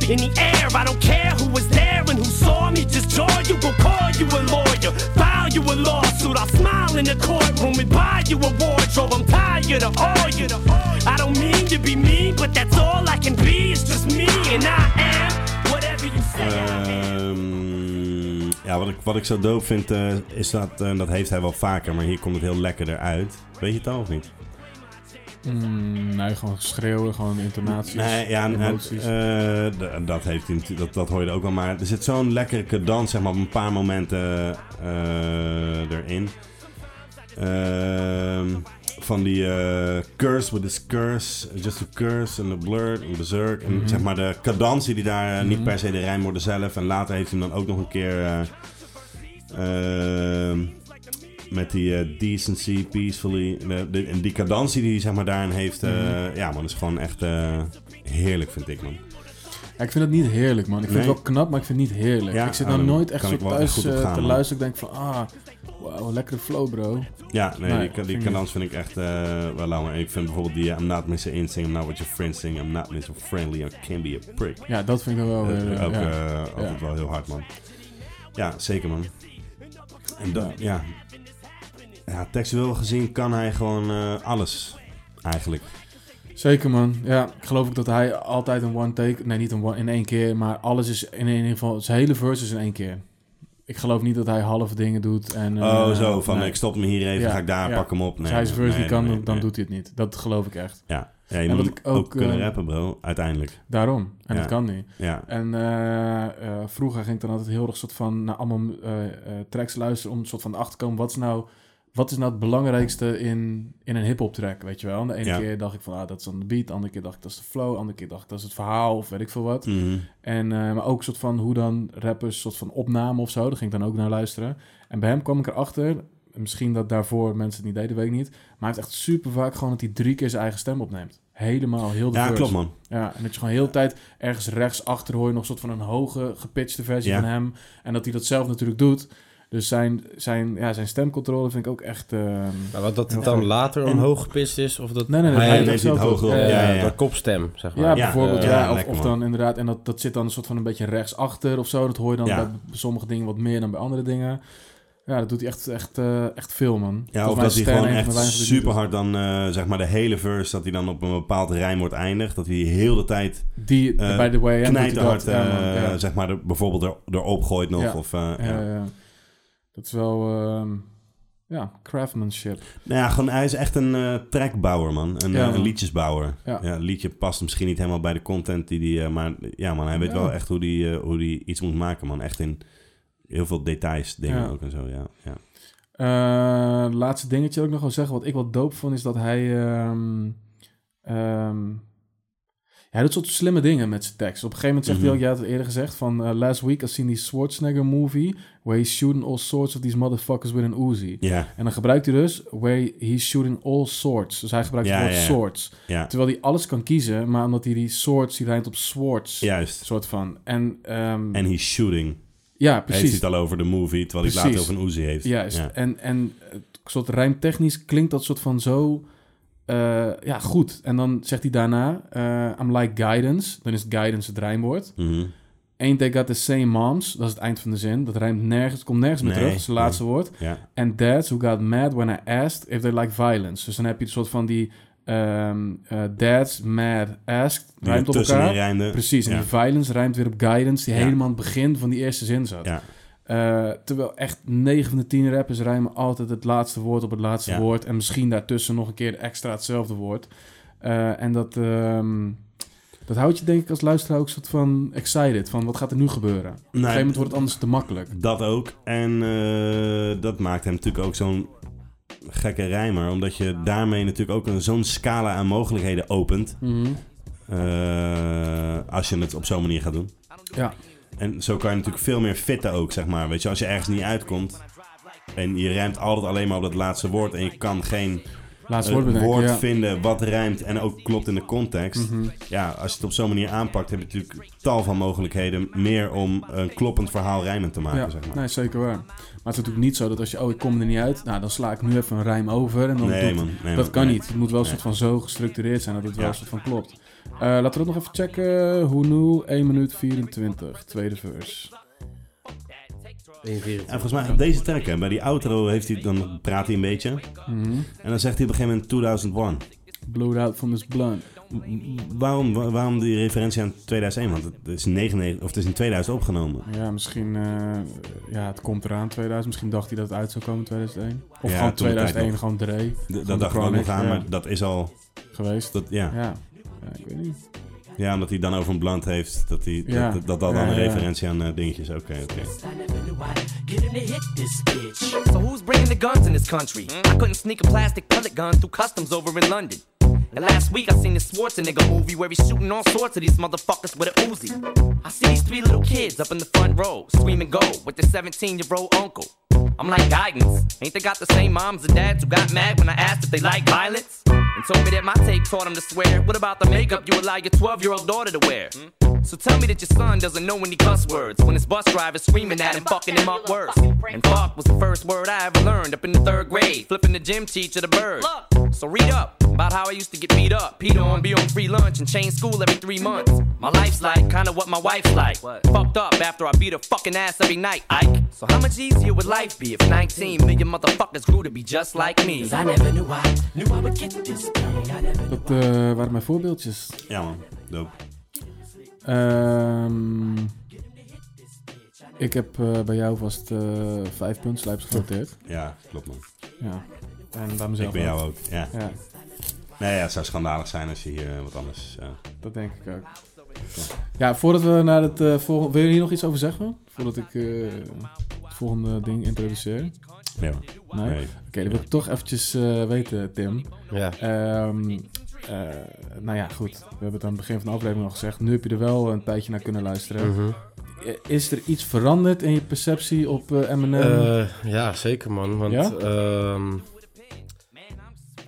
in the air. I don't care who was there and who saw me. Just jaw you, will call you a lawyer, file you a lawsuit. I'll smile in the courtroom and buy you a wardrobe. I'm tired of all you. I don't mean to be mean, but that's all I can be. It's just me, and I am whatever you say. I am. Ehm, ja, wat ik, wat ik zo doof vind, eh, is dat, eh, dat heeft hij wel vaker, maar hier komt het heel lekkerder uit. Weet je het al of niet? Mm, nee, gewoon geschreeuwen, gewoon intonaties, Nee, ja, en, emoties. eh, d- dat, heeft hij, natu- dat, dat hoor je er ook wel, maar er zit zo'n lekkere dans zeg maar, op een paar momenten eh, erin. Ehm, van die eh, curse with this curse, just a curse en the blur en berserk. En zeg maar de cadans die hij daar, eh, niet Mhm. per se de rijmwoorden zelf. En later heeft hij hem dan ook nog een keer eh, ehm, met die eh, decency, peacefully. De, de- en die cadans die hij zeg maar daarin heeft, eh, Mhm. ja man, is gewoon echt eh, heerlijk vind ik man. Ja, ik vind het niet heerlijk, man. Ik vind Nee. het wel knap, maar ik vind het niet heerlijk. Ja, ik zit ah, nou dan nooit echt kan zo ik wel thuis echt goed op eh, gaan, te man. luisteren. Ik denk van, ah, wauw, lekkere flow, bro. Ja, nee, Nee, die, ka- die vind ik cadans vind ik echt eh, wel lauw. En ik vind bijvoorbeeld die eh, I'm not missing instinct, I'm not what your friends sing, I'm not missing friendly, I can be a prick. Ja, dat vind ik wel Dat weer... vind ik eh, ook ja. eh, altijd Ja. wel heel hard, man. Ja, zeker, man. En dat, ja. ja. Textueel gezien kan hij gewoon eh, alles, eigenlijk. Zeker, man. Ja, ik geloof ook dat hij altijd een one take... Nee, niet een one, in één keer, maar alles is in ieder geval... Zijn hele verse is in één keer. Ik geloof niet dat hij halve dingen doet en... oh, eh, zo, van nee. ik stop me hier even, Ja, ga ik daar, ja. pak hem op. Als Nee, hij zijn verse nee, niet kan, nee, dan, dan nee. doet hij het niet. Dat geloof ik echt. Ja, ja je En wat moet ik ook, ook, kunnen eh, rappen, bro, uiteindelijk. Daarom. En Ja. dat kan niet. Ja, En eh, eh, vroeger ging ik dan altijd heel erg soort van naar allemaal eh, eh, tracks luisteren om soort van achter te komen wat is nou wat is nou het belangrijkste in, in een hip-hop track, weet je wel? En de ene Ja. keer dacht ik van, ah, dat is dan de beat. De andere keer dacht ik, dat is de flow. De andere keer dacht ik, dat is het verhaal of weet ik veel wat. Mhm. En, eh, maar ook soort van hoe dan rappers, soort van opname of zo. Daar ging ik dan ook naar luisteren. En bij hem kwam ik erachter, misschien dat daarvoor mensen het niet deden, weet ik niet. Maar hij heeft echt super vaak gewoon dat hij drie keer zijn eigen stem opneemt. Helemaal, heel de Ja, verse. klopt man. Ja, en dat je gewoon heel de tijd ergens rechts achter hoor je nog een soort van een hoge gepitchte versie Ja. van hem. En dat hij dat zelf natuurlijk doet. Dus zijn, zijn, ja, zijn stemcontrole vind ik ook echt... ehm, Maar wat dat het Ja. dan later En- omhoog gepitcht is, of dat... Nee, nee, nee, Hij hij heeft doet niet zelf hoog ook. wil. Eh, Ja, ja, ja. door kopstem, zeg ja, maar. Ja, bijvoorbeeld. eh, Ja, ja, of, lekker, of dan inderdaad... En dat, dat zit dan een soort van een beetje rechts achter of zo. Dat hoor je dan Ja. bij sommige dingen wat meer dan bij andere dingen. Ja, dat doet hij echt, echt, eh, echt veel, man. Ja, Volgens of mij dat is hij Stern gewoon een van echt de weinigen die het super hard dan, eh, zeg maar de hele verse, dat hij dan op een bepaald rijm wordt eindigd. Dat hij heel de tijd doet. Die, eh, bij de way Out doet hij dat. knijterhard, Ja, eh, man, ja. zeg maar, er- bijvoorbeeld er, erop gooit nog. Ja. Of, eh, ja. Ja, ja. Dat is wel... ehm, ja, craftsmanship. Nou ja, gewoon, hij is echt een eh, trackbouwer, man. Een, Ja, eh, man. een liedjesbouwer. Ja. Ja. liedje past misschien niet helemaal bij de content die, die eh, maar ja, man, hij weet Ja. wel echt hoe die, eh, hoe die iets moet maken, man. Echt in heel veel details, dingen Ja. ook en zo, ja. ja. Eh, laatste dingetje dat ik nog wil zeggen, wat ik wel doop vond, is dat hij. ehm, ehm, hij doet soort slimme dingen met zijn tekst. Op een gegeven moment zegt Mhm. hij ook, ja, had het eerder gezegd, van eh, last week I seen this Schwarzenegger movie where he's shooting all sorts of these motherfuckers with an Uzi. Ja, En dan gebruikt hij dus where he's shooting all sorts. Dus hij gebruikt Ja, het woord ja, ja. sorts. ja. Terwijl hij alles kan kiezen, maar omdat hij die sorts, die rijdt op swords. juist. Soort van. En, ehm, En he's shooting. ja, Heeft precies. hij het al over de movie, terwijl hij het later Precies. over een Uzi heeft. Juist. Ja. En, en het soort rijmtechnisch klinkt dat soort van zo eh, ja, goed. En dan zegt hij daarna, eh, I'm like guidance. Dan is guidance het rijmwoord. Mhm. Ain't they got the same moms? Dat is het eind van de zin. Dat rijmt nergens, komt nergens meer Nee, terug. Dat is het nee. laatste woord. ja. And dads who got mad when I asked if they like violence. Dus dan heb je een soort van die ehm, eh, dads mad asked Die rijmt op ertussenin elkaar. rijmde. Precies, en Ja. die violence rijmt weer op guidance, die Ja. helemaal aan het begin van die eerste zin zat. Ja. Eh, terwijl echt 9 van de 10 rappers rijmen altijd het laatste woord op het laatste Ja. woord. En misschien daartussen nog een keer extra hetzelfde woord. Eh, en dat, ehm, dat houdt je denk ik als luisteraar ook soort van excited. Van wat gaat er nu gebeuren? Op een gegeven moment wordt het anders te makkelijk. Dat ook. En eh, dat maakt hem natuurlijk ook zo'n gekke rijmer. Omdat je daarmee natuurlijk ook een- zo'n scala aan mogelijkheden opent. Mhm. eh, als je het op zo'n manier gaat doen. Ja. En zo kan je natuurlijk veel meer fitten ook, zeg maar. Weet je, als je ergens niet uitkomt. En je rijmt altijd alleen maar op dat laatste woord. En je kan geen Laatste eh, woord bedenken. woord ja. Mhm. vinden wat rijmt en ook klopt in de context. Ja, als je het op zo'n manier aanpakt, heb je natuurlijk tal van mogelijkheden meer om een kloppend verhaal rijmend te maken, Ja, zeg maar. nee, zeker waar. Maar het is natuurlijk niet zo dat als je, oh, ik kom er niet uit, nou, dan sla ik nu even een rijm over. En dan Nee, doet- man. Nee, dat man. kan Nee. niet. Het moet wel een soort van zo gestructureerd zijn dat het wel Ja. een soort van klopt. Eh, laten we dat nog even checken. Hoenu, 1 minuut 24, tweede verse. En volgens mij op deze track, hè, bij die outro heeft hij, dan praat hij een beetje. Mhm. En dan zegt hij op een gegeven moment 2001. Blowed out from this blunt. Waarom, wa- waarom die referentie aan 2001? Want het is, 99, of het is in 2000 opgenomen. Ja, misschien, eh, ja, het komt eraan 2000. Misschien dacht hij dat het uit zou komen 2001. Of Ja, gewoon toen de tijd 2001, nog. gewoon Dre. D- Gewoon dat de dacht ik ook nog Chronic, aan, ja, maar dat is al... geweest. Dat, ja. Ja. ja. Ja, ik weet niet. omdat hij dan over een blunt heeft. Dat hij, Ja. dat, dat, dat dan Ja, een ja. referentie aan eh, dingetjes. Oké, oké. I never knew I'd get him to hit this bitch. So who's bringing the guns in this country? I couldn't sneak a plastic pellet gun through customs over in London. And last week I seen this Schwarzenegger movie where he's shooting all sorts of these motherfuckers with a Uzi. I see these three little kids up in the front row screaming go with their 17 year old uncle. I'm like guidance. Ain't they got the same moms and dads who got mad when I asked if they like violence? And told me that my tape taught them to swear. What about the makeup you allow your 12 year old daughter to wear? So tell me that your son doesn't know any cuss words when his bus driver's screaming at him, fucking him up worse. And fuck was the first word I ever learned up in the third grade, flipping the gym teacher the bird. So read up about how I used to get beat up, peed on, be on free lunch, and change school every three months. My life's like kinda what my wife's like. Fucked up after I beat her fucking ass every night, Ike. So how much easier would life be if 19 million motherfuckers grew to be just like me? I never knew I knew I would get this big. I never Dat eh, waren mijn voorbeeldjes. Ja man, dope. Ehm, ik heb eh, bij jou vast eh vijf puntslijps genoteerd. Ja, klopt man. ja. En bij mezelf Ik ben jou ook. ook. Ja. Ja, Nee, ja, het zou schandalig zijn als je hier eh, wat anders... eh, dat denk ik ook. Ja, voordat we naar het eh volgende... Wil je hier nog iets over zeggen? Voordat ik eh, het volgende ding introduceer? Nee. Nee? Nee. Oké, dat wil ik toch eventjes eh, weten, Tim. Ja. Ehm, eh, nou ja, goed. We hebben het aan het begin van de aflevering al gezegd. Nu heb je er wel een tijdje naar kunnen luisteren. Eh, Is er iets veranderd in je perceptie op eh, Eminem? Eh, ja, zeker man. Want Ja? ehm,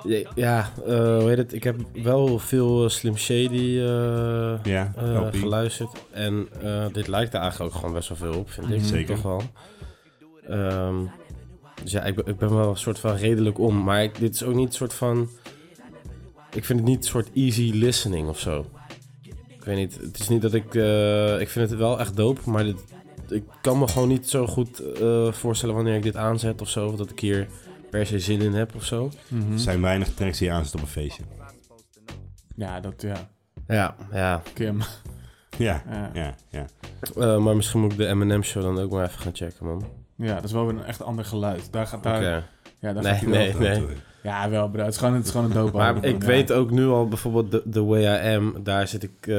ja, ja, eh, hoe heet het? Ik heb wel veel eh, Slim Shady eh, Ja, eh, LP. geluisterd. En eh, dit lijkt er eigenlijk ook gewoon best wel veel op, vind ik. Zeker. Toch wel. Ehm, dus ja, ik ben, ik ben wel een soort van redelijk om. Maar ik- dit is ook niet een soort van... Ik vind het niet een soort easy listening of zo. Ik weet niet. Het is niet dat ik... eh, ik vind het wel echt dope, maar dit, ik kan me gewoon niet zo goed eh, voorstellen wanneer ik dit aanzet of zo. Of dat ik hier per se zin in heb of zo. Mhm. Er zijn weinig tracks die je aanzet op een feestje. Ja, dat ja. Ja, ja. Kim. Ja, Ja. ja, ja. Eh, maar misschien moet ik de M&M show dan ook maar even gaan checken, man. eh, Ja, dat is wel weer een echt ander geluid. Daar gaat, daar, Oké. ja, daar Nee, gaat hij wel nee. Dat, eh, Ja, wel, bro. Het is gewoon, het is gewoon een dope Maar album, ik ja. weet ook nu al bijvoorbeeld de, de Way I Am, daar zit ik, eh,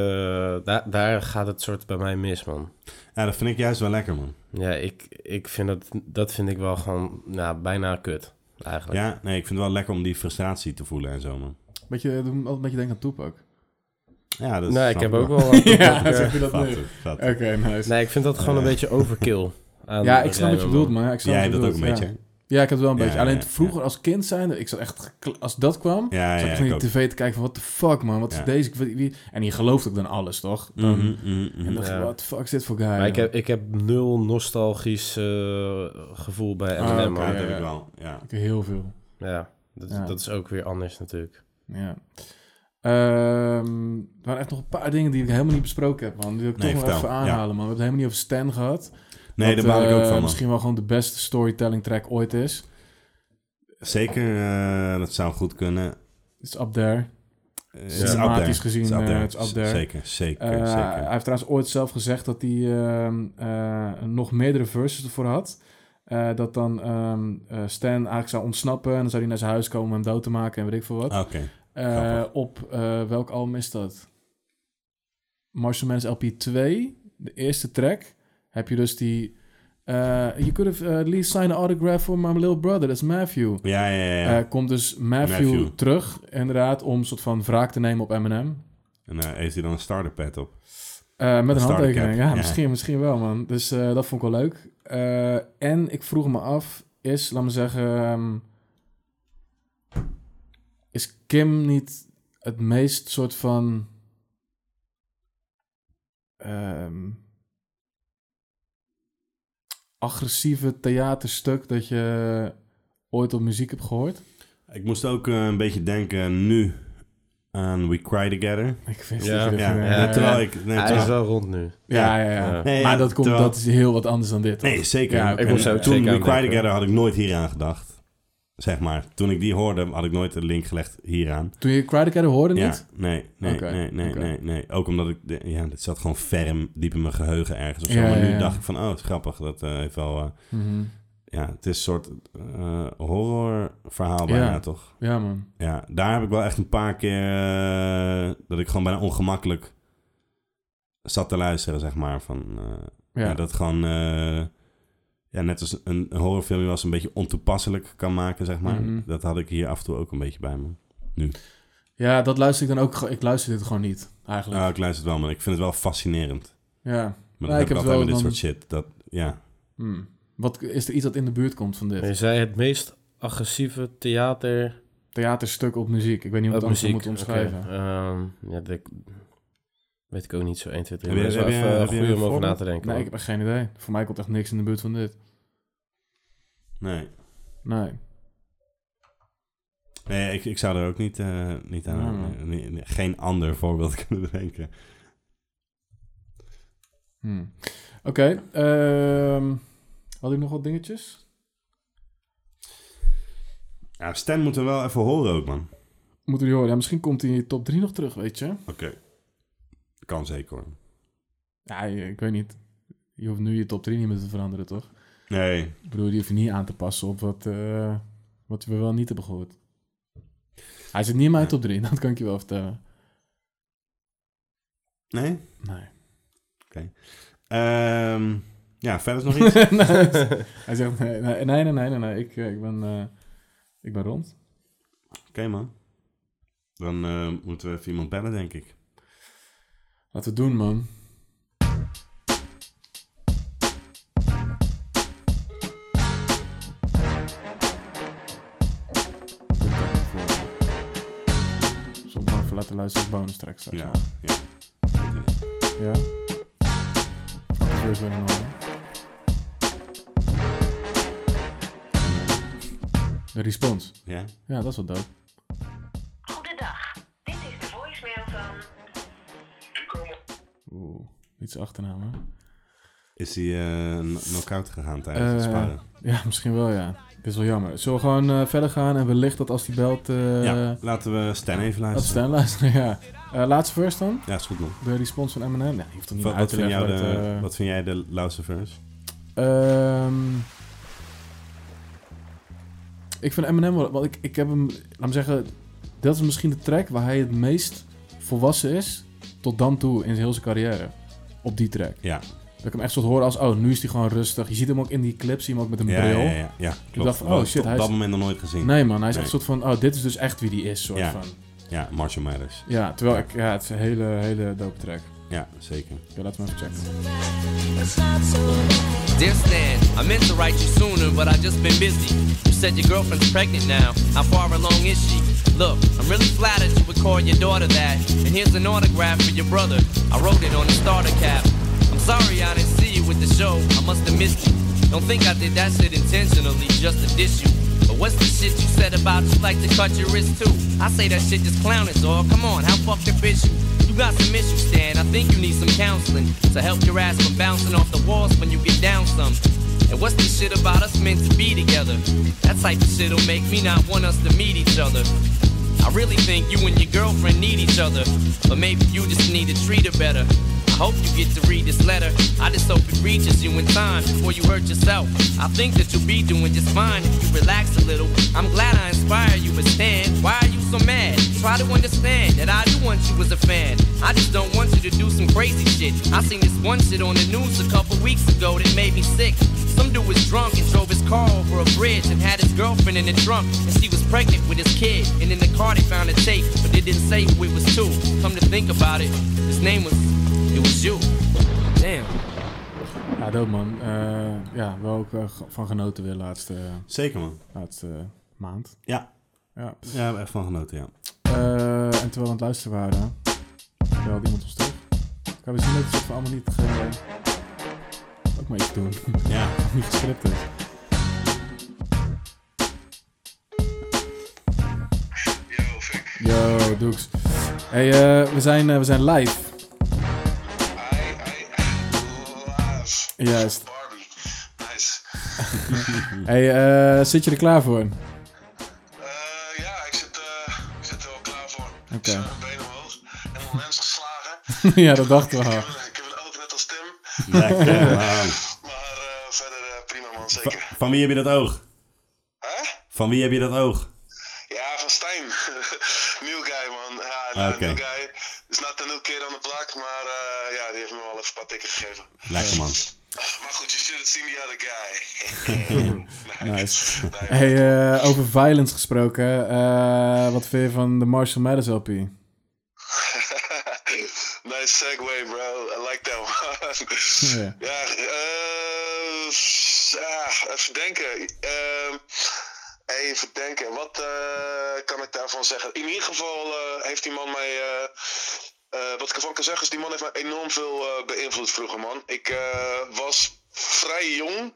daar, daar gaat het soort bij mij mis, man. Ja, dat vind ik juist wel lekker, man. Ja, ik, ik vind dat, dat vind ik wel gewoon, nou, bijna kut, eigenlijk. Ja, nee, ik vind het wel lekker om die frustratie te voelen en zo, man. Beetje, doe me altijd een beetje denken aan Tupac. Ja, dat nee, snap ik heb ook wel... Ja, eh, zeg je dat Vat, nu? vat. Oké, nice. nee, ik vind dat gewoon een Eh. beetje overkill. aan Ja, ik snap wat je rijmen, bedoelt, man. maar ik snap Jij wat hebt dat je ook een bedoelt, beetje, ja. hè? Ja, ik had het wel Ja, een beetje. Alleen ja, vroeger als kind zijn, ik zat echt, gekl- als dat kwam, Ja, zat ja, ik ik van ook. die tv te kijken van, what the fuck man, wat Ja. is deze? Ik weet- wie- En je gelooft ook dan alles, toch? Dan, Mhm, mhm, mhm. En dacht Ja. ik, what the fuck is dit voor guy? Maar ik joh? heb, ik heb nul nostalgisch eh, gevoel bij Ah, M&M, oké. Ja, man. dat heb ja. ik wel, ja. Ik heb heel veel, Ja, dat, Ja. dat is ook weer anders natuurlijk. ja. Ehm, er waren echt nog een paar dingen die ik helemaal niet besproken heb, man. Die wil ik Nee, toch nog vertel. even aanhalen, man. We hebben het helemaal niet over Stan gehad. Nee, wat, daar baal ik ook eh, van, man. Misschien wel gewoon de beste storytelling track ooit is. Zeker, eh, dat zou goed kunnen. It's up there. Eh, it's Systematisch up there. gezien, It's up eh, there. it's up there. Zeker, zeker, Eh, zeker. Hij heeft trouwens ooit zelf gezegd dat hij ehm, eh, nog meerdere verses ervoor had. Eh, dat dan ehm, eh, Stan eigenlijk zou ontsnappen en dan zou hij naar zijn huis komen om hem dood te maken en weet ik veel wat. Oké, Eh, grappig. op eh, welk album is dat? Marshall Man's LP 2, de eerste track. Heb je dus die... eh, you could have eh, at least signed an autograph for my little brother, that's Matthew. ja, ja, ja. ja. Eh, komt dus Matthew, Matthew. terug, inderdaad, om een soort van wraak te nemen op Eminem. en eh, heeft hij dan een starter pad op? Eh, met een Starter handtekening, cap, ja, ja. Misschien, misschien wel, man. Dus eh, dat vond ik wel leuk. Eh, en ik vroeg me af, is, laat me zeggen, ehm, is Kim niet het meest soort van... ehm, agressieve theaterstuk dat je ooit op muziek hebt gehoord? Ik moest ook eh, een beetje denken nu aan We Cry Together. Ik wist Ja, dat je dit Ja, ging- eh, eh, terwijl ik... nee, Hij is terwijl- wel rond nu. Ja, ja, ja. Ja. Nee, maar ja, dat, komt, terwijl- dat is heel wat anders dan dit. Nee, toch? zeker. Ja, oké. En eh, Ik moest ook toen zeker We aan Cry denken. Together had ik nooit hieraan gedacht. Zeg maar. Toen ik die hoorde, had ik nooit de link gelegd hieraan. Toen je Cry the Cat hoorde Ja, niet? nee, nee, Oké, nee, nee, oké. nee, nee. Ook omdat ik... de- Ja, dit zat gewoon ferm, diep in mijn geheugen ergens of zo. Ja, maar nu ja, ja. dacht ik van, oh, het is grappig. Dat eh, heeft wel... eh, Mhm. ja, het is een soort horror horrorverhaal Ja. bijna, toch? Ja, man. Ja, daar heb ik wel echt een paar keer... eh, dat ik gewoon bijna ongemakkelijk zat te luisteren, zeg maar. Van, eh, Ja. Ja. dat het gewoon, eh, ja, net als een, een horrorfilm je wel eens een beetje ontoepasselijk kan maken, zeg maar. Mhm. Dat had ik hier af en toe ook een beetje bij me. ja, dat luister ik dan ook. ge- Ik luister dit gewoon niet, eigenlijk. Nou, ik luister het wel, maar ik vind het wel fascinerend. ja. Maar Ja, dat heb ik heb ik altijd wel met dit dan- soort shit. Dat, ja. Hm. Wat, is er iets dat in de buurt komt van dit? Je zei het meest agressieve theater Theaterstuk op muziek. Ik weet niet hoe ik Ook het anders moet muziek, omschrijven. oké. Ehm, ja, dat weet ik ook niet zo 1, 2, 3. Heb Maar je- dat is heb wel je- even heb een je goeie een om over na voorbeeld? te denken. Nee, ik man. heb echt geen idee. Voor mij komt echt niks in de buurt van dit. Nee, Nee. nee ik, ik zou er ook niet, eh, niet aan... Ja, man. eh, nee, nee, geen ander voorbeeld kunnen bedenken. Hm. Oké. ehm, had ik nog wat dingetjes? Ja, Stan moeten we wel even horen ook, man. Moeten jullie horen. Ja, misschien komt die top 3 nog terug, weet je? Oké. Kan zeker, hoor. Ja, ik weet niet. Je hoeft nu je top 3 niet meer te veranderen, toch? Nee. Ik bedoel, die hoef je niet aan te passen op wat, eh, wat we wel niet hebben gehoord. Hij zit niet in mijn top 3, dat kan ik je wel vertellen. Nee? Nee. Ehm, Ja, verder is nog iets. Hij zegt, nee, nee, nee, nee, nee, nee, nee, Ik, eh, ik, ben, eh, ik ben rond. Oké, man. Dan eh, moeten we even iemand bellen, denk ik. Laten we het doen, man. Zal ik maar even laten luisteren als bonus track straks. Ja, wel. ja. Ja. Fuck the first one and all. De respons. Ja? Ja, dat is wel dope. Goedendag, dit is de voicemail van. Oeh, iets achternaam, hè? Is hij eh, kn- knock-out gegaan tijdens het Eh, sparren? Ja, misschien wel, ja. Dit is wel jammer. Zullen we gewoon eh, verder gaan en wellicht dat als die belt... eh ja, laten we Stan even Dat luisteren. staan luisteren, ja. Eh, laatste first dan. Ja, is goed, man. De respons van Eminem. Ja, die hoeft er niet Wat, uit wat te vind leggen. jou wat, de, eh, wat vind jij de loudste verse? Ehm, ik vind Eminem wel... Want ik, ik heb hem... Laat me zeggen... Dat is misschien de track waar hij het meest volwassen is... tot dan toe in zijn hele zijn carrière. Op die track. Ja. Dat ik hem echt soort horen als... Oh, nu is hij gewoon rustig. Je ziet hem ook in die clip. Zie je hem ook met een Ja, bril. ja, ja, ja, ja, klopt. dacht van, oh, Wel, shit, Op hij dat is- moment nog nooit gezien. Nee man, hij is Nee. echt een soort van... Oh, dit is dus echt wie die is. Soort Ja. van. Ja, Marshall Mathers. Ja, terwijl ik... Ja, het is een hele, hele dope track. Ja, zeker. Ja, laten we even checken. Dear Stan, I meant to write you sooner, but I've just been busy. You said your girlfriend's pregnant now. How far along is she? Look, I'm really flattered you would call your daughter that. And here's an autograph for your brother. I wrote it on the starter cap. I'm sorry I didn't see you with the show. I must have missed you. Don't think I did that shit intentionally just to diss you. But what's the shit you said about you like to cut your wrist too? I say that shit just clowning, dog. Come on, how fucked up is you? You got some issues, Stan. I think you need some counseling to help your ass from bouncing off the walls when you get down some. And what's this shit about us meant to be together? That type of shit'll make me not want us to meet each other. I really think you and your girlfriend need each other, but maybe you just need to treat her better. I hope you get to read this letter. I just hope it reaches you in time before you hurt yourself. I think that you'll be doing just fine if you relax a little. I'm glad I inspire you, but Stan, why are you so mad? Try to understand that I do want you as a fan. I just don't want you to do some crazy shit. I seen this one shit on the news a couple weeks ago that made me sick. Some dude was drunk and drove his car over a bridge and had his girlfriend in the trunk. And she was pregnant with his kid. And in the car they found a tape, but they didn't say who it was to. Come to think about it, his name was. It was you. Damn. Ja, dope man. Eh, ja, wel ook eh, g- van genoten weer de laatste, Zeker, man. laatste maand. Ja. Ja. Ja, we hebben echt van genoten, ja. Eh, en terwijl we aan het luisteren waren, belde iemand ons terug. Ik had dus zien dat we allemaal niet... Ge... Ook maar iets doen. Ja. niet gescript dus. is. Yo, Doeks. Hey, eh, we, zijn, eh, we zijn live. Juist. Barbie. Nice. Hey, eh, zit je er klaar voor? Oké. Eh, ja, ik zit, eh, ik zit er wel klaar voor. Ik Oké. zit met mijn benen omhoog. Helemaal lens geslagen. ja, dat dachten ik, we al. heb een, ik heb een auto net als Tim. Lekker, man. Maar eh, verder eh, prima man, zeker. Van wie heb je dat oog? Hè? Van wie heb je dat oog? Ja, van Stijn. new guy man. Ja, nou, Oké. new guy. Is not the new kid on the block, maar eh, ja, die heeft me wel even een paar tikken gegeven. Lekker, man. Maar goed, you should have seen the other guy. Nice. Nee, Hey, eh, over violence gesproken. eh, wat vind je van de Marshall Mathers Nou, LP? nice segue, bro. I like that one. Ja. ja, eh, s- ah, even denken. Ehm, even denken. Wat eh, kan ik daarvan zeggen? In ieder geval eh, heeft die man mij. eh, eh, wat ik ervan kan zeggen is, die man heeft mij enorm veel eh, beïnvloed vroeger, man. Ik eh, was vrij jong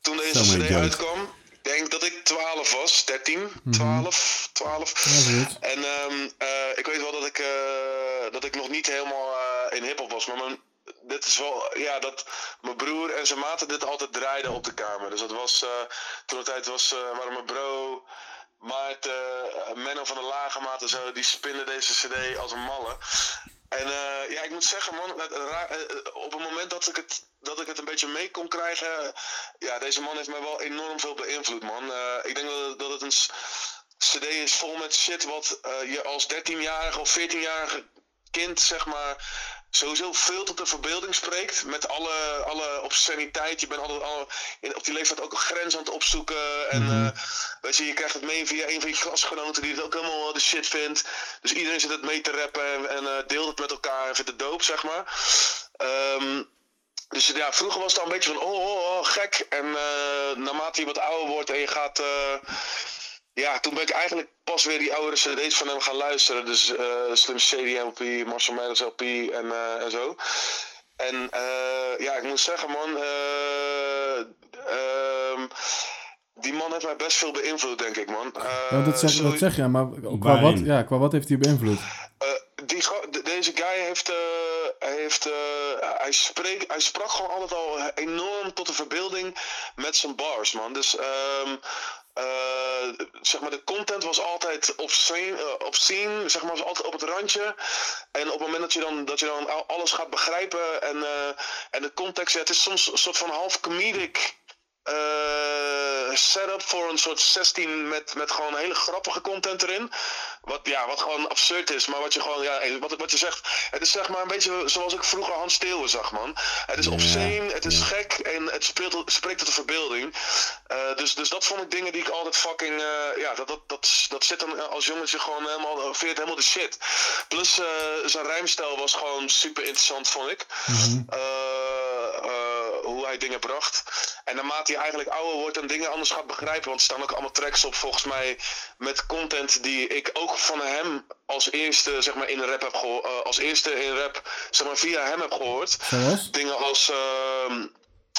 toen deze Zo many CD jokes. uitkwam. Ik denk dat ik 12 was, 13, 12, 12. zoiets. En ehm, eh, ik weet wel dat ik, eh, dat ik nog niet helemaal eh, in hip-hop was. Maar mijn, dit is wel, ja, dat mijn broer en zijn maten dit altijd draaiden op de kamer. Dus dat was, eh, toen de tijd was, eh, waren mijn bro, Maarten, eh, Menno van de Lage Maat en zo, die spinnen deze CD als een malle. En eh, ja, ik moet zeggen, man, het ra- eh, eh, op het moment dat ik het, dat ik het een beetje mee kon krijgen, eh, ja, deze man heeft mij wel enorm veel beïnvloed, man. Eh, ik denk dat, het- dat het een s- CD is vol met shit wat eh, je als 13-jarige of 14-jarige kind, zeg maar, sowieso veel tot de verbeelding spreekt. Met alle, alle obsceniteit. Je bent altijd alle, in, op die leeftijd ook een grens aan het opzoeken. En eh, weet je, je krijgt het mee via een van je klasgenoten die het ook helemaal de shit vindt. Dus iedereen zit het mee te rappen en, en eh, deelt het met elkaar en vindt het doop, zeg maar. Ehm, dus ja, vroeger was het al een beetje van oh, oh, oh gek. En eh, naarmate je wat ouder wordt en je gaat. eh, ja, toen ben ik eigenlijk pas weer die oude cd's van hem gaan luisteren. Dus eh, Slim Shady LP, Marshall Mathers LP en, eh, en zo. En eh, ja, ik moet zeggen man, eh, ehm, die man heeft mij best veel beïnvloed denk ik man. Eh, Ja, dat, zeg, dat sowieso- zeg je, maar qua Waarin? wat, ja, qua wat heeft hij beïnvloed? eh, die, gro- de- deze guy heeft. eh, hij, heeft eh, hij, spreekt, hij sprak gewoon altijd al enorm tot de verbeelding met zijn bars, man. Dus. ehm, eh, zeg maar, de content was altijd obscene, eh, obscene, zeg maar, was altijd op het randje. En op het moment dat je dan, dat je dan al- alles gaat begrijpen en, eh, en de context, ja, het is soms een soort van half comedic eh, setup voor een soort 16 met, met gewoon hele grappige content erin. Wat, ja, wat gewoon absurd is, maar wat je gewoon, ja, wat, wat je zegt. Het is zeg maar een beetje zoals ik vroeger Hans Steeuwen zag, man. Het is obscene, het is gek en het speelt, spreekt tot de verbeelding. Eh, dus, dus dat vond ik dingen die ik altijd fucking, eh, ja, dat, dat, dat, dat zit dan als jongetje gewoon helemaal, eh, veert helemaal de shit. Plus eh, zijn rijmstijl was gewoon super interessant, vond ik. Eh, eh, hoe hij dingen bracht. En naarmate hij eigenlijk ouder wordt en dingen anders gaat begrijpen. Want er staan ook allemaal tracks op volgens mij met content die ik ook van hem als eerste zeg maar in rap heb gehoord. als eerste in rap zeg maar via hem heb gehoord. Zoals? Dingen als... ehm,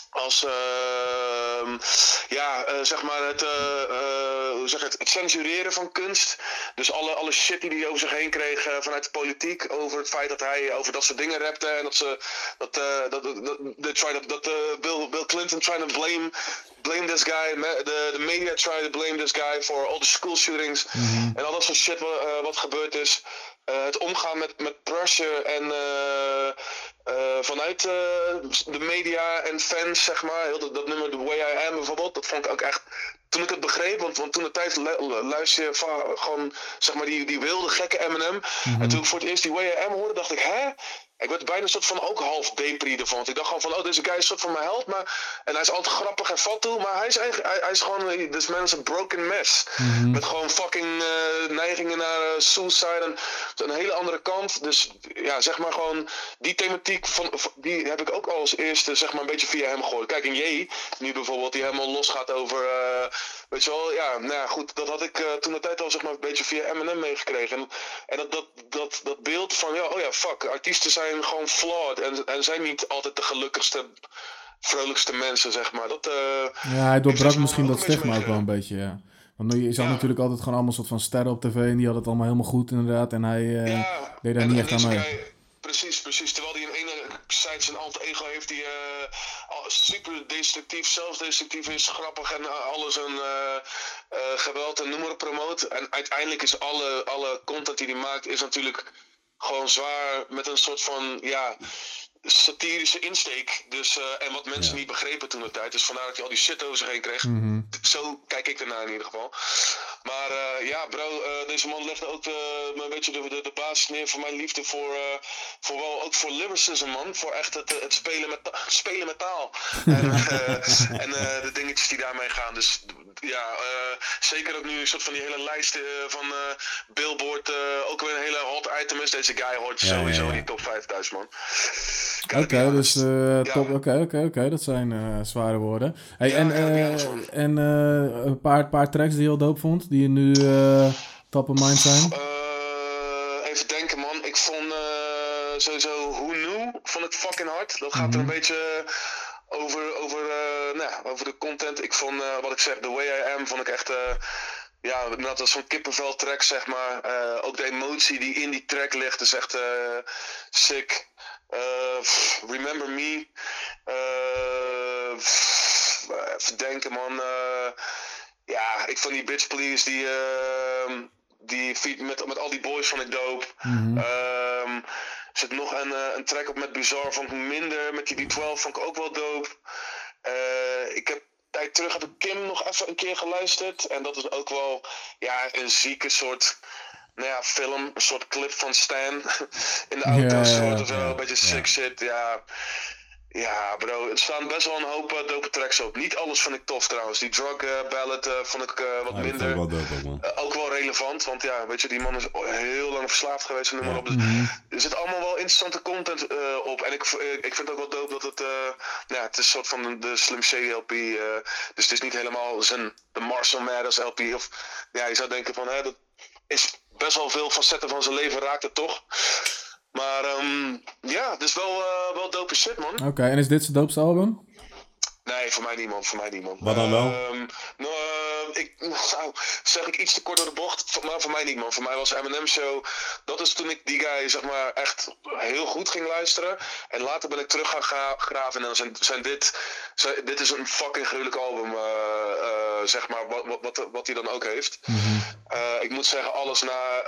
als ehm, ja, eh, zeg maar het, eh, eh, hoe zeg ik het, het censureren van kunst. Dus alle, alle shit die hij over zich heen kreeg eh, vanuit de politiek. Over het feit dat hij over dat soort dingen rapte. En dat ze dat, eh dat, dat, dat, they try to- dat eh, Bill, Bill Clinton trying to blame blame this guy. Me- De, de media trying to blame this guy for all the school shootings. En al dat soort shit wa- eh, wat gebeurd is. Eh, het omgaan met, met pressure en eh, eh, vanuit eh, de media en fans, zeg maar. Heel dat, dat nummer The Way I Am bijvoorbeeld, dat vond ik ook echt... Toen ik het begreep, want, want toen de tijd lu- lu- luister je va- gewoon zeg maar die, die wilde gekke Eminem. En toen ik voor het eerst die Way I Am hoorde, dacht ik, hè? Ik werd bijna een soort van ook half depri ervan. Want ik dacht gewoon van, oh, deze guy is een soort van mijn held. Maar, en hij is altijd grappig en fat toe. Maar hij is, eigenlijk, hij, hij is gewoon, eh, this man is een broken mess. Met gewoon fucking eh, neigingen naar eh, suicide en een hele andere kant. Dus ja, zeg maar gewoon, die thematiek van, van- die heb ik ook al als eerste zeg maar een beetje via hem gehoord. Kijk, en Jay, nu bijvoorbeeld, die helemaal los gaat over, eh, weet je wel, ja, nou ja, goed. Dat had ik eh, toen de tijd al zeg maar een beetje via Eminem meegekregen. En, en dat, dat, dat, dat beeld van, ja, oh ja, fuck, artiesten zijn gewoon flawed en, en zijn niet altijd de gelukkigste, vrolijkste mensen, zeg maar. Dat, eh, Ja, hij doorbrak Heeft misschien hij dat ook een beetje stigma ook wel een beetje, ja. Want nu, je zag Ja. natuurlijk altijd gewoon allemaal soort van sterren op tv en die hadden het allemaal helemaal goed inderdaad. En hij eh, deed daar en- niet en echt aan deze mee. guy- Precies, precies. Terwijl hij aan de ene zijde zijn alter ego heeft die eh, al- super destructief, zelfdestructief is, grappig en eh, alles en eh, eh, geweld en noem maar op promoot. En uiteindelijk is alle, alle content die hij maakt is natuurlijk gewoon zwaar met een soort van, ja, satirische insteek. Dus, eh, en wat mensen niet begrepen toen de tijd. Dus vandaar dat hij al die shit over zich heen kreeg. Mhm. Zo kijk ik ernaar in ieder geval. Maar eh, ja, bro, eh, deze man legde ook eh, een beetje de, de, de basis neer voor mijn liefde voor, eh, voor wel ook voor lyricism, man. Voor echt het, het spelen, met, ta- spelen met taal. en eh, en eh, de dingetjes die daarmee gaan. Dus ja, eh, zeker ook nu een soort van die hele lijst eh, van eh, Billboard. eh, ook weer een hele hot item is. Deze guy hoort ja, sowieso ja. in die top 5000, man. Oké, dus eh, top. Ja. Oké, oké, oké. Dat zijn eh, zware woorden. Hey, Ja, en ja, eh, ja, dat is waar. en eh, een paar, paar tracks die je heel dope vond, die je nu eh top of mind zijn. Eh, even denken, man. Ik vond eh, sowieso Who Knew vond ik fucking hard. Dat gaat er een beetje over, over, eh, nou, ja, over de content. Ik vond, eh, wat ik zeg, The Way I Am vond ik echt... eh, ja, dat was zo'n kippenvel track, zeg maar. Eh, ook de emotie die in die track ligt is echt eh, sick. Eh, pff, Remember Me. Eh, pff, even denken, man. Eh, ja, ik vond die Bitch Please, die, ehm, die feat met, met al die boys van ik dope. Mhm. Ehm, er zit nog een, eh, een track op met Bizarre, vond ik minder. Met die B12 vond ik ook wel dope. Eh, ik heb een tijd terug heb ik Kim nog even een keer geluisterd. En dat is ook wel ja, een zieke soort nou ja, film, een soort clip van Stan in de auto, Ja, soort of ja, zo, ja, een beetje sick shit, ja. Ja, bro, er staan best wel een hoop eh, dope tracks op. Niet alles vond ik tof trouwens. Die drug eh, ballad eh, vond ik eh, wat Ja, Nou, dat vond minder. ik wel dope ook, man. Eh, ook wel relevant, want ja, weet je, die man is o- heel lang verslaafd geweest en noem maar op. Dus er zit allemaal wel interessante content eh, op. En ik, v- eh, ik vind het ook wel dope dat het, eh, nou ja, het is een soort van de Slim Shady LP. eh, dus het is niet helemaal zijn de Marshall Mathers LP. Of, ja, je zou denken van, hè, dat is best wel veel facetten van zijn leven raakt het toch. Maar ehm, ja, het is wel, eh, wel dope shit, man. Oké, en is dit zijn doopste album? Nee, voor mij niet, man. Voor mij niet, man. Wat dan wel? Ehm, nou, ehm, ik, nou, zeg ik iets te kort door de bocht, voor- maar voor mij niet, man. Voor mij was Eminem Show, dat is toen ik die guy, zeg maar, echt heel goed ging luisteren. En later ben ik terug gaan gra- graven en dan zijn, zijn dit, zijn- dit is een fucking gruwelijk album, eh, eh, zeg maar, wat, wat, wat, wat hij dan ook heeft. Mhm. Eh, ik moet zeggen, alles na,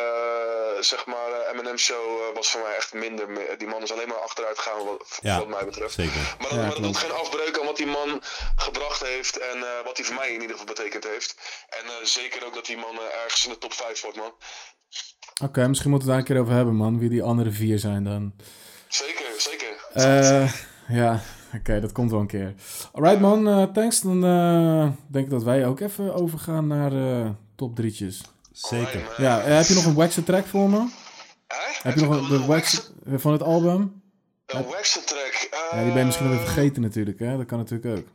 eh, zeg maar, eh, Eminem Show eh, was voor mij echt minder. me- Die man is alleen maar achteruit gegaan, wat, Ja, wat mij betreft. zeker. Maar dat, Ja, maar dat klopt. doet geen afbreuk aan wat die man gebracht heeft en eh, wat hij voor mij in ieder geval betekend heeft. En eh, zeker ook dat die man eh, ergens in de top 5 wordt, man. Oké, misschien moeten we het daar een keer over hebben, man. Wie die andere vier zijn dan. Zeker, zeker. Eh, ja, oké, dat komt wel een keer. Alright, man, eh, thanks. Dan eh, denk ik dat wij ook even overgaan naar eh top drietjes. Zeker. Alright, man. Ja, eh, heb je nog een waxen track voor me? Hè? Heb je nog een, de wax eh, van het album? Een Waxen track. Ja, die ben je misschien wel weer vergeten natuurlijk, hè? Dat kan natuurlijk ook.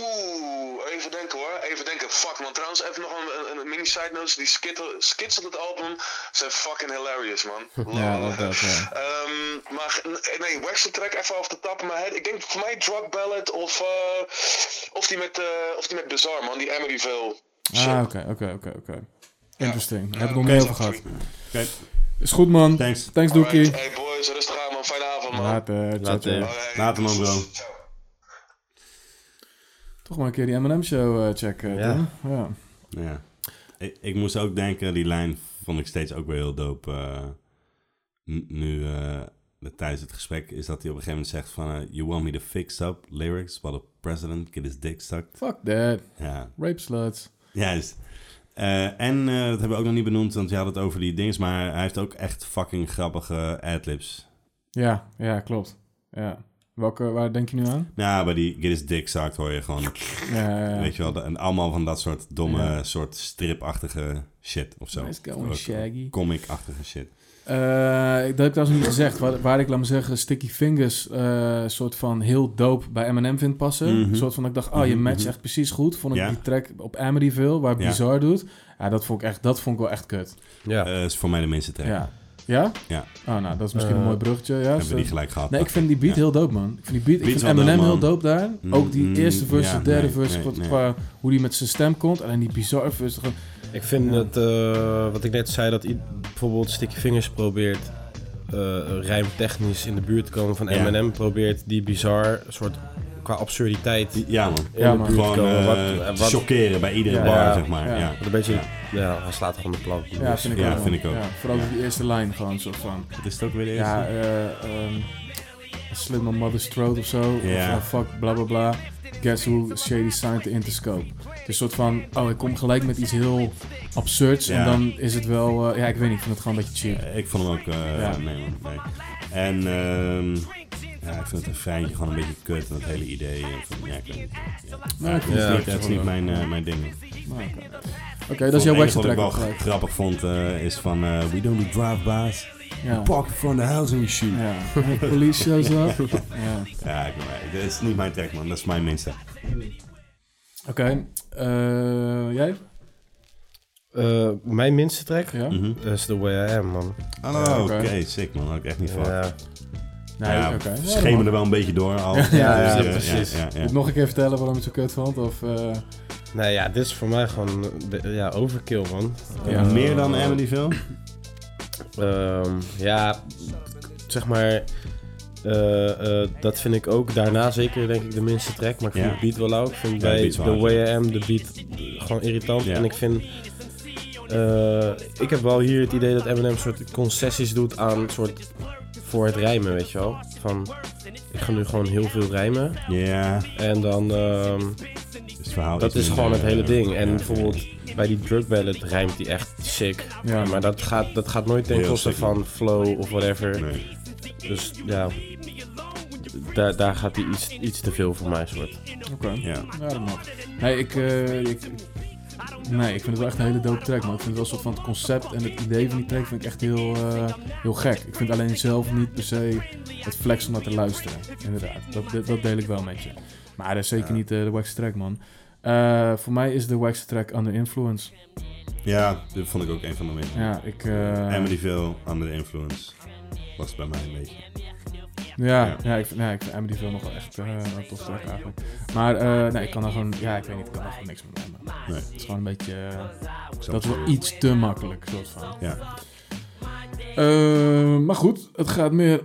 Oeh, even denken hoor. Even denken. Fuck man. Trouwens, even nog een, een, een mini side note. Die skit- skits op het album zijn fucking hilarious man. Ja, Lol. dat ook, ja. Ehm, maar ge- nee, Waxen track even off the top of my head. Ik denk voor mij Drug Ballad of, eh, of, die met, eh of die met Bizarre man. Die Emeryville. Ah, oké, oké, oké, oké. Interesting. Daar heb ik nog oké, niet over sorry. Oké, gehad. Is goed, man. Thanks. Thanks, Alright, Doekie. Hey boys, rustig aan man. Fijne avond man. Later. Ciao, Later. ciao. Alright. Later, man, bro. Ciao. Toch maar een keer die M&M-show eh, checken. Ja. Ja. ja. nou Ja. Ik, ik moest ook denken, die lijn vond ik steeds ook weer heel dope. eh, n- nu, eh, tijdens het gesprek, is dat hij op een gegeven moment zegt van... eh, you want me to fix up lyrics while the president get his dick sucked. Fuck that. Ja, Rape sluts. juist. Eh, en eh, dat hebben we ook nog niet benoemd, want je had het over die dings. Maar hij heeft ook echt fucking grappige adlibs. Ja, ja, klopt. Ja. Welke, waar denk je nu aan? Nou, bij die get his dick sucked hoor je gewoon... Ja, ja, ja. Weet je wel, de- en allemaal van dat soort domme, Ja. soort stripachtige shit of zo. Nice going, Shaggy. Comic-achtige shit. Eh, dat heb ik trouwens niet gezegd. Waar, waar ik, laat me zeggen, Sticky Fingers... eh soort van heel dope bij M&M vind passen. Mhm. Een soort van dat ik dacht... Oh, je Mhm, matcht mhm. echt precies goed. Vond ik Ja. die track op Amityville... waar Ja. Bizarre doet. Ja, dat vond ik, echt, dat vond ik wel echt kut. Ja. Eh, is voor mij de minste track. Ja. Ja? Ja. Oh, nou, dat is misschien een Eh, mooi bruggetje. Ja, Hebben we zo- die gelijk gehad. Nee, ik vind die beat heel dope, man. Ik vind, die beat, Beat ik is vind wel Eminem dope, man. heel dope daar. Mm, Ook die mm, eerste verse, ja, de derde nee, verse, nee, wat- nee. qua hoe die met zijn stem komt. Alleen die bizarre verse. gewoon- Ik vind dat, eh, wat ik net zei, dat i- bijvoorbeeld Sticky Fingers probeert eh rijmtechnisch in de buurt te komen van Ja. Eminem. Probeert die bizar soort qua absurditeit in Ja, man. Ja, de man. buurt Gewoon te komen. eh, wat, te wat, chockeren bij iedere Ja, bar, ja. zeg maar. Ja. Ja. wat een beetje, Ja. ja, hij slaat gewoon de plank. Ja, vind Dus ik, Ja, ook, man. vind ik ook. Ja, vooral Ja. die eerste lijn gewoon soort van. Wat is het ook weer de Ja, eerste? eh ehm, Slim on Mother's Throat of zo. Of, Ja. eh, fuck, bla bla bla. Guess who Shady signed the Interscope. Het is een soort van, oh, ik kom gelijk met iets heel absurds. Ja. En dan is het wel, eh, ja, ik weet niet, ik vind het gewoon een beetje cheap. Ik vond hem ook... eh, Ja. Nee, man. Nee. En ehm, ja, ik vind het refreintje gewoon een beetje kut. En dat hele idee. eh, Van, ja, ik weet niet. Ja. Maar ik vind Ja, het ik niet, dat is niet vond mijn, eh, mijn ding. Nou, Oké, Oké, dat is jouw Het enige waxen track. Wat ik wel gelijk. grappig vond eh, is van... eh, we don't do drive-bys. Ja. Park in front of the house and we shoot. Ja, Ja, police shows up. Ja. ik weet het. Dat is niet mijn track, man. Dat is mijn minste. Oké, eh, jij? Eh, mijn minste track Ja? Mhm. is The Way I Am, man. Oh, oké. oké. sick, man. Ook echt niet van. Ja. Nee, Ja, oké. we Ja, schemen man. er wel een beetje door al. Ja, ja, Dus, ja, eh, precies. ja, ja. Moet ik nog een keer vertellen waarom je het zo kut vond? Of, eh, Nou ja, dit is voor mij gewoon de- ja, overkill, man. Ja. Eh, Meer dan Amityville? Ehm, ja, zeg maar. eh, eh, dat vind ik ook daarna zeker, denk ik, de minste track. Maar ik vind Ja. de beat wel lauw. Ik vind Ja, de bij beat is wel The hard. Way I Am de beat gewoon irritant. Ja. En ik vind. eh, ik heb wel hier het idee dat Eminem soort concessies doet aan soort voor het rijmen, weet je wel. Van, ik ga nu gewoon heel veel rijmen. Ja, En dan ehm, dus het verhaal Dat iets is minder, gewoon het eh, hele ding. En ja. bijvoorbeeld bij die drug ballad rijmt die echt sick. Ja. Maar dat gaat, dat gaat nooit ten Heel koste sick. van flow of whatever. Nee. Dus ja, daar, daar gaat die iets, iets te veel voor mij soort. Oké. Ja. Ja, dat mag. Nee, ik, eh, ik... Nee, ik vind het wel echt een hele dope track, man. Ik vind het wel een soort van het concept en het idee van die track vind ik echt heel, eh, heel gek. Ik vind alleen zelf niet per se het flex om naar te luisteren. Inderdaad, dat, dat, dat deel ik wel met je. Maar dat is zeker niet eh, de wax track, man. Eh, voor mij is de wax track Under Influence. ja, dat vond ik ook een van de minst. Ja, ik... eh, Emily Veel, Under the Influence. Was bij mij een beetje. Ja, Ja. ja. ik, vind- ja, ik vind Amityville nog wel echt eh, een tof track eigenlijk. Maar eh, nee, ik kan er gewoon, ja, ik weet niet, ik kan er gewoon niks mee doen. Nee. Het is gewoon een beetje, eh, snap dat is het. wel iets te makkelijk, soort van. Ja. Eh, maar goed, het gaat meer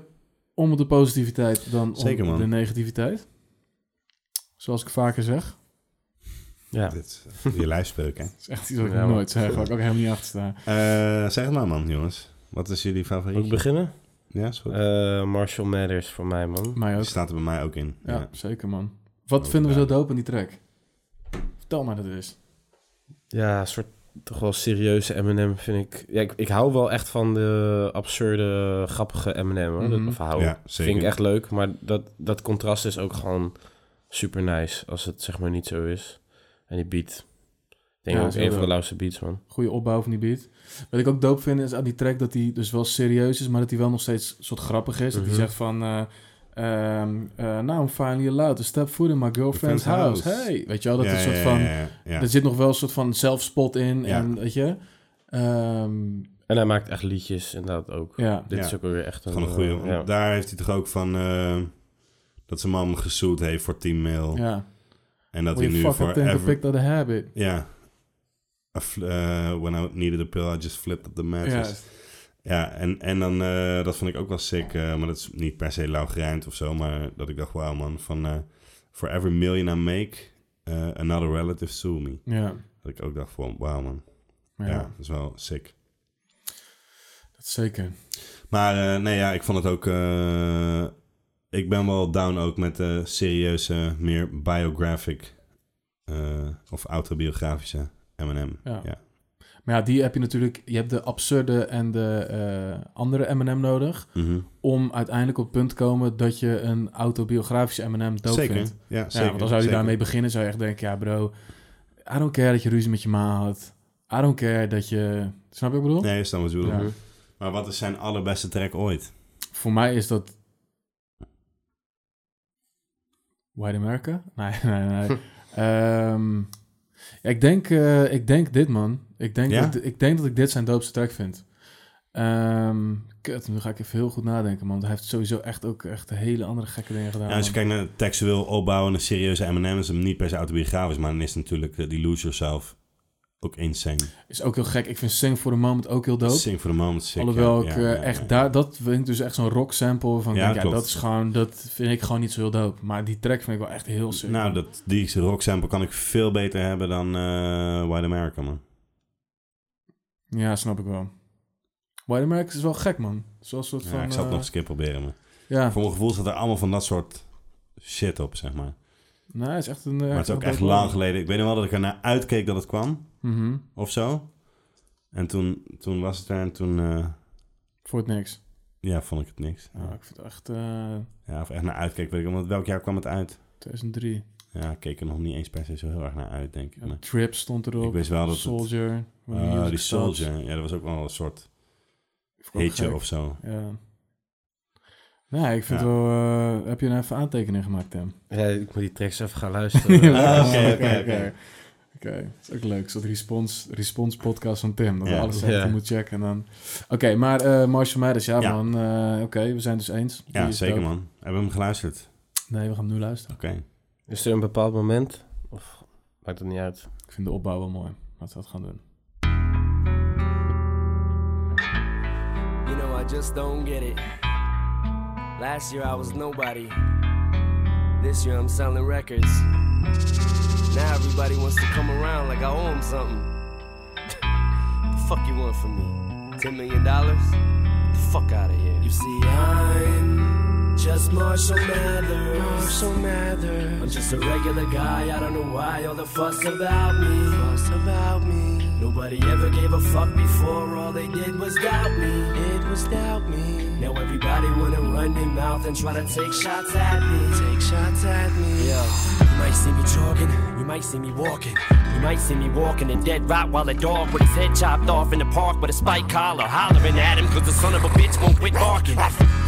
om de positiviteit dan om Zeker, man. de negativiteit. Zoals ik vaker zeg. Ja. Dit, eh, je lijfspreuk, hè? Dat is echt iets wat ik Ja, nog man. nooit zeg, waar ik ook helemaal niet achter sta. Eh, zeg het maar, man, jongens. Wat is jullie Moet ik favoriet? beginnen? Ja, is goed. Eh, Marshall Matters voor mij, man. Mij ook. Die staat er bij mij ook in. Ja, Ja. zeker man. Wat vinden we zo dope in die track? Vertel maar dat is. Ja, een soort toch wel serieuze M&M vind ik. Ja, ik, ik hou wel echt van de absurde, grappige M&M. Hoor. Mhm. Dat, of hou. Ja, zeker. Vind ik echt leuk, maar dat, dat contrast is ook gewoon super nice als het zeg maar niet zo is. En die beat. Ik denk Ja, ook is heel een van de dope. lauwste beats, man. goede opbouw van die beat. Wat ik ook dope vind is aan die track dat hij dus wel serieus is, maar dat hij wel nog steeds soort grappig is. Dat Mhm. hij zegt van, eh ehm eh, now I'm finally allowed to step foot in my girlfriend's Friend's house. house. Hey, weet je wel, dat Ja, is een ja, soort van, ja, ja, ja. er zit nog wel een soort van zelfspot in Ja. en weet je. Ehm, En hij maakt echt liedjes inderdaad ook. ja, Dit Ja. is ook weer echt een... Gewoon een goede. eh, ja. Daar heeft hij toch ook van eh, dat zijn man gezoet heeft voor Team Mail. ja. En dat hij Will nu you fucking voor think I ever. picked out a habit? Ja. I fl- eh, when I needed a pill, I just flipped up the mattress. Juist. Ja, en, en dan, eh, dat vond ik ook wel sick, eh, maar dat is niet per se lauw gerijmd of zo, maar dat ik dacht, wauw man, van eh, for every million I make, eh, another relative sue me. Ja. Dat ik ook dacht van, wauw man, Ja, ja. dat is wel sick. dat zeker. Maar eh, nee, ja, ik vond het ook, eh, ik ben wel down ook met de serieuze, meer biographic eh, of autobiografische M&M. Ja. Ja. Maar ja, die heb je natuurlijk, je hebt de absurde en de eh, andere M&M nodig. Mhm. om uiteindelijk op het punt te komen dat je een autobiografische M&M dood Zeker, vindt. ja, Ja, zeker. want dan zou je zeker. daarmee beginnen, zou je echt denken, ja bro, I don't care dat je ruzie met je ma had. I don't care dat je... Snap je wat ik bedoel? Nee, is dan wat je bedoelt. Ja. Maar wat is zijn allerbeste track ooit? Voor mij is dat... White America? Nee, nee, nee. Ehm, ja, ik, denk, eh, ik denk dit, man. Ik denk, Ja? dat, ik denk dat ik dit zijn doopste track vind. Ehm, kut, nu ga ik even heel goed nadenken, man. Want Hij heeft sowieso echt ook echt hele andere gekke dingen gedaan. Ja, Nou, als je man. kijkt naar het textueel opbouwen en een serieuze M&M is hem niet per se autobiografisch, maar dan is natuurlijk eh, die Lose Yourself ook insane. Is ook heel gek. Ik vind Sing for the Moment ook heel dope. Sing for the moment, sick. Alhoewel ja, ik ja, eh, ja, echt ja. daar, dat vind ik dus echt zo'n rock sample van. Ja, Ja, denk, ja, klopt. dat is gewoon, dat vind ik gewoon niet zo heel dope. Maar die track vind ik wel echt heel sick. Nou, dat, die rock sample kan ik veel beter hebben dan eh White America, man. Ja, snap ik wel. White America is wel gek, man. Zo'n soort Ja, van. ik zal het eh, nog eens een keer proberen, maar Ja, voor mijn gevoel staat er allemaal van dat soort shit op, zeg maar. nee, het Nou, is echt een. Maar het is ook echt lang geleden. Ik weet nog wel dat ik ernaar uitkeek dat het kwam, Mhm. of zo. En toen, toen was het er en toen, eh, Voor het niks. ja, vond ik het niks. Ja, ik vind het echt eh, Ja, of echt naar uitkeek, weet ik niet. Want welk jaar kwam het uit? 2003. Ja, ik keek er nog niet eens per se zo heel erg naar uit, denk ik. Ja, maar- Trip stond erop. Ik wist wel dat het... Soldier. When the Ah, Music die Stops. Soldier. Ja, dat was ook wel een soort Vond ik ook hitje gek. of zo. Ja. Nee, ik vind Ja. wel. eh, heb je nou even aantekeningen gemaakt, Tim? Ja, ik moet die tracks even gaan luisteren. Ah, oké, oké, oké. oké. Oké, dat is ook leuk. Zo'n response, response podcast van Tim. Dat we Ja. alles even Ja. moeten checken. en dan. Oké, maar eh Marshall Mathers, ja, Ja. man. eh, Oké, we zijn dus eens. Die Ja, is zeker dope. man. Hebben we hem geluisterd? Nee, we gaan hem nu luisteren. Oké. Is er een bepaald moment? Of maakt het niet uit? Ik vind de opbouw wel mooi. Laten we dat gaan doen. You know, I just don't get it. Last year I was nobody. This year I'm selling records. Now everybody wants to come around like I owe them something. the fuck you want from me? Ten million dollars? The fuck out of here. You see, I'm Just Marshall Mathers. Marshall Mathers. I'm just a regular guy. I don't know why all the fuss about me. Fuss about me. Nobody ever gave a fuck before. All they did was doubt me. It was doubt me. Now everybody wanna run their mouth and try to take shots at me. Take shots at me. Yo, you might see me jogging. You might see me walking. You might see me walking a dead rot while a dog with his head chopped off in the park with a spike collar hollering at him cause the son of a bitch won't quit barking.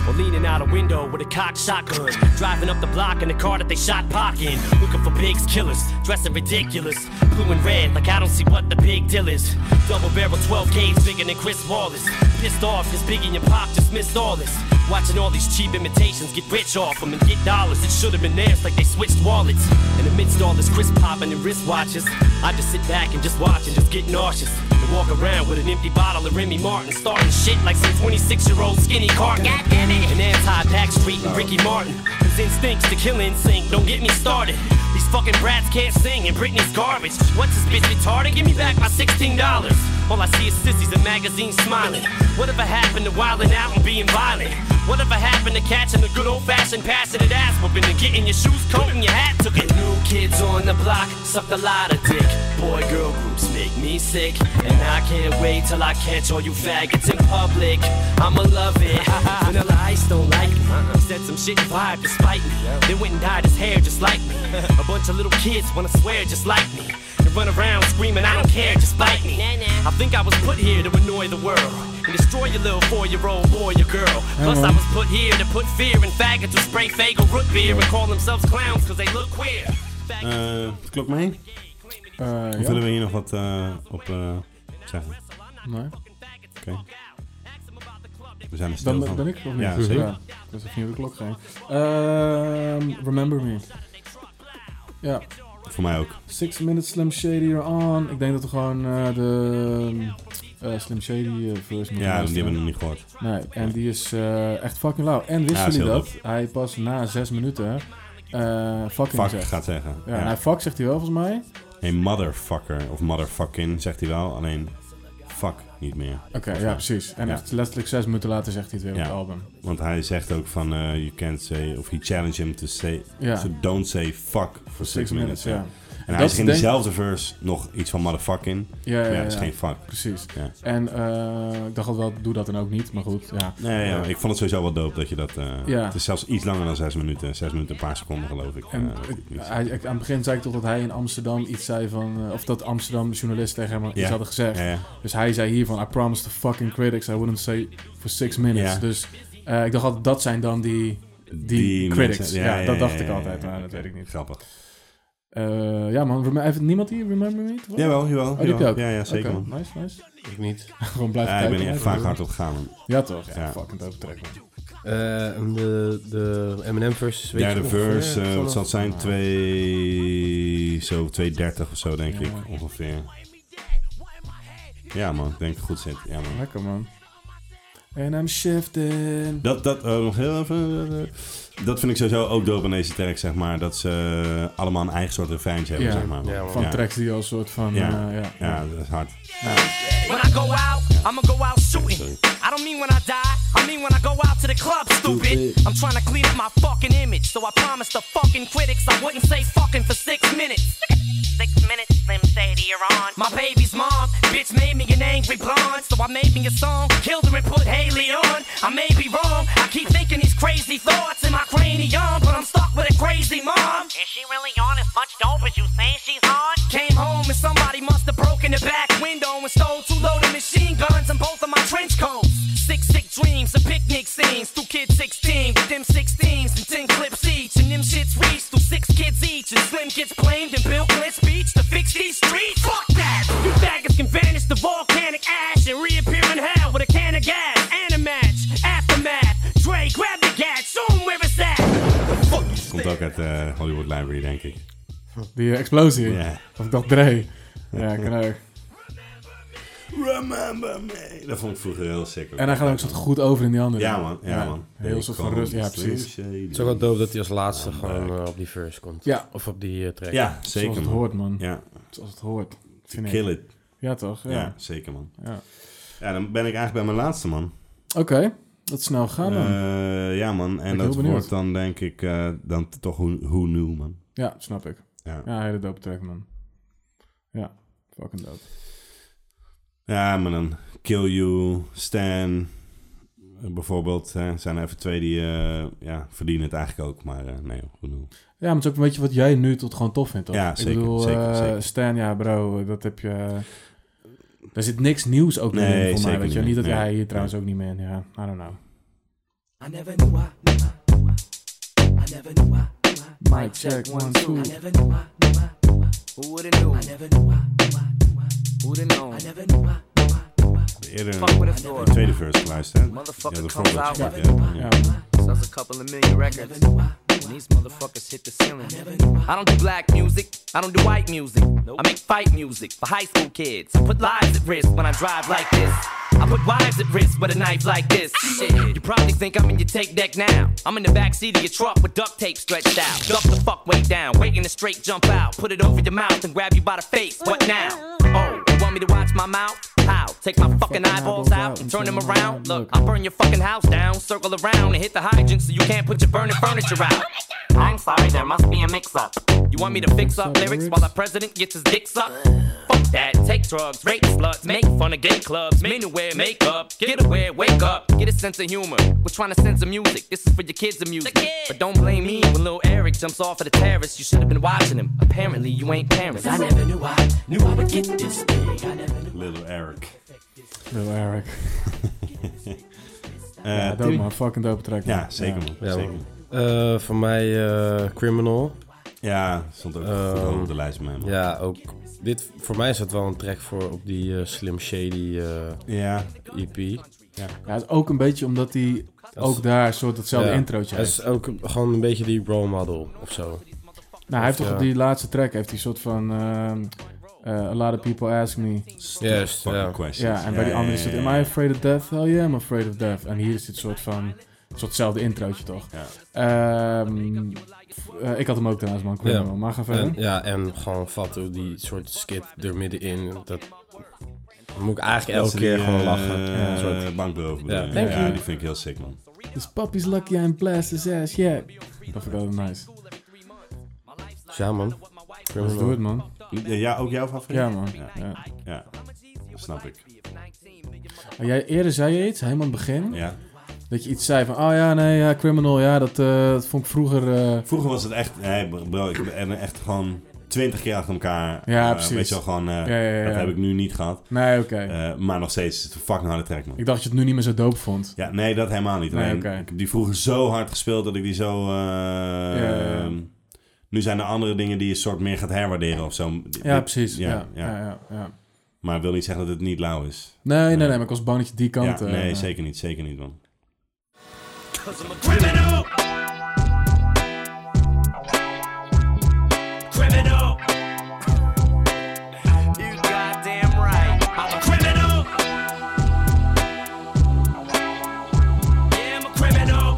Or leaning out a window with a cocked shotgun. Driving up the block in the car that they shot Pac in. Looking for bigs, killers, dressing ridiculous. Blue and red, like I don't see what the big deal is. Double barrel 12 gauge bigger than Chris Wallace. Pissed off cause Biggie and Pop dismissed all this. Watching all these cheap imitations get rich off them and get dollars. It should have been theirs like they switched wallets. And amidst all this crisp popping and wristwatches, I just sit back and just watch and just get nauseous. And walk around with an empty bottle of Remy Martin, starting shit like some 26 year old skinny carton. God damn it. An anti Backstreet and Ricky Martin. His instincts to kill instinct, don't get me started. These fucking brats can't sing and Britney's garbage. What's this bitch retarded? Give me back my $16. All I see is sissies and magazines smiling. Whatever happened to wilding out and being violent? Whatever happened to catching the good old fashioned passing it ass whooping and getting your shoes combed and your hat took it? New kids on the block suck a lot of dick. Boy girl groups make me sick. And I can't wait till I catch all you faggots in public. I'ma love it. Vanilla Ice don't like me. Said some shit and vibe despite me. They went and dyed his hair just like me. A bunch of little kids wanna swear just like me. And run around screaming, I don't care, just bite me. I think I was put here to annoy the world. And destroy your little four-year-old boy or girl. Plus I was put here to put fear in faggots who spray fago root beer and call themselves clowns cause they look queer. Eh, klok mee? Eh, Of ja. willen we hier nog wat eh, op eh, zeggen? Nee. Oké. We zijn er stil Dan van. ben ben ik of niet? Ja, zeker. Ik was even niet op de klok gaan. Ehm, remember me. Ja, Voor mij ook. Six Minutes Slim Shady are on. Ik denk dat we gewoon eh, de eh, Slim Shady eh, version moeten Ja, die luisteren. hebben we nog niet gehoord. Nee, en die is eh, echt fucking lauw. En Ja, wisten is jullie heel dat? Hij pas na zes minuten eh, fucking Fuck zegt. gaat zeggen. Ja, nou- En hij fuck zegt hij wel volgens mij. Hey, motherfucker of motherfucking zegt hij wel, alleen fuck niet meer. Oké, ja precies. En Ja. echt letterlijk zes minuten later zegt hij het weer op Ja. het album. Want hij zegt ook van, eh, you can't say, of he challenged him to say, Ja. to don't say fuck for six, Six minutes. minutes, ja. ja. En hij dat is in denk- dezelfde verse nog iets van motherfuck in. Ja, ja, Maar ja, dat is ja. geen fuck. Precies. Ja. En eh, ik dacht al wel, doe dat dan ook niet. Maar goed, ja. Nee, ja, ik vond het sowieso wel dope dat je dat... eh, Ja. Het is zelfs iets langer dan zes minuten. Zes minuten, een paar seconden geloof ik. En eh, ik- iets. hij, ik- aan het begin zei ik toch dat hij in Amsterdam iets zei van... eh, of dat Amsterdam journalisten tegen hem Ja. iets hadden gezegd. Ja, ja. Dus hij zei hiervan... I promised the fucking critics I wouldn't say for six minutes. Ja. Dus eh, ik dacht altijd, dat zijn dan die, die, Die critics. mensen- ja, ja, dat ja, dacht ja, ik ja, altijd, ja. maar dat weet ik niet. Grappig. Eh, ja man, rem- heeft niemand hier Remember Me? toevallig? Jawel, jawel. Oh, die heb je jawel. ook? Ja, ja, zeker Oké, man. nice, nice. Ik niet. Gewoon blijven Ja, ik ben kijken. hier echt blijven vaak hard doen. op gegaan. man. Ja toch? Ja, Ja. fucking dope track, man. Eh, en de, de M&M versus, weet Ja, je de ongeveer? verse, eh, wat zal het zijn? Ah. 2... Zo, 2.30 of zo, denk ik, ongeveer. Ja, man, ik denk dat het goed zit. Ja, man. Lekker man. And I'm shifting. Dat, dat, eh, nog heel even... eh, eh, dat vind ik sowieso ook dope in deze track, zeg maar. Dat ze eh, allemaal een eigen soort refreintje hebben, Ja. zeg maar. Ja, man. Van tracks die al soort van... Ja. eh, ja. Ja, dat is hard. When I go out, I'ma go out shooting. I don't mean when I die, I mean when I go out to the club, stupid. I'm trying to clean up my fucking image, so I promised the fucking critics I wouldn't say fucking for six minutes. Six minutes, Slim Shady, you're on. My baby's mom, bitch, made me an angry blonde. So I made me a song, killed her and put Haley on. I may be wrong, I keep thinking these crazy thoughts in my cranium, but I'm stuck with a crazy mom. Is she really on as much dope as you say she's on? Came home and somebody must have broken the back window and stole two loaded machine guns and both of my trench coats. Six sick dreams of picnic scenes through kids 16 with them 16s and 10 clips each. And them shits reach through six kids each. And Slim gets blamed and Bill Clinton speech to fix these streets. Fuck that! You faggots can vanish the volcanic ash and reappear in hell with a can of gas and a match. Aftermath, Dre, grab the gat, show 'em where it's at. Fuck you, Komt ook uit de Hollywood Library, denk ik. Die eh, explosie. Ja. Of dat Dre. Ja, ik kan ook. Remember me. Dat vond ik vroeger heel sick. ook. En hij gaat ook zo goed over in die andere. Ja, man. Ja, man. Heel soort van rust. Ja, precies. Het is ook wel dope dat hij als laatste gewoon eh, op die verse komt. Ja. Of op die eh, track. Ja, Zoals zeker, het man. hoort, man. Ja, Zoals het hoort. Vind ik. kill it. Ja, toch? Ja. Ja, zeker man. Ja. Ja, dan ben ik eigenlijk bij mijn laatste man. Oké. Dat is snel gaan Ah, dan. Eh, ja, man. En heel dat benieuwd. wordt dan denk ik eh, dan t- toch hoe hoe nieuw, man. ja, snap ik. Ja. Ja, hele dope track, man. Ja, fucking dope. ja, maar dan Kill You, Stan eh, bijvoorbeeld. Hè, zijn er even twee die eh, ja, verdienen het eigenlijk ook. Maar eh, nee, hoe nieuw. Ja, maar het is ook een beetje wat jij nu tot gewoon tof vindt, toch? Ja, zeker, Ik bedoel, zeker, eh, zeker. Stan, ja bro, dat heb je... eh, Daar zit niks nieuws ook meer Nee, in voor mij, zeker weet je. niet. Niet dat Nee. jij hier trouwens ook niet meer in, ja. I don't know. I never knew I, knew I, knew I, I never knew I, knew I. Mic check, one, two. I never knew I, knew I, knew I. Who would've knew? I never knew I, knew I, knew I. Who'd've known? I never knew I, knew I, knew I. Eerder Fuck with een a door. tweede verse geluisterd. Ja, Motherfucker de comes voorbeeld. out. Ja, Ja, ja. man. Sells a couple of million records. And these motherfuckers hit the ceiling. I don't do black music. I don't do white music. I make fight music for high school kids. I put lives at risk when I drive like this. I put wives at risk with a knife like this. Shit, you probably think I'm in your tape deck now. I'm in the backseat of your truck with duct tape stretched out. Duck the fuck way down, waiting to straight jump out. Put it over your mouth and grab you by the face. What now? Oh, you want me to watch my mouth? How? Take my fucking eyeballs out and turn them around? Look, I'll burn your fucking house down, circle around, and hit the hydrant so you can't put your burning furniture out. I'm sorry, there must be a mix up. You want me to fix up lyrics while the president gets his dick sucked? Fuck that, take drugs, rape sluts, make fun of gay clubs, men who wear makeup, get away, wake up, get a sense of humor. We're trying to sense of music, this is for your kids' music. But don't blame me when little Eric jumps off of the terrace, you should have been watching him. Apparently, you ain't parents. I never knew I, knew I would get this big. I never knew Little Eric. Lil Eric. Eh, Ja, dope, man. Fucking dope track, man. ja, zeker man. Ja, zeker. man. Eh, voor mij eh, Criminal. Ja, stond ook Ehm, goed op de lijst bij mij man. Ja, ook. Dit, voor mij is dat wel een track voor op die eh, Slim Shady eh, Ja, EP. Ja, het is ook een beetje omdat hij ook daar een soort hetzelfde Ja. introotje Het heeft. is ook gewoon een beetje die role model of zo. Nou, hij heeft toch ja. op die laatste track heeft hij een soort van... ehm, eh, a lot of people ask me. Juist, fucking ja. questions. Ja, en bij die andere is het... Am I afraid of death? Hell yeah, I'm afraid of death. En hier is dit soort van... Een soortzelfde introotje, toch? Ja. Ehm, f- eh, ik had hem ook trouwens, man. Criminal. Ja. Maar ga verder. En, ja, en gewoon Fatu, die soort skit er middenin. Dat moet ik eigenlijk elke keer eh, gewoon lachen. Ja, Een soort- bankberoven bedoel Ja. je? Thank ja, you. die vind ik heel sick, man. This puppy's lucky I'm blast his ass, yeah. Dat vind ik wel nice. Dus ja, man. Dus doe het, man. Ja, ook jouw favoriet? Ja, man. Ja, Ja. ja. snap ik. Maar Jij, eerder zei je iets, helemaal aan het begin. Ja. Dat je iets zei van, oh ja, nee, ja, criminal, ja, dat, eh, dat vond ik vroeger... eh, Vroeger was het echt, nee, bro, ik ben echt gewoon twintig keer achter elkaar. Ja, eh, precies. Weet je wel, gewoon, eh, Ja, ja, ja, dat ja. heb ik nu niet gehad. Nee, oké. Eh, maar nog steeds, het is een fucking harde track, man. ik dacht dat je het nu niet meer zo dope vond. Ja, nee, dat helemaal niet. Nee, Alleen, oké. Ik heb die vroeger zo hard gespeeld dat ik die zo... eh, ja, ja. Nu zijn er andere dingen die je soort meer gaat herwaarderen of zo. Dit- Ja, dit- precies. Ja, ja, ja. ja. ja, Maar dat wil niet zeggen dat het niet lauw is. Nee, nee, Nee. nee, maar ik was bang dat je die kant... ja, eh, nee, eh, zeker niet. Zeker niet, man. Cause I'm a criminal. Criminal. You goddamn right. I'm a criminal. Yeah, I'm a criminal.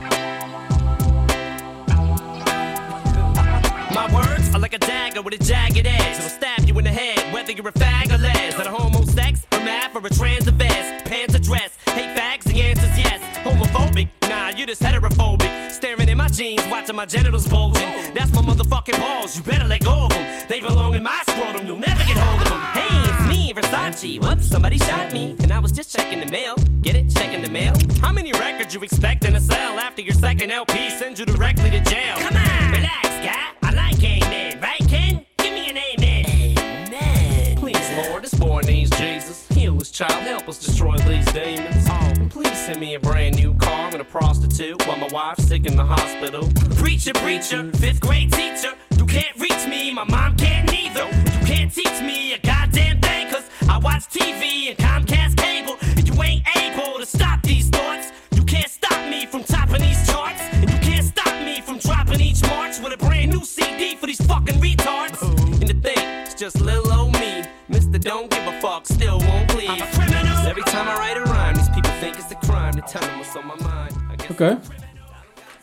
My words are like a dagger with a jagged edge. It'll stab you in the head, whether you're a fag or les. Not a homosex, a math, or a trans event. Pants or dress, hate fags, the answer's yes. Homophobic, nah, you just heterophobic. Staring in my jeans, watching my genitals bulging. That's my motherfucking balls, you better let go of them. They belong in my scrotum, you'll never get hold of them. Hey, it's me, Versace. Whoops, somebody shot me. And I was just checking the mail. Get it? Checking the mail. How many records you expecting to sell after your second LP sends you directly to jail? Come on, relax, guy. I like amen, right, Ken? Give me an amen. Amen. Please, Lord, this boy needs Jesus. Heal his child, help us destroy these demons. Oh, and please send me a brand new car and a prostitute while my wife's sick in the hospital. Preacher, preacher, fifth grade teacher. You can't reach me, my mom can't neither. You can't teach me a goddamn thing, cause I watch TV and Comcast cable. And you ain't able to stop these thoughts. You can't stop me from topping these charts. And you can't stop me from dropping each March with a brand new CD for these fucking retards. And the thing, it's just little old me. Mr. Don't Give a Fuck still won't please. Cause every time I write a rhyme, these people think it's a crime to tell them what's on my mind. I guess Oké.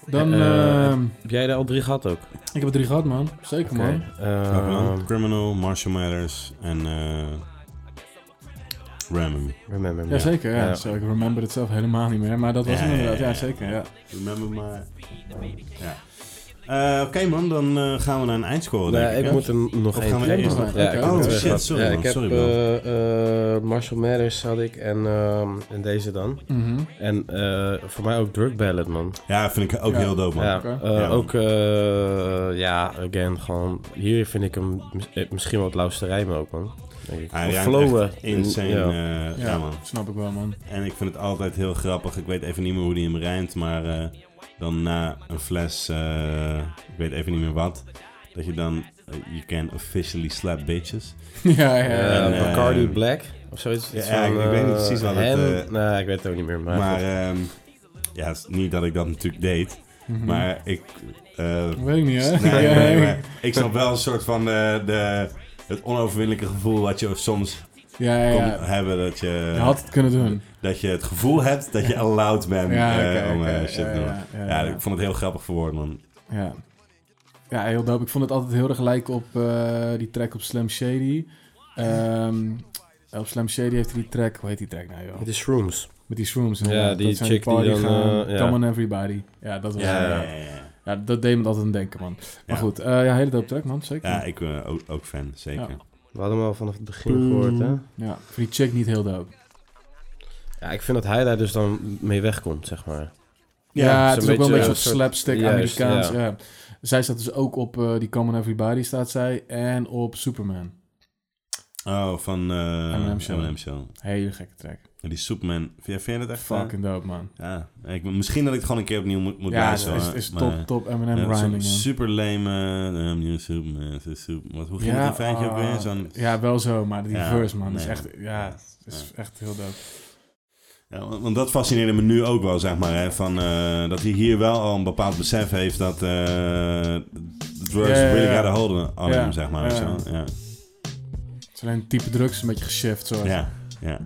Dan, Eh, ehm, Heb jij er al drie gehad ook? ik heb er drie gehad, man. Zeker, man. Oké. Eh, Criminal, Martial Matters en eh, Remember me. Remember me. Jazeker, ja. Ja. Zo, ik remember het zelf helemaal niet meer. Maar dat was Ja, hem inderdaad, ja, ja, ja, ja. zeker. Ja. Remember my... Ja. Eh, Oké man, dan eh, gaan we naar een eindscore Nee, denk ik. eh, ik hè? moet hem nog Of één gaan we terug- eerst nog- Ja, oké. ik Oh, heb hem terug shit, gehad. sorry, ja, man. ik heb Sorry, eh, eh, Marshall Mathers had ik en, ehm, en deze dan. Mhm. En eh, voor mij ook Drug Ballad, man. Ja, vind ik ook Ja. heel dope man. Ja, Oké. eh, Ja, man. ook, eh, ja, again, gewoon... Hier vind ik hem mis- eh, misschien wel het lauwste rijmen ook, man. Denk ik. Hij Of rijmt flowen. echt insane. Ja. eh, ja. Ja, man. snap ik wel, man. En ik vind het altijd heel grappig. Ik weet even niet meer hoe die hem rijmt, maar eh, dan na een fles, eh, ik weet even niet meer wat, dat je dan, eh, you can officially slap bitches. ja, ja, Eh, ja. En, eh, Bacardi Black of zoiets. Ja, Iets ja, ik- ik weet niet eh, precies wat het, hem. eh, Nee, ik weet het ook niet meer. Maar, Maar ehm, ja, het is niet dat ik dat natuurlijk deed, Mhm. maar ik... eh, Weet ik niet, hè? nee, Ja, nee, ja. maar ik snap wel een soort van eh, de, het onoverwinnelijke gevoel wat je soms Ja, ja, kon ja. hebben. Dat je, Je had het kunnen doen. dat je het gevoel hebt dat je allowed bent Ja, eh, oké, om eh, oké, shit te ja, doen. Ja, ja, ja, ja. ik vond het heel grappig verwoord, man. Ja. Ja, heel dope. Ik vond het altijd heel erg lijken op eh, die track op Slim Shady. Ehm, op Slim Shady heeft hij die track... Hoe heet die track nou, joh? Het is Shrooms. Met die shrooms. Ja, inderdaad. die Dat zijn chick die party dan, gaan. eh, ja. Come on everybody. Ja, dat was... Ja, Ja, ja. ja. dat deed me altijd aan denken, man. Ja. Maar goed, eh, ja, hele dope track, man. Zeker. Ja, ik ben ook, ook fan, zeker. Ja. We hadden hem al vanaf het begin gehoord, hè? Ja, voor die chick niet heel dope. Ja, ik vind dat hij daar dus dan mee wegkomt, zeg maar. Ja, Ja, het is zo'n ook wel een beetje beetje een op soort- slapstick juist, Amerikaans. ja. Ja. Zij staat dus ook op eh, die Come on Everybody, staat zij. En op Superman. Oh, van eh M&M M&M Show. Show. Hele gekke track. En Die Superman. Vind, vind je dat echt? Fucking dope, man. eh, Ja. Ik, misschien dat ik het gewoon een keer opnieuw moet, moet Ja, is, luisteren. is, maar- is maar- top, M&M top Ja, Eminem dat is zo'n rhyming, man. super lame. eh, I'm your Superman. is a super- wat, hoe ging het in feitje ook ah, weer? Zo'n, Ja, wel zo, maar die Ja, verse, man, is nee. echt... Ja, het is echt heel dope. ja, want want dat fascineerde me nu ook wel, zeg maar. Hè, van, eh, dat hij hier wel al een bepaald besef heeft dat eh drugs Ja, ja, really ja. got a hold on on Ja, him, zeg maar. weet ja. je wel. Ja. Het is alleen het type drugs een beetje geshift, zo. Ja. ja.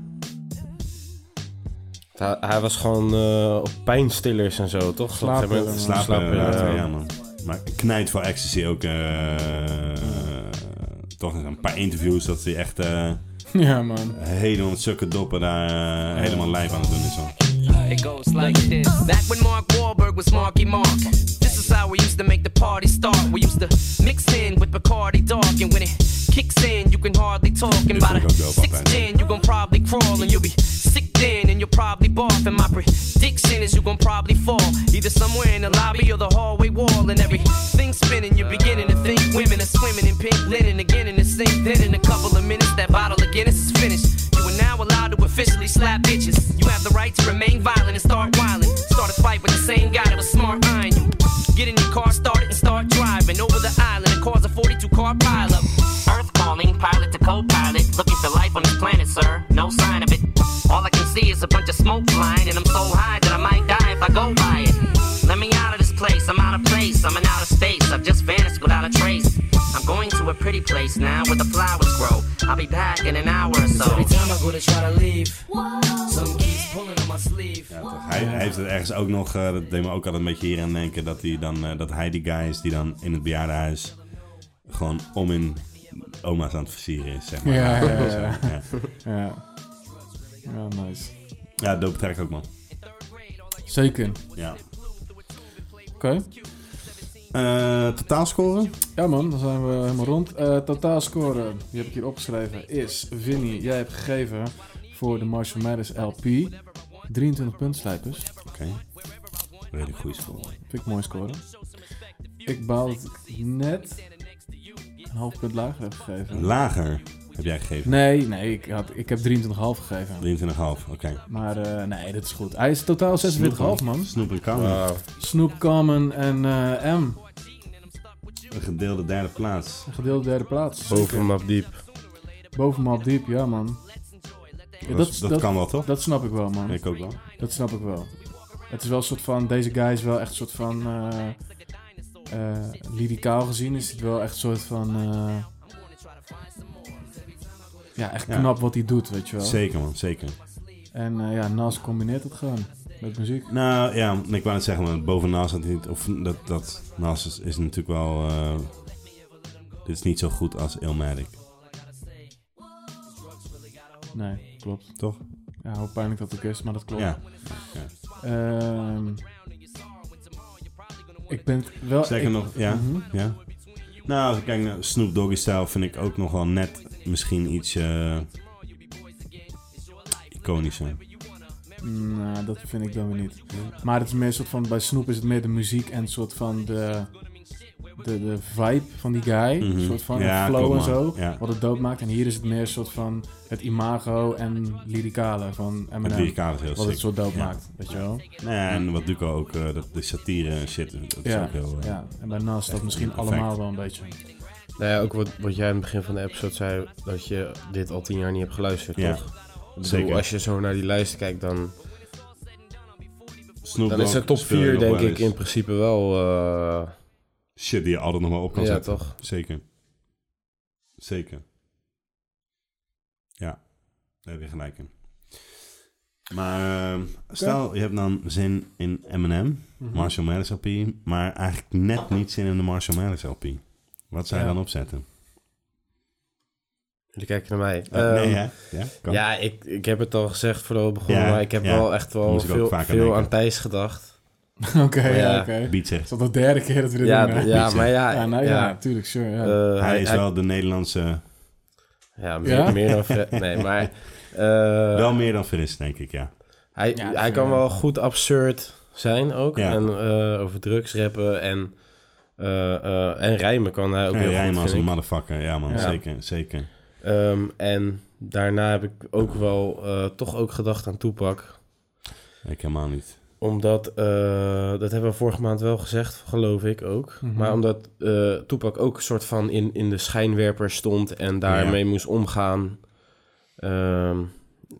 Hij, hij was gewoon eh, op pijnstillers en zo, toch? Slapen, Op een gegeven Slapen, moment- slapen, later, ja. ja. man. Maar knijt voor ecstasy ook. eh, toch een paar interviews dat hij echt eh Ja, man. helemaal met zulke doppen daar eh, helemaal lijf aan het doen is. Man. It goes like this. Back when Mark Wahlberg was Marky Mark, this is how we used to make the party start. We used to mix in with Bacardi Dark, and when it kicks in, you can hardly talk. And by the Dit vind ik ook wel sixth fijn. gin, you gon' probably crawl, and you'll be sick then, and you'll probably barf. And my prediction is you gon' probably fall, either somewhere in the lobby or the hallway wall, and everything's spinning. You're beginning to think women are swimming in pink linen again in the sink. Then in a couple of minutes, that bottle of Guinness is finished. You are now allowed to officially slap bitches. You have the right to remain violent and start whiling. Start a fight with the same guy that was smart eyeing you. Get in your car, start it, and start driving over the island and cause a 42 car pileup. Earth calling, pilot to co pilot. Looking for life on this planet, sir. No sign of it. All I can see is a bunch of smoke flying, and I'm so high that I might die if I go by it. Let me out of this place, I'm out of place, I'm in outer space. I've just vanished without a trace. I'm going to a pretty place now where the flowers grow. I'll be back in an hour or so. Every time I go to try to leave, some keeps pulling on my sleeve. Hij, hij heeft het ergens ook nog, eh, dat deed me ook altijd een beetje hier aan denken, dat hij, dan, eh, dat hij die guy is die dan in het bejaardenhuis gewoon om in oma's aan het versieren is, zeg maar. Ja, ja, ja, ja. ja. ja. Ja. Ja, nice. Ja, dope track ook, man. Zeker. Ja. Oké. Eh totaalscore? Ja man, dan zijn we helemaal rond. Eh totaalscore, die heb ik hier opgeschreven, is Vinny, jij hebt gegeven voor de Marshall Mathers LP 23 puntslijpers. Oké. Redelijk goede score. Vind ik mooi scoren. Ik baal dat ik net een half punt lager heb gegeven. Lager heb jij gegeven. Nee, nee, ik, had, ik heb 23,5 gegeven. 23,5, oké. Maar eh, nee, dat is goed. Hij is totaal 46,5 man. Snoep en kan. Wauw. Snoop, Common en eh, M. Een gedeelde derde plaats. Een gedeelde derde plaats. Boven Map Diep. Boven me op diep, ja man. Ja, dat, dat, dat, kan wel, toch? dat snap ik wel man. Ik ook wel. Dat snap ik wel. Het is wel een soort van, deze guy is wel echt een soort van, eh eh, lyricaal gezien is het wel echt een soort van, eh, ja, echt Ja. knap wat hij doet, weet je wel. Zeker, man. Zeker. En eh, ja, Nas combineert het gewoon met muziek. Nou, ja, ik wou net zeggen, maar bovennaast dat niet... Of dat, dat naast is, is natuurlijk wel... eh, dit is niet zo goed als Illmatic. Nee, klopt. toch? Ja, hoe pijnlijk dat ook is, maar dat klopt. Ja. Ehm, ik ben het wel... Zeker ik- nog, ja. Mhm. ja. Nou, als ik kijk naar Snoop Doggy Style, vind ik ook nog wel net misschien iets eh iconischer. Nou, dat vind ik dan weer niet. Maar het is meer een soort van, bij Snoep is het meer de muziek en een soort van de, de, de vibe van die guy. Mhm. Een soort van Ja, het flow en klopt, man. zo, Ja. wat het dood maakt. En hier is het meer een soort van het imago en lyricale van Het Eminem. lyricaal is heel Wat het sick. zo dood Ja. maakt, weet je wel? Nee, en wat Duco ook, eh, dat, de satire en shit, dat is Ja, ook heel... eh, ja, en daarnaast dat echt misschien perfect. allemaal wel een beetje. Nou ja, ook wat, wat jij aan het begin van de episode zei, dat je dit al tien jaar niet hebt geluisterd, Ja, toch? Ik bedoel, zeker. Als je zo naar die lijst kijkt, dan, Snoop dan is Dogg de top speelde 4 nog denk wel ik eens. in principe wel... eh, Shit die je altijd nog maar op kan ja, zetten. toch? Zeker. Zeker. Ja, daar heb je gelijk in. Maar ehm, stel, je hebt dan zin in Eminem, Mhm. Marshall Mathers LP, maar eigenlijk net niet zin in de Marshall Mathers LP. Wat zou je Ja. dan opzetten? Jullie kijken naar mij. Eh, nee, Ehm, hè? Ja, kan. Ja, ik, ik heb het al gezegd voordat we begonnen, Ja, maar ik heb ja. wel echt wel Moest ik ook veel, vaak aan veel denken. aan Thijs gedacht. Oké, ja, Ja. oké. Beat zegt, Het is al de derde keer dat we dit Ja, doen. hè? ja, Niet maar ja... ja, nou, ja, natuurlijk, sure. Ja. eh, hij is wel de Nederlandse, Ja, meer, Ja? meer dan Fred. Nee, maar... eh, wel meer dan fris, denk ik, ja. hij, Ja, hij ik kan vind- wel goed absurd zijn ook. Ja. En eh, over drugs rappen en, eh, eh, en rijmen kan hij ook Hij heel rijmt goed, als een vind ik. motherfucker, ja man, Ja. zeker, zeker. Ehm, en daarna heb ik ook wel eh, toch ook gedacht aan Toepak. Ik helemaal niet. Omdat, eh, dat hebben we vorige maand wel gezegd, geloof ik ook. Mhm. Maar omdat eh Toepak ook een soort van in, in de schijnwerper stond en daarmee moest omgaan. Ehm,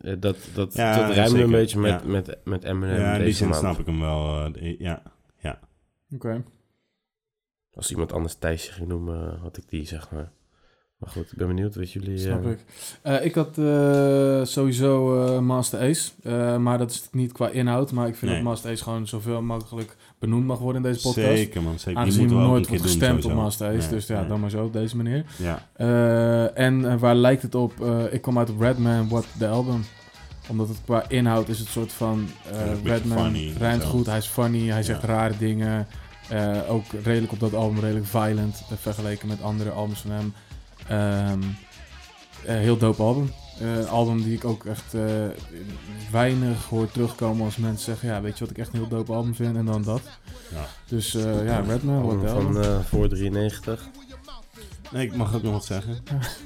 eh, dat dat, Ja, dat ruimde zeker. een beetje met, Ja. met, met Eminem Ja, in die deze zin maand. snap ik hem wel. eh, de- ja, Eh. Oké. Als iemand anders Thijsje ging noemen, eh, had ik die, zeg maar. Maar goed, ik ben benieuwd wat jullie... Snap eh, ik. Eh, ik had eh, sowieso eh, Master Ace. Eh, maar dat is niet qua inhoud. Maar ik vind Nee. dat Master Ace gewoon zoveel mogelijk benoemd mag worden in deze podcast. Zeker man, zeker. Die Aangezien moeten we we ook een nooit keer wordt doen gestemd op sowieso. Master Ace. Nee, dus ja, nee. dan maar zo op deze manier. Ja, Eh, en eh, waar lijkt het op? Eh, ik kom uit op Redman, What the Album. Omdat het qua inhoud is het soort van... eh, Een beetje Redman funny en rijmt zo. goed, hij is funny, hij zegt Ja. rare dingen. Eh, ook redelijk op dat album, redelijk violent eh, vergeleken met andere albums van hem. Ehm, eh, heel dope album. Eh, Een album die ik ook echt eh, weinig hoor terugkomen als mensen zeggen... Ja, weet je wat ik echt een heel dope album vind? En dan dat. Ja. Dus eh, ja, Redman, What the album Album. van eh, voor 93. Nee, ik mag ook nog wat zeggen.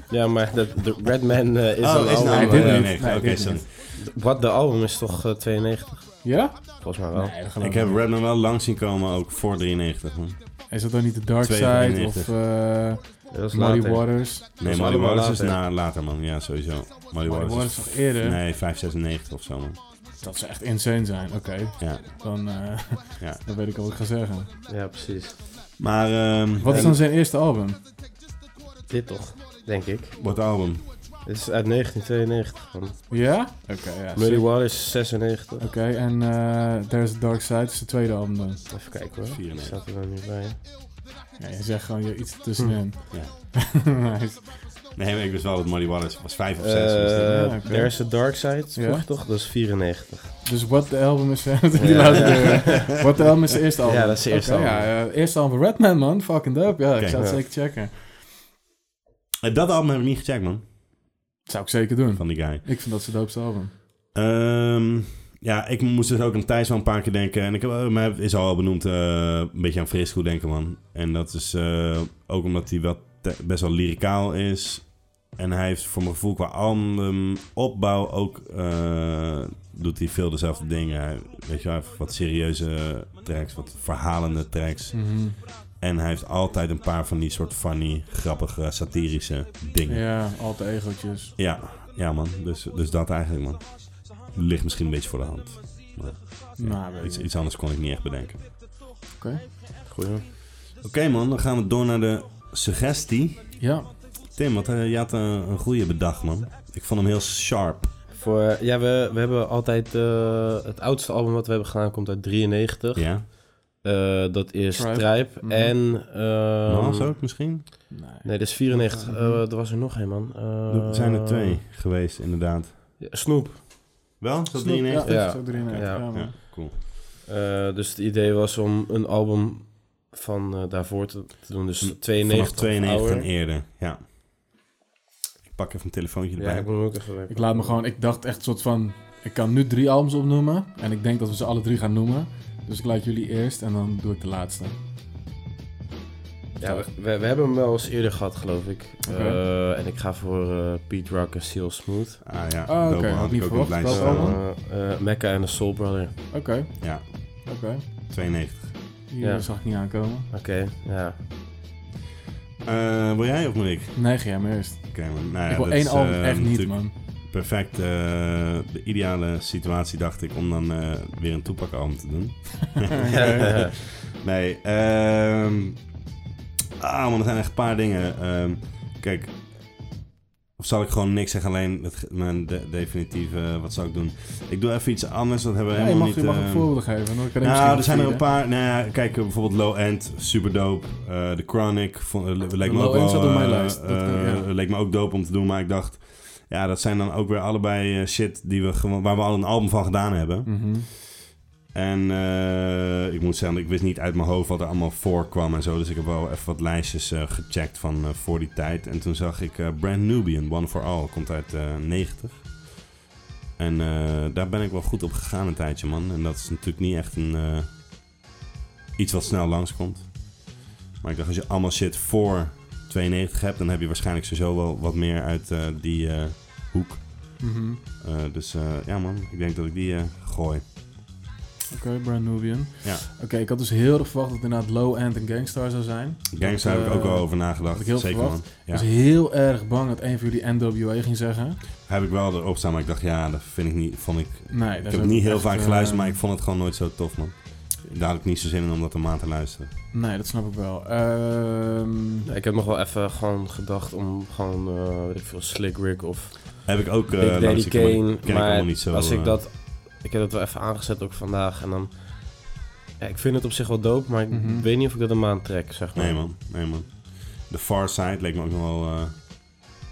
Ja, maar dat, de Redman eh, is Oh, een is een album. Nee, album. dit nee, niet. nee, Nee, oké, dit sorry. niet. Wat de album is toch eh, 92? Ja? Volgens mij wel. Nee, dat geloof Ik heb Redman wel lang zien komen, ook voor 93, man. Is dat dan niet de Dark Twee Side of 92. eh Dat was Muddy later. Waters? Nee, Molly allemaal Waters is later. na, later, man. Ja, sowieso. Molly Muddy Waters Waters is... nog eerder? Nee, 596 of zo, man. Dat ze echt insane zijn. Oké, Ja, dan, eh, ja. dan weet ik al wat ik ga zeggen. Ja, precies. Maar, ehm Wat is dan zijn eerste album? Dit toch, denk ik. Wat album? Dit is uit 1992. Van Ja? Oké, ja. Muddy sick. Oké, Waters is 96. en eh There's a Dark Side is de tweede album dan. Even kijken hoor. 94. Staat er wel niet bij. Ja, je zegt gewoon je iets tussenin. Nice. Nee, maar ik wist wel dat Molly Waters was 5 of 6. Eh Ja, oké. There's a Dark Side, Ja. vroeg toch? Dat is 94. Dus What the Album is... die Ja. laatste deur. What the Album is zijn eerste album? Ja, dat is zijn eerste Oké, album. Ja, eh, eerste album van Redman, man. Fucking dope. Ja, ik Oké, zou het ja. zeker checken. Eh, dat album heb ik niet gecheckt, man. zou ik zeker doen. Van die guy. Ik vind dat zijn doopste album. Ehm, ja, ik moest dus ook aan Thijs wel een paar keer denken. En ik heb, eh, mij is al benoemd, eh, een beetje aan Frisco denken, man. En dat is eh, ook omdat hij wel te- best wel lyricaal is. En hij heeft voor mijn gevoel qua albumopbouw ook... eh, doet hij veel dezelfde dingen. Hij, weet je wel, hij heeft wat serieuze tracks, wat verhalende tracks. Mhm. En hij heeft altijd een paar van die soort funny, grappige, satirische dingen. Ja, altijd egootjes. Ja, ja man. Dus, dus dat eigenlijk, man. Ligt misschien een beetje voor de hand. Maar, ja, Nou, weet iets, je. iets anders kon ik niet echt bedenken. Oké. Goed hoor. Oké man, dan gaan we door naar de suggestie. Ja, Tim, wat, eh, je had eh, een goede bedacht, man. Ik vond hem heel sharp. Voor, ja, we, we hebben altijd... eh, het oudste album wat we hebben gedaan komt uit 93. Ja? Eh, dat is Tribe. Tribe. Mhm. En... Eh, ehm, Nas ook misschien? Nee. Nee, dat is 94. Eh, er was er nog een, man. Eh, Er zijn er twee geweest, inderdaad. Ja, Snoep. Wel? Is dat Snoep, 93? Ja, Ja. dat is ook 93. Ja. Ja, man. Ja, cool. Eh, dus het idee was om een album van eh, daarvoor te, te doen. Dus 92 Vanaf of 92 en ouder. eerder, ja. Ik pak even een telefoontje Ja, erbij. ik moet hem ook even werken. Ik laat me gewoon, ik dacht echt een soort van, ik kan nu drie albums opnoemen en ik denk dat we ze alle drie gaan noemen. Dus ik laat jullie eerst en dan doe ik de laatste. Ja, we, we, we hebben hem wel eens eerder gehad, geloof ik. Oké. Eh, en ik ga voor eh, Pete Rock en Seal Smooth. Ah ja, Ah, Dope oké, had had ik niet ook op verwacht. lijst Welke staan. album? Eh, eh, Mecca en de Soul Brother. Oké, Ja, oké. 92. Hier Ja. zag ik niet aankomen. Oké, ja. Eh, wil jij of moet ik? Neig jij me eerst. Oké, man. Nou ja, ik wil dat één is, album eh, echt niet, natuurlijk man. Perfect. eh, de ideale situatie, dacht ik, om dan eh, weer een toepakaband te doen. Ja. Nee, ehm ah, man, er zijn echt een paar dingen. Ehm, kijk, of zal ik gewoon niks zeggen, alleen het, ge- mijn de- definitieve, eh, wat zou ik doen? Ik doe even iets anders, dat hebben we Ja, je helemaal mag, je niet... mag een ehm, voorbeeld geven. Dan kan ik nou, misschien er zijn er een vieren. paar. Nou ja, kijk, eh, bijvoorbeeld Low End, super dope. Eh, The Chronic, vond, eh, leek me Low ook End wel, zat op mijn eh, lijst, dat kan- eh, ja. Leek me ook dope om te doen, maar ik dacht... Ja, dat zijn dan ook weer allebei eh, shit die we, gewoon- waar we al een album van gedaan hebben. Mhm. En eh, ik moet zeggen, ik wist niet uit mijn hoofd wat er allemaal voorkwam en zo. Dus ik heb wel even wat lijstjes eh, gecheckt van eh, voor die tijd. En toen zag ik eh, Brand Nubian, One for All, komt uit eh 90. En eh, daar ben ik wel goed op gegaan een tijdje, man. En dat is natuurlijk niet echt een, eh, iets wat snel langskomt. Maar ik dacht, als je allemaal shit voor 92 hebt, dan heb je waarschijnlijk sowieso wel wat meer uit eh, die eh, hoek. mhm. Eh, dus eh, ja, man, ik denk dat ik die eh, gooi. Oké, Brand Nubian. Ja. Oké, ik had dus heel erg verwacht dat het inderdaad Low End en Gangstar zou zijn. Gangsta Dat, heb ik eh, ook al over nagedacht. had ik heel Zeker verwacht. Dus man. Ik was Ja. heel erg bang dat een van jullie NWA ging zeggen. Heb ik wel erop staan, maar ik dacht, ja, dat vind ik niet. Vond ik, Nee, ik dat is heb ook het niet heel echt, vaak eh, geluisterd, maar ik vond het gewoon nooit zo tof, man. Daar had ik niet zo zin in om dat een maand te luisteren. Nee, dat snap ik wel. Ehm, ik heb nog wel even gewoon gedacht om gewoon, eh, weet ik veel, Slick Rick of Heb ik ook Big eh Daddy luisterd, maar die Kane. ken ik maar allemaal niet zo. als ik eh, dat... Ik heb dat wel even aangezet ook vandaag. En dan... Ja, ik vind het op zich wel dope, maar ik Mhm. weet niet of ik dat een maand trek, zeg maar. Nee, man. Nee, man. The Far Side leek me ook nog wel... eh,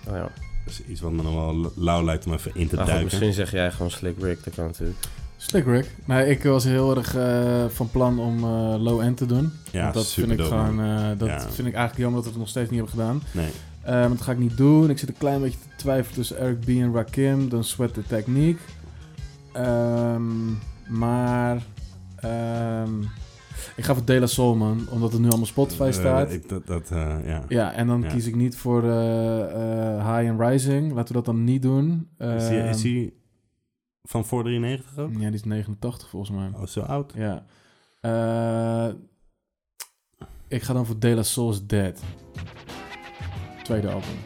Oh, ja. dat is iets wat me nog wel lauw lijkt om even in te Nou, goed, duiken. misschien zeg jij gewoon Slick Rick, dat kan natuurlijk. Slick Rick. Nee, ik was heel erg eh, van plan om eh, low end te doen. ja, Want dat super vind ik dope, gewoon, man. eh, dat Ja. vind ik eigenlijk jammer dat we het nog steeds niet hebben gedaan. Nee. Eh, maar dat ga ik niet doen. Ik zit een klein beetje te twijfelen tussen Eric B en Rakim. Dan Sweat de Techniek. Ehm, maar ehm, ik ga voor De La Soul, man. Omdat het nu allemaal Spotify Eh, staat. ik, dat, dat, eh, ja. Ja, en dan Ja. kies ik niet voor eh, eh, High and Rising. Laten we dat dan niet doen. Is die- is Ehm, die van voor 93 ook? Ja, die is 89 volgens mij. Oh, zo oud? Ja. Eh, ik ga dan voor De La Soul's Dead. Tweede album.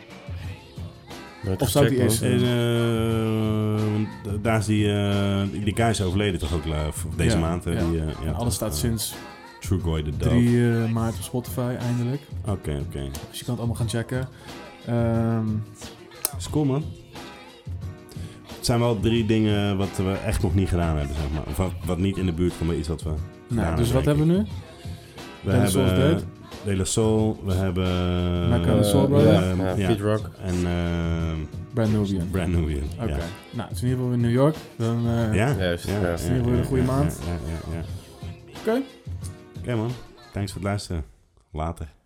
Nooit Of zou gecheckt, die man. eerst- En, eh, want daar is die, eh die guy is overleden toch ook eh, v- deze Ja, maand. hè? ja. Die, eh, ja, en alles toch, staat eh, sinds Trugoy de Dove. 3 maart op Spotify eindelijk. Oké, oké. Dus je kan het allemaal gaan checken. Ehm, Is cool, man. Het zijn wel drie dingen wat we echt nog niet gedaan hebben, zeg maar. Of wat, wat niet in de buurt komt bij iets wat we nou, gedaan dus wat denk hebben we nu? ik. De La Soul's Dead? eh, De La Soul, we hebben... Mecca en de eh, Soul Brother? Ja, ehm, ja, ja. Uh, Pete Rock. En eh, Brand Nubian. Brand New Year. Oké. Ja. Nou, het is in ieder geval in New York. Dan, eh, Ja? Juist, ja, ja. ja, Het is in ieder geval ja, een goede ja, maand. Ja, ja, ja. Oké. Oké, man. Thanks voor het luisteren. Later.